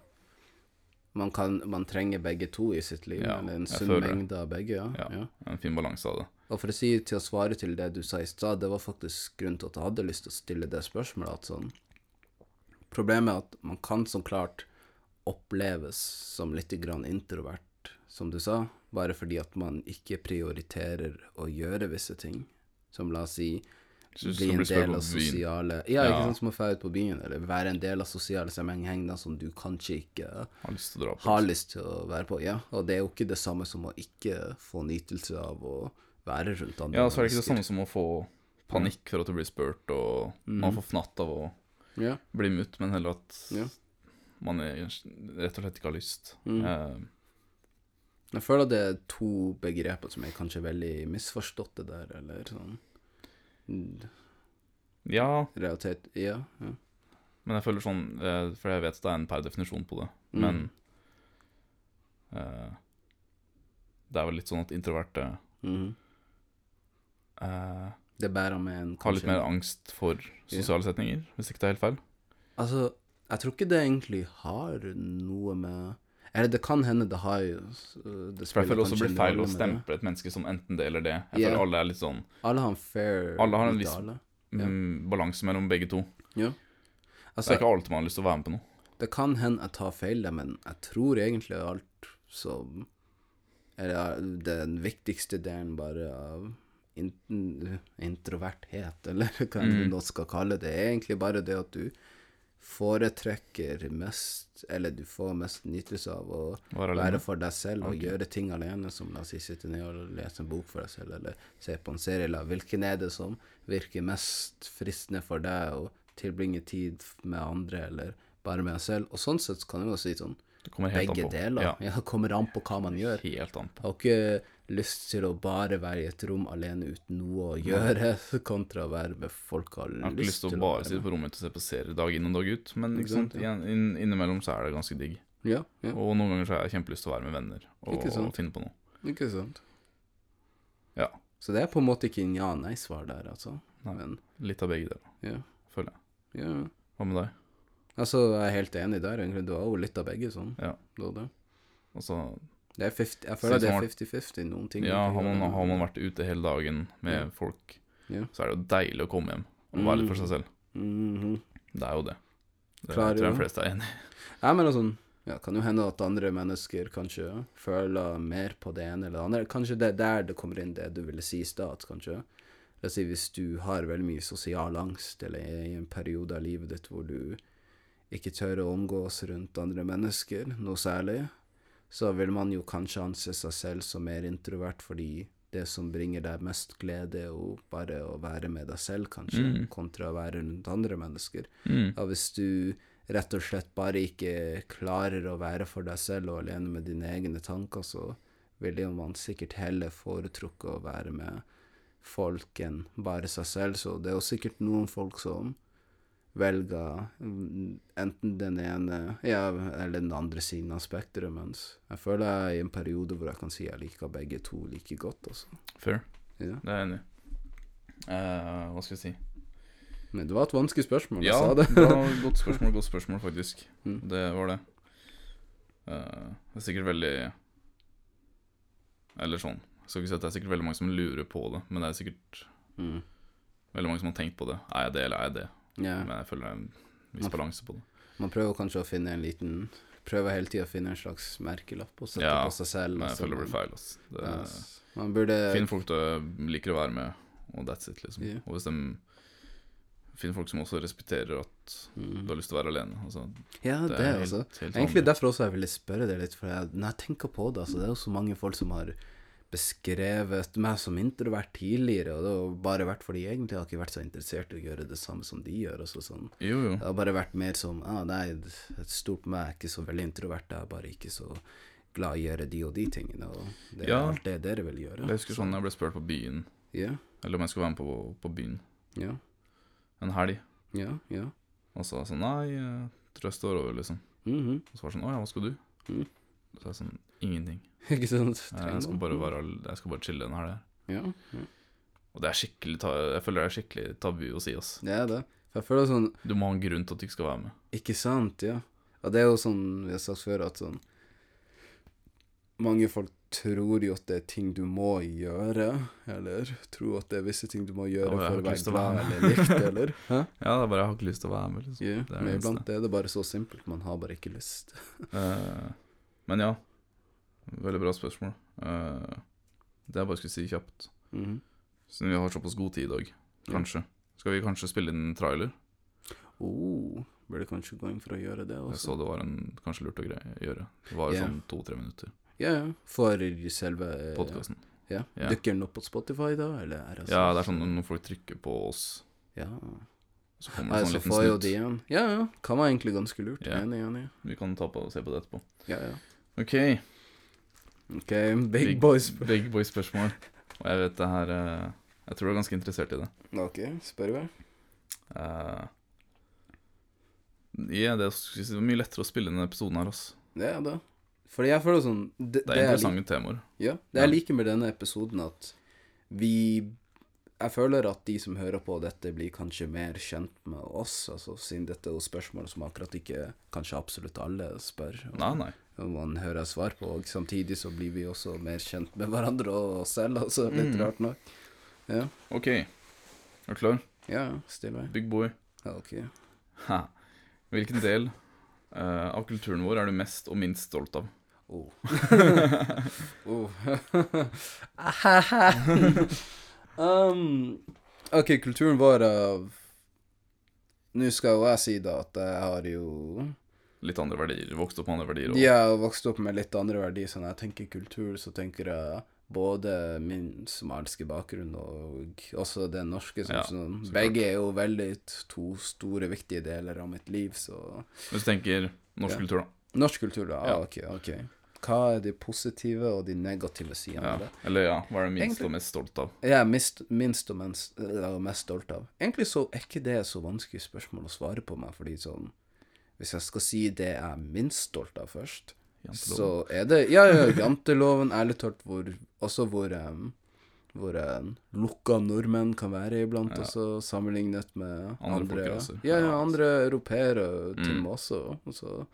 [SPEAKER 2] Man, kan, man trenger begge to i sitt liv,
[SPEAKER 1] Ja,
[SPEAKER 2] eller en
[SPEAKER 1] jeg
[SPEAKER 2] sunn
[SPEAKER 1] føler det.
[SPEAKER 2] mengde av begge. Ja. Ja.
[SPEAKER 1] Ja. En fin balanse av det.
[SPEAKER 2] Og for å si til å svare til det du sa i stad, det var faktisk grunnen til at jeg hadde lyst til å stille det spørsmålet. At sånn, problemet er at man kan som klart oppleves som litt grann introvert, som du sa, bare fordi at man ikke prioriterer å gjøre visse ting. Som la oss si
[SPEAKER 1] Synes
[SPEAKER 2] bli
[SPEAKER 1] det
[SPEAKER 2] en
[SPEAKER 1] blir større
[SPEAKER 2] del
[SPEAKER 1] på
[SPEAKER 2] av
[SPEAKER 1] byen.
[SPEAKER 2] sosiale Ja, ikke
[SPEAKER 1] Ja.
[SPEAKER 2] sant, som å dra ut på byen, eller være en del av sosiale sammenhenger som du kanskje ikke
[SPEAKER 1] Har lyst til å dra på.
[SPEAKER 2] har lyst til å være på. Ja, og det er jo ikke det samme som å ikke få nytelse av å være rundt andre
[SPEAKER 1] Ja, så er det ikke det
[SPEAKER 2] mennesker.
[SPEAKER 1] samme som å få panikk
[SPEAKER 2] Mm.
[SPEAKER 1] for at du blir spurt, og man får fnatt av å
[SPEAKER 2] Ja.
[SPEAKER 1] bli mutt, men heller at
[SPEAKER 2] Ja.
[SPEAKER 1] man er, rett og slett ikke har lyst.
[SPEAKER 2] Mm.
[SPEAKER 1] Eh,
[SPEAKER 2] Jeg føler at det er to begreper som er kanskje veldig misforståtte der, eller sånn Mm,
[SPEAKER 1] ja,
[SPEAKER 2] realitet Ja. ja. Mm.
[SPEAKER 1] men jeg føler sånn eh, For jeg vet det er en per definisjon på det,
[SPEAKER 2] Mm.
[SPEAKER 1] men eh, Det er vel litt sånn at introverte
[SPEAKER 2] Mhm.
[SPEAKER 1] eh,
[SPEAKER 2] Det bærer med en
[SPEAKER 1] har litt
[SPEAKER 2] kanskje-
[SPEAKER 1] mer angst for sosiale setninger, hvis ikke det er helt feil.
[SPEAKER 2] Altså, jeg tror ikke det egentlig har noe med Eller det kan hende det har jo det
[SPEAKER 1] For jeg føler også
[SPEAKER 2] kanskje
[SPEAKER 1] det blir
[SPEAKER 2] en
[SPEAKER 1] feil
[SPEAKER 2] rolle
[SPEAKER 1] å
[SPEAKER 2] med det.
[SPEAKER 1] stemple et menneske som enten det eller det. Jeg
[SPEAKER 2] Ja.
[SPEAKER 1] føler alle er litt sånn
[SPEAKER 2] Alle har en fair
[SPEAKER 1] Alle har en
[SPEAKER 2] bit
[SPEAKER 1] viss-
[SPEAKER 2] av alle. Ja.
[SPEAKER 1] mm, balanse mellom begge to.
[SPEAKER 2] Ja.
[SPEAKER 1] Det
[SPEAKER 2] Altså,
[SPEAKER 1] er ikke alle som har lyst til å være med på noe.
[SPEAKER 2] det kan hende jeg tar feil der, men jeg tror egentlig alt som Eller den viktigste delen bare av in introverthet, eller hva mm.
[SPEAKER 1] Mm.
[SPEAKER 2] noen skal kalle det, er egentlig bare det at du foretrekker mest, eller du får mest nytelse av å
[SPEAKER 1] Være
[SPEAKER 2] være
[SPEAKER 1] alene.
[SPEAKER 2] for deg selv og
[SPEAKER 1] Mm. Ok.
[SPEAKER 2] gjøre ting alene, som la oss si sitte ned og lese en bok for deg selv, eller se på en serie, eller hvilken er det som virker mest fristende for deg å tilbringe tid med andre, eller bare med deg selv. Og sånn sett kan jeg jo si sånn,
[SPEAKER 1] Det kommer helt an
[SPEAKER 2] begge
[SPEAKER 1] på.
[SPEAKER 2] deler.
[SPEAKER 1] Ja,
[SPEAKER 2] Ja, det kommer an på hva man gjør.
[SPEAKER 1] helt an på.
[SPEAKER 2] Jeg har ikke lyst til å bare være i et rom alene uten noe å gjøre, kontra å være med folk jeg
[SPEAKER 1] Jeg har
[SPEAKER 2] har
[SPEAKER 1] ikke lyst til å bare sitte på rommet og se på serier dag inn og dag ut, men
[SPEAKER 2] Ikke
[SPEAKER 1] ikke sant?
[SPEAKER 2] sant,
[SPEAKER 1] igjen- inn- innimellom så er det ganske digg.
[SPEAKER 2] Ja, ja,
[SPEAKER 1] Og noen ganger så har jeg kjempelyst til å være med venner og,
[SPEAKER 2] Ikke sant.
[SPEAKER 1] og finne på noe.
[SPEAKER 2] ikke sant.
[SPEAKER 1] Ja.
[SPEAKER 2] Så det er på en måte ikke en ja-nei-svar der, altså.
[SPEAKER 1] Nei.
[SPEAKER 2] Men,
[SPEAKER 1] Litt av begge deler,
[SPEAKER 2] ja,
[SPEAKER 1] føler jeg.
[SPEAKER 2] ja.
[SPEAKER 1] Hva med deg?
[SPEAKER 2] Altså, jeg er helt enig der, egentlig. Du har jo litt av begge, sånn.
[SPEAKER 1] Ja.
[SPEAKER 2] Det var det.
[SPEAKER 1] Altså,
[SPEAKER 2] Det er 50, jeg føler
[SPEAKER 1] Synes
[SPEAKER 2] det
[SPEAKER 1] man
[SPEAKER 2] er
[SPEAKER 1] var-
[SPEAKER 2] 50-50 noen ting.
[SPEAKER 1] Ja, har man, har man vært ute hele dagen med
[SPEAKER 2] Ja.
[SPEAKER 1] folk,
[SPEAKER 2] Ja.
[SPEAKER 1] så er det jo deilig å komme hjem og være litt for
[SPEAKER 2] Mm.
[SPEAKER 1] seg selv.
[SPEAKER 2] Mhm.
[SPEAKER 1] Det er jo det. Det tror
[SPEAKER 2] Klarer
[SPEAKER 1] jeg
[SPEAKER 2] jo.
[SPEAKER 1] de fleste er enig i.
[SPEAKER 2] Nei, men altså, ja, kan jo hende at andre mennesker kanskje føler mer på det ene eller det andre. Kanskje det er der det kommer inn det du ville si i stad, at kanskje. La oss si hvis du har veldig mye sosial angst, eller er i en periode av livet ditt hvor du ikke tør å omgås rundt andre mennesker, noe særlig, så vil man jo kanskje anse seg selv som mer introvert fordi det som bringer deg mest glede, er jo bare å være med deg selv, kanskje,
[SPEAKER 1] Mm.
[SPEAKER 2] kontra å være rundt andre mennesker.
[SPEAKER 1] Mm.
[SPEAKER 2] Ja, hvis du rett og slett bare ikke klarer å være for deg selv og alene med dine egne tanker, så ville jo man sikkert heller foretrukke å være med folk enn bare seg selv. Så det er jo sikkert noen folk som velger mm, enten den ene ja, eller den andre siden av spekteret, mens jeg føler jeg er i en periode hvor jeg kan si jeg liker begge to like godt, altså.
[SPEAKER 1] Fair.
[SPEAKER 2] Ja.
[SPEAKER 1] Det er jeg enig i. Eh, hva skal jeg si?
[SPEAKER 2] Men det var et vanskelig spørsmål, jeg
[SPEAKER 1] Ja,
[SPEAKER 2] sa det.
[SPEAKER 1] bra, godt spørsmål, godt spørsmål, faktisk.
[SPEAKER 2] Mm.
[SPEAKER 1] Det var det. Eh, det er sikkert veldig Eller sånn. Jeg skal ikke si at det er sikkert veldig mange som lurer på det, men det er sikkert
[SPEAKER 2] Mm.
[SPEAKER 1] veldig mange som har tenkt på det. Er jeg det, eller er jeg det?
[SPEAKER 2] Ja.
[SPEAKER 1] Men jeg føler det er en viss balanse på det.
[SPEAKER 2] Man prøver kanskje å finne en liten Prøver hele tida å finne en slags merkelapp og sette
[SPEAKER 1] Ja,
[SPEAKER 2] på seg selv.
[SPEAKER 1] Men
[SPEAKER 2] og
[SPEAKER 1] jeg
[SPEAKER 2] så
[SPEAKER 1] føler det blir
[SPEAKER 2] man-
[SPEAKER 1] feil, ass. Det
[SPEAKER 2] Ja, s- man burde
[SPEAKER 1] Finn folk du liker å være med, og that's it, liksom.
[SPEAKER 2] Ja.
[SPEAKER 1] Og hvis de finner folk som også respekterer at
[SPEAKER 2] Mm.
[SPEAKER 1] du har lyst til å være alene. Altså,
[SPEAKER 2] Ja, det,
[SPEAKER 1] det er
[SPEAKER 2] altså.
[SPEAKER 1] helt, helt
[SPEAKER 2] Egentlig
[SPEAKER 1] vanlig.
[SPEAKER 2] derfor også jeg ville spørre deg litt, for jeg, når jeg tenker på det, altså, det er jo så mange folk som har beskrevet meg som introvert tidligere, og det har bare vært fordi jeg egentlig har ikke vært så interessert i å gjøre det samme som de gjør. Altså, sånn.
[SPEAKER 1] Jo, jo.
[SPEAKER 2] Det har bare vært mer som ah, Nei, det er stort på meg, jeg er ikke så veldig introvert, jeg er bare ikke så glad i å gjøre de og de tingene, og det er
[SPEAKER 1] Ja.
[SPEAKER 2] alt det dere vil gjøre.
[SPEAKER 1] Jeg husker sånn jeg ble spurt på byen,
[SPEAKER 2] Ja,
[SPEAKER 1] eller om jeg skulle være med på, på byen
[SPEAKER 2] ja.
[SPEAKER 1] en helg.
[SPEAKER 2] Ja, ja.
[SPEAKER 1] Og så var jeg sånn Nei, jeg tror jeg står over, liksom.
[SPEAKER 2] Mhm.
[SPEAKER 1] Og så var jeg sånn Å ja, hva skal du?
[SPEAKER 2] Mm.
[SPEAKER 1] Så er jeg sånn Ingenting.
[SPEAKER 2] Ikke sant?
[SPEAKER 1] Jeg skal bare, være, al- jeg skal bare chille en helg her.
[SPEAKER 2] ja, ja,
[SPEAKER 1] Og det er skikkelig ta Jeg føler det er skikkelig tabu å si, ass.
[SPEAKER 2] det er det. For jeg føler sånn
[SPEAKER 1] Du må ha en grunn til at du ikke skal være med.
[SPEAKER 2] Ikke sant, ja. Og det er jo sånn vi har sagt før, at sånn Mange folk tror jo at det er ting du må gjøre, eller tror at det er visse ting du må gjøre
[SPEAKER 1] Ja, jeg har
[SPEAKER 2] for å
[SPEAKER 1] ikke lyst til
[SPEAKER 2] være
[SPEAKER 1] å være
[SPEAKER 2] glad
[SPEAKER 1] med.
[SPEAKER 2] eller likt, eller Hæ?
[SPEAKER 1] Ja, det er bare jeg har ikke lyst til å være med, liksom.
[SPEAKER 2] Ja,
[SPEAKER 1] det er
[SPEAKER 2] men
[SPEAKER 1] det
[SPEAKER 2] iblant er det bare så simpelt. Man har bare ikke lyst.
[SPEAKER 1] Eh, men ja, veldig bra spørsmål. Eh, det jeg bare skulle si kjapt,
[SPEAKER 2] Mhm.
[SPEAKER 1] siden vi har såpass god tid i dag, kanskje. Skal vi kanskje spille inn en trailer?
[SPEAKER 2] Oh, burde kanskje gå inn for å gjøre det
[SPEAKER 1] Jeg
[SPEAKER 2] også.
[SPEAKER 1] så det var en kanskje lurt å greie, gjøre. Det var
[SPEAKER 2] Ja.
[SPEAKER 1] sånn to-tre minutter.
[SPEAKER 2] Ja, ja. For selve
[SPEAKER 1] Podkasten.
[SPEAKER 2] Ja.
[SPEAKER 1] Ja.
[SPEAKER 2] Dukker den opp på Spotify da, eller eh, er det
[SPEAKER 1] Ja, det er sånn når folk trykker på oss,
[SPEAKER 2] Ja.
[SPEAKER 1] så kommer
[SPEAKER 2] Nei,
[SPEAKER 1] det Mm, sånn
[SPEAKER 2] så
[SPEAKER 1] liten
[SPEAKER 2] får jo
[SPEAKER 1] snutt.
[SPEAKER 2] de igjen. Ja, ja. Kan være egentlig ganske lurt.
[SPEAKER 1] Ja.
[SPEAKER 2] Enig, enig.
[SPEAKER 1] Vi kan ta på og se på det etterpå.
[SPEAKER 2] Ja, ja.
[SPEAKER 1] OK,
[SPEAKER 2] OK, big,
[SPEAKER 1] Big-
[SPEAKER 2] boys.
[SPEAKER 1] Big Boy-spørsmål. Og jeg vet det her eh, Jeg tror du er ganske interessert i det.
[SPEAKER 2] OK, spør vi.
[SPEAKER 1] Eh, ja, det er mye lettere å spille inn denne episoden her, ass.
[SPEAKER 2] Det er det. Fordi jeg føler sånn Det,
[SPEAKER 1] Det er
[SPEAKER 2] det jeg lik-
[SPEAKER 1] interessante temaer.
[SPEAKER 2] ja, det jeg liker med denne episoden, at vi Jeg føler at de som hører på dette, blir kanskje mer kjent med oss, altså, siden dette er jo spørsmål som akkurat ikke kanskje absolutt alle spør. og-
[SPEAKER 1] Nei, nei.
[SPEAKER 2] og man hører svar på, og samtidig så blir vi også mer kjent med hverandre og oss selv, altså. Litt
[SPEAKER 1] Mm.
[SPEAKER 2] rart nok. Ja,
[SPEAKER 1] OK. Er du klar?
[SPEAKER 2] ja, ja, still vei.
[SPEAKER 1] Big boy.
[SPEAKER 2] Ja, OK.
[SPEAKER 1] Ha. Hvilken del eh, av kulturen vår er du mest og minst stolt av?
[SPEAKER 2] Oh. oh. um, ok, kulturen vår av Nå skal jo jeg si da at jeg har jo
[SPEAKER 1] Litt andre verdier. Vokst opp med andre verdier. Og,
[SPEAKER 2] Jeg har vokst opp med litt andre verdier, så når jeg tenker kultur, så tenker jeg både min somaliske bakgrunn og også den norske. Som,
[SPEAKER 1] Ja,
[SPEAKER 2] sånn,
[SPEAKER 1] så klart.
[SPEAKER 2] begge er jo veldig t- to store, viktige deler av mitt liv, så
[SPEAKER 1] Hvis du tenker norsk
[SPEAKER 2] Ja.
[SPEAKER 1] kultur, da.
[SPEAKER 2] Norsk kultur, da. Ah,
[SPEAKER 1] Ja.
[SPEAKER 2] ok, ok. Hva er de positive og de negative sidene
[SPEAKER 1] Ja.
[SPEAKER 2] av det?
[SPEAKER 1] Eller ja, hva er du minst
[SPEAKER 2] Egentlig-
[SPEAKER 1] og mest stolt av?
[SPEAKER 2] Jeg er mist, minst og mens- eller mest stolt av. Egentlig så er ikke det så vanskelig spørsmål å svare på meg, fordi sånn Hvis jeg skal si det jeg er minst stolt av først,
[SPEAKER 1] Janteloven.
[SPEAKER 2] så er det Ja, ja, janteloven, ærlig talt, hvor Også hvor em, hvor em, lukka nordmenn kan være iblant,
[SPEAKER 1] Ja.
[SPEAKER 2] også sammenlignet med
[SPEAKER 1] Andre
[SPEAKER 2] andre
[SPEAKER 1] folkraser.
[SPEAKER 2] Ja, ja,
[SPEAKER 1] Ja.
[SPEAKER 2] andre europeere til og
[SPEAKER 1] Mm.
[SPEAKER 2] med også. og Så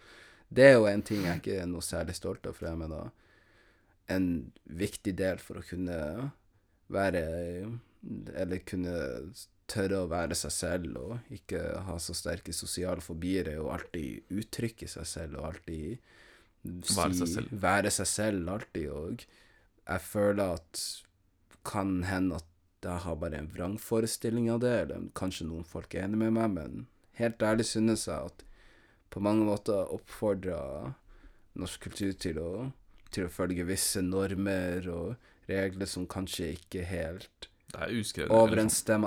[SPEAKER 2] det er jo en ting jeg ikke er noe særlig stolt av, for jeg mener en viktig del for å kunne være Eller kunne tørre å være seg selv og ikke ha så sterke sosiale fobier, er jo alltid uttrykke seg selv og alltid si
[SPEAKER 1] Være seg selv.
[SPEAKER 2] Være seg selv alltid. Og jeg føler at kan hende at jeg har bare en vrangforestilling av det, eller kanskje noen folk er enig med meg, men helt ærlig synes jeg at på mange måter oppfordrer norsk kultur til å, til å følge visse normer og regler som kanskje ikke helt
[SPEAKER 1] Det er uskrevet. eller sånn.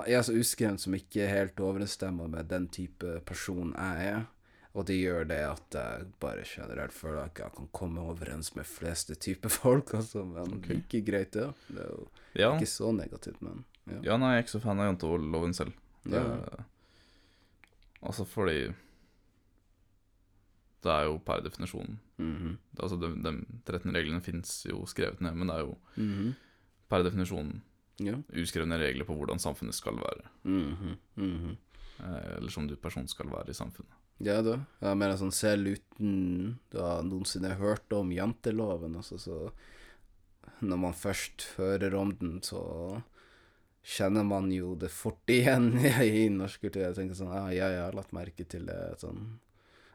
[SPEAKER 2] overensstemmer Ja, så uskrevet som ikke helt overensstemmer med den type person jeg er. Og det gjør det at jeg bare generelt føler at jeg kan komme overens med fleste typer folk, altså. Men
[SPEAKER 1] Ok.
[SPEAKER 2] like greit, det. Det er jo
[SPEAKER 1] Ja.
[SPEAKER 2] ikke så negativt, men ja.
[SPEAKER 1] ja, nei, jeg er ikke så fan av janteloven selv. Det,
[SPEAKER 2] Ja.
[SPEAKER 1] Altså fordi Det er jo per definisjon
[SPEAKER 2] Mhm.
[SPEAKER 1] det- Altså de, de 13 reglene fins jo skrevet ned, men det er jo
[SPEAKER 2] Mhm.
[SPEAKER 1] per definisjon
[SPEAKER 2] Ja.
[SPEAKER 1] uskrevne regler på hvordan samfunnet skal være.
[SPEAKER 2] Mhm. Mhm.
[SPEAKER 1] eh, Eller som du person skal være i samfunnet.
[SPEAKER 2] Ja da. Jeg mener sånn selv uten du har noensinne hørt om janteloven, altså, så Når man først hører om den, så kjenner man jo det fort igjen i norsk kultur. Jeg tenker sånn ah, Ja, jeg har lagt merke til det sånn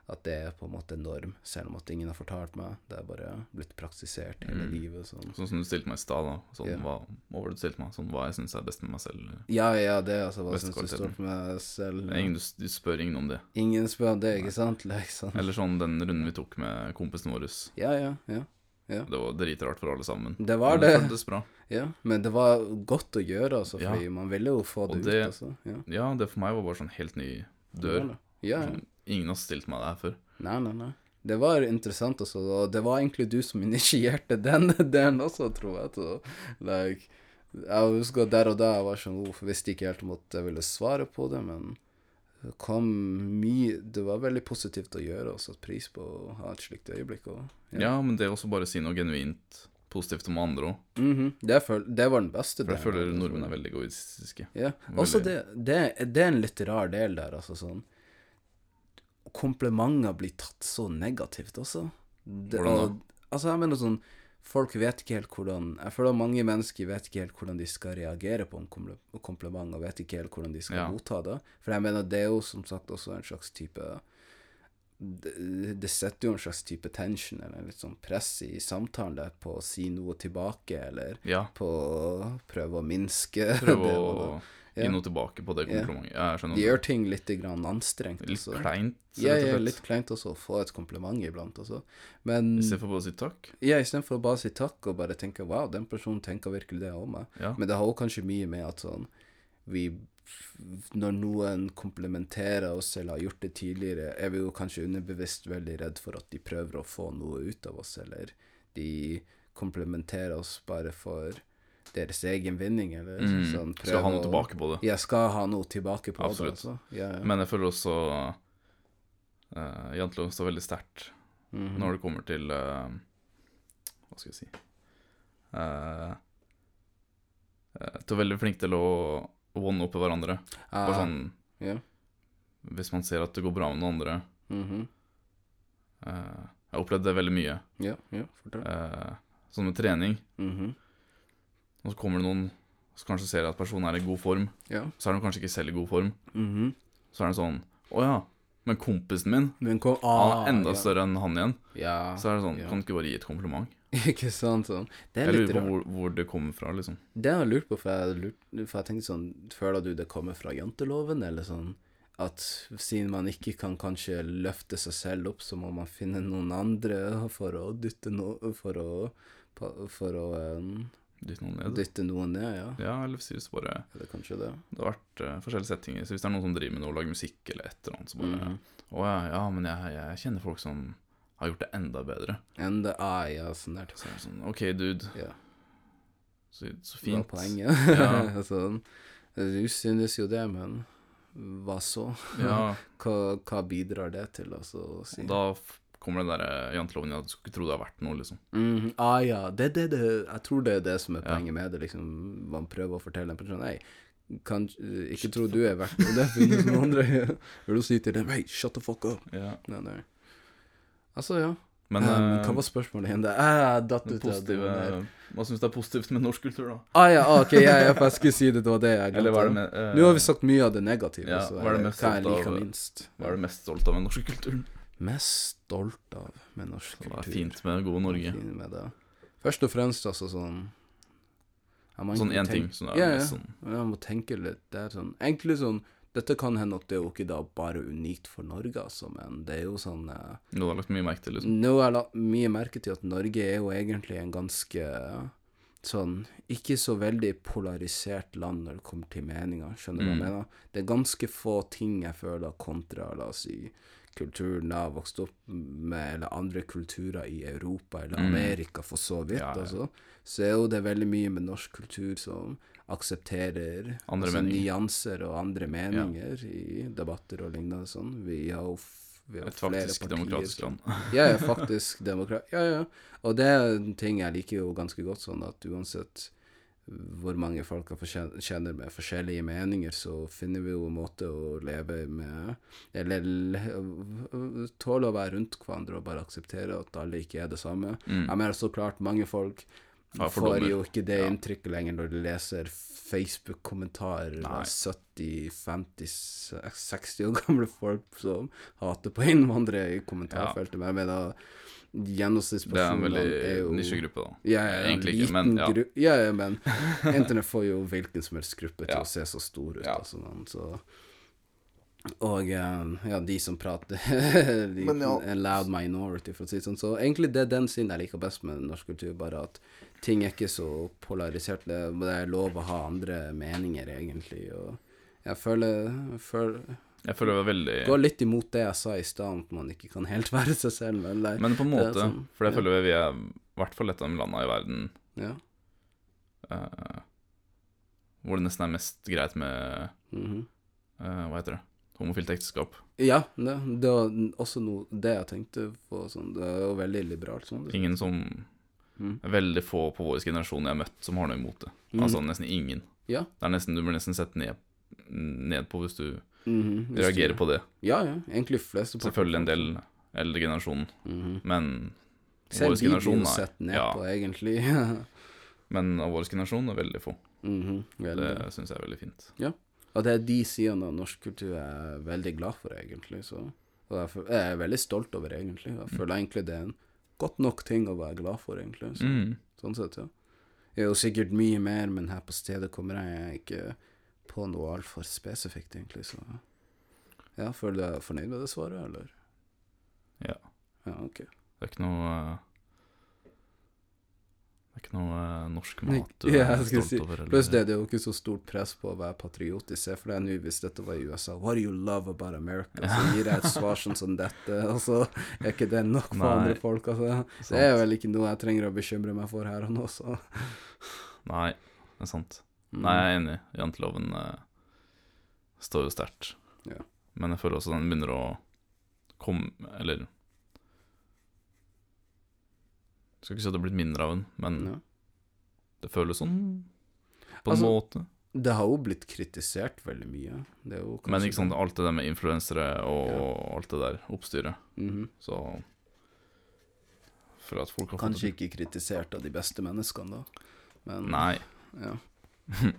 [SPEAKER 2] at det er på en måte norm, selv om at ingen har fortalt meg. Det er bare blitt praktisert hele
[SPEAKER 1] Mm.
[SPEAKER 2] livet. sånn.
[SPEAKER 1] Sånn som du stilte meg i stad, da. Sånn,
[SPEAKER 2] Ja.
[SPEAKER 1] hva, hva var det du stilte meg? Sånn, hva jeg syns er best med meg selv.
[SPEAKER 2] Ja, ja, det er altså hva
[SPEAKER 1] Beste
[SPEAKER 2] syns du
[SPEAKER 1] kvaliteten.
[SPEAKER 2] står på meg selv?
[SPEAKER 1] Det er Ingen, du, s- du spør ingen om det.
[SPEAKER 2] Ingen spør om det, ikke sant? Liksom.
[SPEAKER 1] Eller sånn den runden vi tok med kompisen vår.
[SPEAKER 2] Ja, ja, ja.
[SPEAKER 1] Det var dritrart for alle sammen.
[SPEAKER 2] Det var
[SPEAKER 1] Men det
[SPEAKER 2] det.
[SPEAKER 1] føltes bra.
[SPEAKER 2] Ja, men det var godt å gjøre, altså,
[SPEAKER 1] Ja.
[SPEAKER 2] fordi man ville jo få det,
[SPEAKER 1] Og det-
[SPEAKER 2] ut, altså. Ja.
[SPEAKER 1] Ja, det for meg var bare sånn helt ny dør.
[SPEAKER 2] Ja, ja.
[SPEAKER 1] Sånn, Ingen har stilt meg det her før.
[SPEAKER 2] Nei, nei, nei. Det var interessant, altså, og det var egentlig du som initierte den delen også, tror jeg. Så, like, jeg husker der og da jeg var sånn uff, visste ikke helt om at jeg ville svare på det, men det kom mye Det var veldig positivt å gjøre og satt pris på å ha et slikt øyeblikk. Og,
[SPEAKER 1] Ja. men det er også bare å si noe genuint positivt om andre òg.
[SPEAKER 2] Mhm, det, føl, det var den beste
[SPEAKER 1] For jeg
[SPEAKER 2] delen,
[SPEAKER 1] føler
[SPEAKER 2] altså.
[SPEAKER 1] nordmenn er veldig egoistiske.
[SPEAKER 2] Ja.
[SPEAKER 1] Veldig.
[SPEAKER 2] Også det, det, det er en litt rar del der, altså sånn Komplimenter blir tatt så negativt også. Det,
[SPEAKER 1] Hvordan da?
[SPEAKER 2] og- altså, jeg mener sånn Folk vet ikke helt hvordan Jeg føler mange mennesker vet ikke helt hvordan de skal reagere på en komple- kompliment, og vet ikke helt hvordan de skal
[SPEAKER 1] Ja.
[SPEAKER 2] motta det. For jeg mener, det er jo som sagt også en slags type det, det setter jo en slags type tension, eller litt sånn press i samtalen der på å si noe tilbake, eller
[SPEAKER 1] Ja.
[SPEAKER 2] på å prøve å minske
[SPEAKER 1] Prøve
[SPEAKER 2] det
[SPEAKER 1] å
[SPEAKER 2] man-
[SPEAKER 1] gi noe tilbake på det
[SPEAKER 2] Ja.
[SPEAKER 1] komplimentet. Ja, jeg skjønner.
[SPEAKER 2] de gjør ting litt grann anstrengt.
[SPEAKER 1] Litt
[SPEAKER 2] Også.
[SPEAKER 1] kleint,
[SPEAKER 2] Ja,
[SPEAKER 1] rett og
[SPEAKER 2] ja,
[SPEAKER 1] slett.
[SPEAKER 2] litt kleint også å få et kompliment iblant. Også. Men
[SPEAKER 1] Istedenfor bare å si takk.
[SPEAKER 2] ja, istedenfor å bare si takk og bare tenke 'wow, den personen tenker virkelig det om meg'.
[SPEAKER 1] Ja.
[SPEAKER 2] Men det har òg kanskje mye med at sånn vi Når noen komplimenterer oss eller har gjort det tidligere, er vi jo kanskje underbevisst veldig redd for at de prøver å få noe ut av oss, eller de komplimenterer oss bare for deres egen vinning, eller
[SPEAKER 1] Mm.
[SPEAKER 2] sånn
[SPEAKER 1] Skal ha
[SPEAKER 2] prøver
[SPEAKER 1] noe
[SPEAKER 2] å-
[SPEAKER 1] tilbake på det.
[SPEAKER 2] Jeg skal ha noe tilbake på
[SPEAKER 1] Absolutt.
[SPEAKER 2] det, altså. Ja, ja.
[SPEAKER 1] Men jeg føler også uh, janteloven står veldig sterkt
[SPEAKER 2] Mhm.
[SPEAKER 1] når det kommer til eh, Hva skal jeg si Eh, eh, Til å veldig flink til å one-uppe hverandre.
[SPEAKER 2] Ah,
[SPEAKER 1] Bare sånn
[SPEAKER 2] ja.
[SPEAKER 1] Hvis man ser at det går bra med noen andre
[SPEAKER 2] mhm.
[SPEAKER 1] eh, Jeg har opplevd det veldig mye.
[SPEAKER 2] Ja, ja, fortell.
[SPEAKER 1] eh, sånn med trening.
[SPEAKER 2] Mhm.
[SPEAKER 1] Og så kommer det noen som kanskje ser at personen er i god form.
[SPEAKER 2] Ja.
[SPEAKER 1] Så er de kanskje ikke selv i god form.
[SPEAKER 2] Mhm.
[SPEAKER 1] Så er det sånn Å ja, men kompisen min,
[SPEAKER 2] Men kom
[SPEAKER 1] han
[SPEAKER 2] ah,
[SPEAKER 1] er enda
[SPEAKER 2] ja.
[SPEAKER 1] større enn han igjen.
[SPEAKER 2] Ja,
[SPEAKER 1] Så er det sånn,
[SPEAKER 2] ja.
[SPEAKER 1] kan du ikke bare gi et kompliment?
[SPEAKER 2] ikke sant? Sånn. Det er
[SPEAKER 1] Jeg
[SPEAKER 2] litt
[SPEAKER 1] lurer på
[SPEAKER 2] rart.
[SPEAKER 1] hvor, hvor det kommer fra, liksom.
[SPEAKER 2] Det har jeg lurt på, for jeg, lurt, for jeg tenkte sånn Føler du det kommer fra janteloven, eller sånn? At siden man ikke kan kanskje løfte seg selv opp, så må man finne noen andre for å dytte noe For å, pa- for å eh,
[SPEAKER 1] Dytte noen ned.
[SPEAKER 2] dytte noen ned, ja.
[SPEAKER 1] Ja, eller hvis det bare
[SPEAKER 2] Eller kanskje det.
[SPEAKER 1] Det har vært eh, forskjellige settinger. Så hvis det er noen som driver med noe, lager musikk eller et eller annet, så bare
[SPEAKER 2] Mhm.
[SPEAKER 1] Å ja, ja, men jeg, jeg kjenner folk som har gjort det enda bedre.
[SPEAKER 2] Enda ah, ja, sånn der.
[SPEAKER 1] Så er det sånn OK, dude.
[SPEAKER 2] Ja.
[SPEAKER 1] Så, så
[SPEAKER 2] Det var
[SPEAKER 1] fint.
[SPEAKER 2] poenget.
[SPEAKER 1] Ja.
[SPEAKER 2] sånn. Du synes jo det, men hva så?
[SPEAKER 1] Ja,
[SPEAKER 2] Hva, hva bidrar det til, altså? Å si?
[SPEAKER 1] og da f- kommer den der janteloven i at du skulle ikke tro det har vært noe, liksom.
[SPEAKER 2] Mhm. ah ja, det, er det, det, jeg tror det er det som er
[SPEAKER 1] Ja.
[SPEAKER 2] poenget med det. Liksom. Man prøver å fortelle en person Nei, kan, eh, ikke tro du er verdt noe, det finnes noen andre. Vil du si til dem Hei, shut the fuck up?
[SPEAKER 1] Ja.
[SPEAKER 2] Nei, nei. Altså, ja.
[SPEAKER 1] Men
[SPEAKER 2] Eh,
[SPEAKER 1] eh,
[SPEAKER 2] hva var spørsmålet igjen? Det eh, datt
[SPEAKER 1] det
[SPEAKER 2] ut. ja, det
[SPEAKER 1] positive,
[SPEAKER 2] var der.
[SPEAKER 1] hva syns du er positivt med norsk kultur, da?
[SPEAKER 2] Ah, ja, ah, ok, ja, ja, for jeg skulle si det, det var det jeg glemte.
[SPEAKER 1] Eller hva er det, med, eh,
[SPEAKER 2] Nå har vi sagt mye av det negative,
[SPEAKER 1] Ja,
[SPEAKER 2] så
[SPEAKER 1] hva er det
[SPEAKER 2] eller
[SPEAKER 1] mest
[SPEAKER 2] hva jeg
[SPEAKER 1] stolt av-
[SPEAKER 2] liker minst.
[SPEAKER 1] hva er du mest stolt av med norsk kultur?
[SPEAKER 2] Mest stolt av med norsk kultur.
[SPEAKER 1] Hva er fint med gode Norge?
[SPEAKER 2] Fint med det. Først og fremst, altså, sånn jeg må
[SPEAKER 1] Sånn én
[SPEAKER 2] egentlig
[SPEAKER 1] ting
[SPEAKER 2] tenke-
[SPEAKER 1] som er
[SPEAKER 2] Ja, ja.
[SPEAKER 1] mest sånn
[SPEAKER 2] Jeg må tenke litt. Det er sånn Egentlig sånn Dette kan hende at det er jo ikke da bare unikt for Norge, altså, men det er jo sånn eh,
[SPEAKER 1] noe du har lagt mye merke til, liksom.
[SPEAKER 2] Nå har jeg lagt mye merke til at Norge er jo egentlig en ganske sånn ikke så veldig polarisert land når det kommer til meninger, skjønner du hva jeg
[SPEAKER 1] Mm.
[SPEAKER 2] mener? Det er ganske få ting jeg føler kontra, la oss si, kulturen jeg har vokst opp med, eller andre kulturer i Europa eller
[SPEAKER 1] Mm.
[SPEAKER 2] Amerika for så vidt,
[SPEAKER 1] Ja, ja.
[SPEAKER 2] altså. Så er jo det veldig mye med norsk kultur som aksepterer
[SPEAKER 1] Andre
[SPEAKER 2] altså,
[SPEAKER 1] meninger.
[SPEAKER 2] nyanser og andre meninger i debatter og lignende sånn. Vi har jo f- vi har
[SPEAKER 1] Et
[SPEAKER 2] flere
[SPEAKER 1] faktisk
[SPEAKER 2] partier
[SPEAKER 1] demokratisk
[SPEAKER 2] som-
[SPEAKER 1] land.
[SPEAKER 2] jeg er faktisk demokrat. Ja, ja. Og det er en ting jeg liker jo ganske godt, sånn at uansett hvor mange folk jeg forskje- kjenner med forskjellige meninger, så finner vi jo en måte å leve med Eller le- tåle å være rundt hverandre og bare akseptere at alle ikke er det samme.
[SPEAKER 1] Mm.
[SPEAKER 2] Jeg mener så klart, mange folk
[SPEAKER 1] Har
[SPEAKER 2] får
[SPEAKER 1] fordommer.
[SPEAKER 2] jo ikke det
[SPEAKER 1] Ja.
[SPEAKER 2] inntrykket lenger når de leser Facebook-kommentarer
[SPEAKER 1] Nei.
[SPEAKER 2] av 70, 50, se- 60 år gamle folk som hater på innvandrere i kommentarfeltet. Men jeg mener
[SPEAKER 1] Det er en
[SPEAKER 2] gjennomsnittspersonen
[SPEAKER 1] veldig
[SPEAKER 2] er jo
[SPEAKER 1] nisjegruppe, da.
[SPEAKER 2] ja, ja, en
[SPEAKER 1] Eh, Egentlig ikke,
[SPEAKER 2] liten
[SPEAKER 1] men ja.
[SPEAKER 2] gru- ja, ja, men internett får jo hvilken som helst gruppe til
[SPEAKER 1] Ja.
[SPEAKER 2] å se så stor ut.
[SPEAKER 1] Ja.
[SPEAKER 2] Altså, man, så. Og eh, ja, de som prater de,
[SPEAKER 1] Men ja.
[SPEAKER 2] A loud minority, for å si det sånn. Så egentlig det er den siden jeg liker best med norsk kultur, bare at ting er ikke så polarisert. Det, det er lov å ha andre meninger, egentlig. Og jeg føler, jeg føler
[SPEAKER 1] Jeg føler det var veldig
[SPEAKER 2] Går litt imot det jeg sa i stad, om at man ikke kan helt være seg selv, men det,
[SPEAKER 1] Men på en
[SPEAKER 2] det er
[SPEAKER 1] måte,
[SPEAKER 2] sånn,
[SPEAKER 1] for jeg
[SPEAKER 2] ja.
[SPEAKER 1] føler vi er i hvert fall et av de landene i verden
[SPEAKER 2] ja.
[SPEAKER 1] eh, hvor det nesten er mest greit med
[SPEAKER 2] mhm.
[SPEAKER 1] eh, Hva heter det? Homofilt ekteskap.
[SPEAKER 2] Ja, det, det var også noe det jeg tenkte på. Sånn, det er jo veldig liberalt. Sånn, det.
[SPEAKER 1] Ingen som
[SPEAKER 2] Mm.
[SPEAKER 1] det er Veldig få på vår generasjon jeg har møtt som har noe imot det.
[SPEAKER 2] Mhm.
[SPEAKER 1] Altså nesten ingen.
[SPEAKER 2] Ja.
[SPEAKER 1] Det er nesten, du blir nesten sett ned, ned på hvis du
[SPEAKER 2] Mhm, hvis
[SPEAKER 1] reagerer
[SPEAKER 2] du-
[SPEAKER 1] på det.
[SPEAKER 2] Ja, ja. Egentlig flest.
[SPEAKER 1] Selvfølgelig en del eldre generasjon,
[SPEAKER 2] Mhm.
[SPEAKER 1] men
[SPEAKER 2] Selv
[SPEAKER 1] vår
[SPEAKER 2] de blir
[SPEAKER 1] generasjon
[SPEAKER 2] jo
[SPEAKER 1] er-
[SPEAKER 2] sett ned
[SPEAKER 1] ja.
[SPEAKER 2] på, egentlig.
[SPEAKER 1] Men av vår generasjon er veldig få.
[SPEAKER 2] Mhm,
[SPEAKER 1] Det
[SPEAKER 2] veldig.
[SPEAKER 1] syns jeg er veldig fint.
[SPEAKER 2] Og det er de sidene av norsk kultur jeg er veldig glad for, egentlig. Så. Og jeg, føl- jeg er veldig stolt over, egentlig.
[SPEAKER 1] Mm.
[SPEAKER 2] Jeg føler egentlig det er en godt nok ting å være glad for, egentlig. Så.
[SPEAKER 1] Mm.
[SPEAKER 2] Sånn sett, ja. Det er jo sikkert mye mer, men her på stedet kommer jeg ikke på noe altfor spesifikt, egentlig, så Ja, føler du deg fornøyd med det svaret, eller?
[SPEAKER 1] Ja.
[SPEAKER 2] Ja, ok.
[SPEAKER 1] Det er ikke noe eh, Det er ikke noe eh, norsk
[SPEAKER 2] Nei,
[SPEAKER 1] mat du
[SPEAKER 2] ja,
[SPEAKER 1] er
[SPEAKER 2] jeg skulle
[SPEAKER 1] stolt
[SPEAKER 2] si-
[SPEAKER 1] over. eller-
[SPEAKER 2] Pluss det, det er jo ikke så stort press på å være patriotisk. Se for deg nå hvis dette var i USA, what do you love about America? Så gir jeg et svar sånn som dette, og så er ikke det nok for
[SPEAKER 1] Nei.
[SPEAKER 2] andre folk, altså.
[SPEAKER 1] Sant.
[SPEAKER 2] Det er vel ikke noe jeg trenger å bekymre meg for her og nå, så.
[SPEAKER 1] Nei, det er sant.
[SPEAKER 2] Mm.
[SPEAKER 1] Nei, jeg er enig. Janteloven eh, står jo sterkt.
[SPEAKER 2] Ja.
[SPEAKER 1] Men jeg føler også den begynner å komme Eller Skal ikke si at det er blitt mindre av den, men
[SPEAKER 2] Ja.
[SPEAKER 1] det føles sånn på en
[SPEAKER 2] Altså,
[SPEAKER 1] måte.
[SPEAKER 2] Det har jo blitt kritisert veldig mye. Det er jo kanskje
[SPEAKER 1] Men ikke sant, alt det der med influensere og alt det der oppstyret,
[SPEAKER 2] Mhm.
[SPEAKER 1] så For at folk har fått
[SPEAKER 2] Kanskje ikke kritisert av de beste menneskene, da. Men,
[SPEAKER 1] Nei.
[SPEAKER 2] Ja.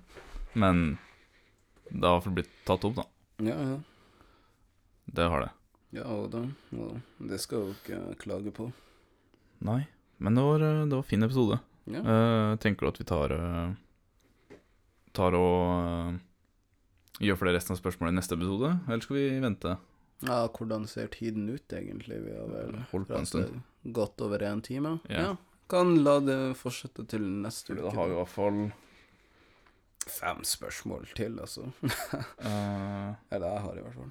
[SPEAKER 1] Men det har i hvert fall blitt tatt opp, da.
[SPEAKER 2] Ja, ja.
[SPEAKER 1] Det har det.
[SPEAKER 2] ja og da, og det skal jo ikke jeg klage på.
[SPEAKER 1] Nei. Men det var, eh, det var en fin episode.
[SPEAKER 2] Ja.
[SPEAKER 1] Eh, tenker du at vi tar eh, Tar og eh, gjør for det resten av spørsmålet i neste episode, eller skal vi vente?
[SPEAKER 2] ja, hvordan ser tiden ut, egentlig? Vi har vel
[SPEAKER 1] Holdt på en stund.
[SPEAKER 2] rastet godt over en time.
[SPEAKER 1] Ja.
[SPEAKER 2] Kan la det fortsette til neste
[SPEAKER 1] Fordi
[SPEAKER 2] uke.
[SPEAKER 1] da har vi i hvert fall
[SPEAKER 2] fem spørsmål til, altså.
[SPEAKER 1] eh,
[SPEAKER 2] Eller jeg har i hvert fall.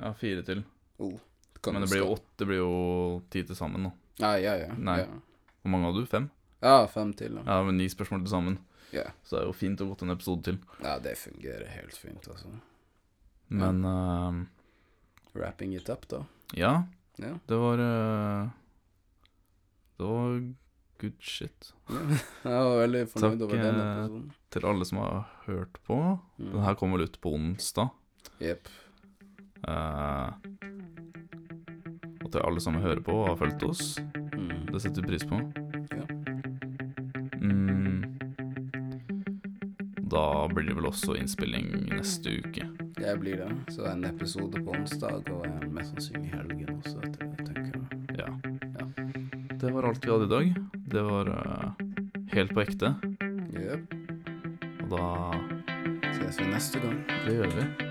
[SPEAKER 1] Ja, fire til.
[SPEAKER 2] Kan
[SPEAKER 1] Men
[SPEAKER 2] du
[SPEAKER 1] det blir jo
[SPEAKER 2] skal-
[SPEAKER 1] åtte, det blir jo ti til sammen nå.
[SPEAKER 2] Ja, ja, ja.
[SPEAKER 1] Nei.
[SPEAKER 2] Ja,
[SPEAKER 1] Hvor mange hadde du? Fem?
[SPEAKER 2] ja fem til. Ja.
[SPEAKER 1] Ja, men Ni spørsmål til sammen.
[SPEAKER 2] Ja.
[SPEAKER 1] Så det er jo fint å gå til en episode til.
[SPEAKER 2] ja, det fungerer helt fint, altså.
[SPEAKER 1] Men eh,
[SPEAKER 2] Wrapping it up, da.
[SPEAKER 1] Ja,
[SPEAKER 2] Ja.
[SPEAKER 1] det var eh, Det var good shit.
[SPEAKER 2] Jeg var veldig fornøyd
[SPEAKER 1] Takk,
[SPEAKER 2] over den
[SPEAKER 1] eh,
[SPEAKER 2] episoden.
[SPEAKER 1] Til alle som har hørt på.
[SPEAKER 2] Mm.
[SPEAKER 1] Den her kommer vel ut på onsdag.
[SPEAKER 2] Jepp.
[SPEAKER 1] Eh, og at alle sammen hører på og har fulgt oss.
[SPEAKER 2] Mm.
[SPEAKER 1] Det setter vi pris på.
[SPEAKER 2] Ja.
[SPEAKER 1] Mm. Da blir det vel også innspilling neste uke.
[SPEAKER 2] Det blir det. Så en episode på onsdag og en mest sannsynlig i helgen også, etter det, tenker jeg.
[SPEAKER 1] Ja.
[SPEAKER 2] Ja.
[SPEAKER 1] Det var alt vi hadde i dag. Det var eh, helt på ekte.
[SPEAKER 2] Jøp.
[SPEAKER 1] Og da
[SPEAKER 2] Ses vi neste gang.
[SPEAKER 1] Det gjør vi.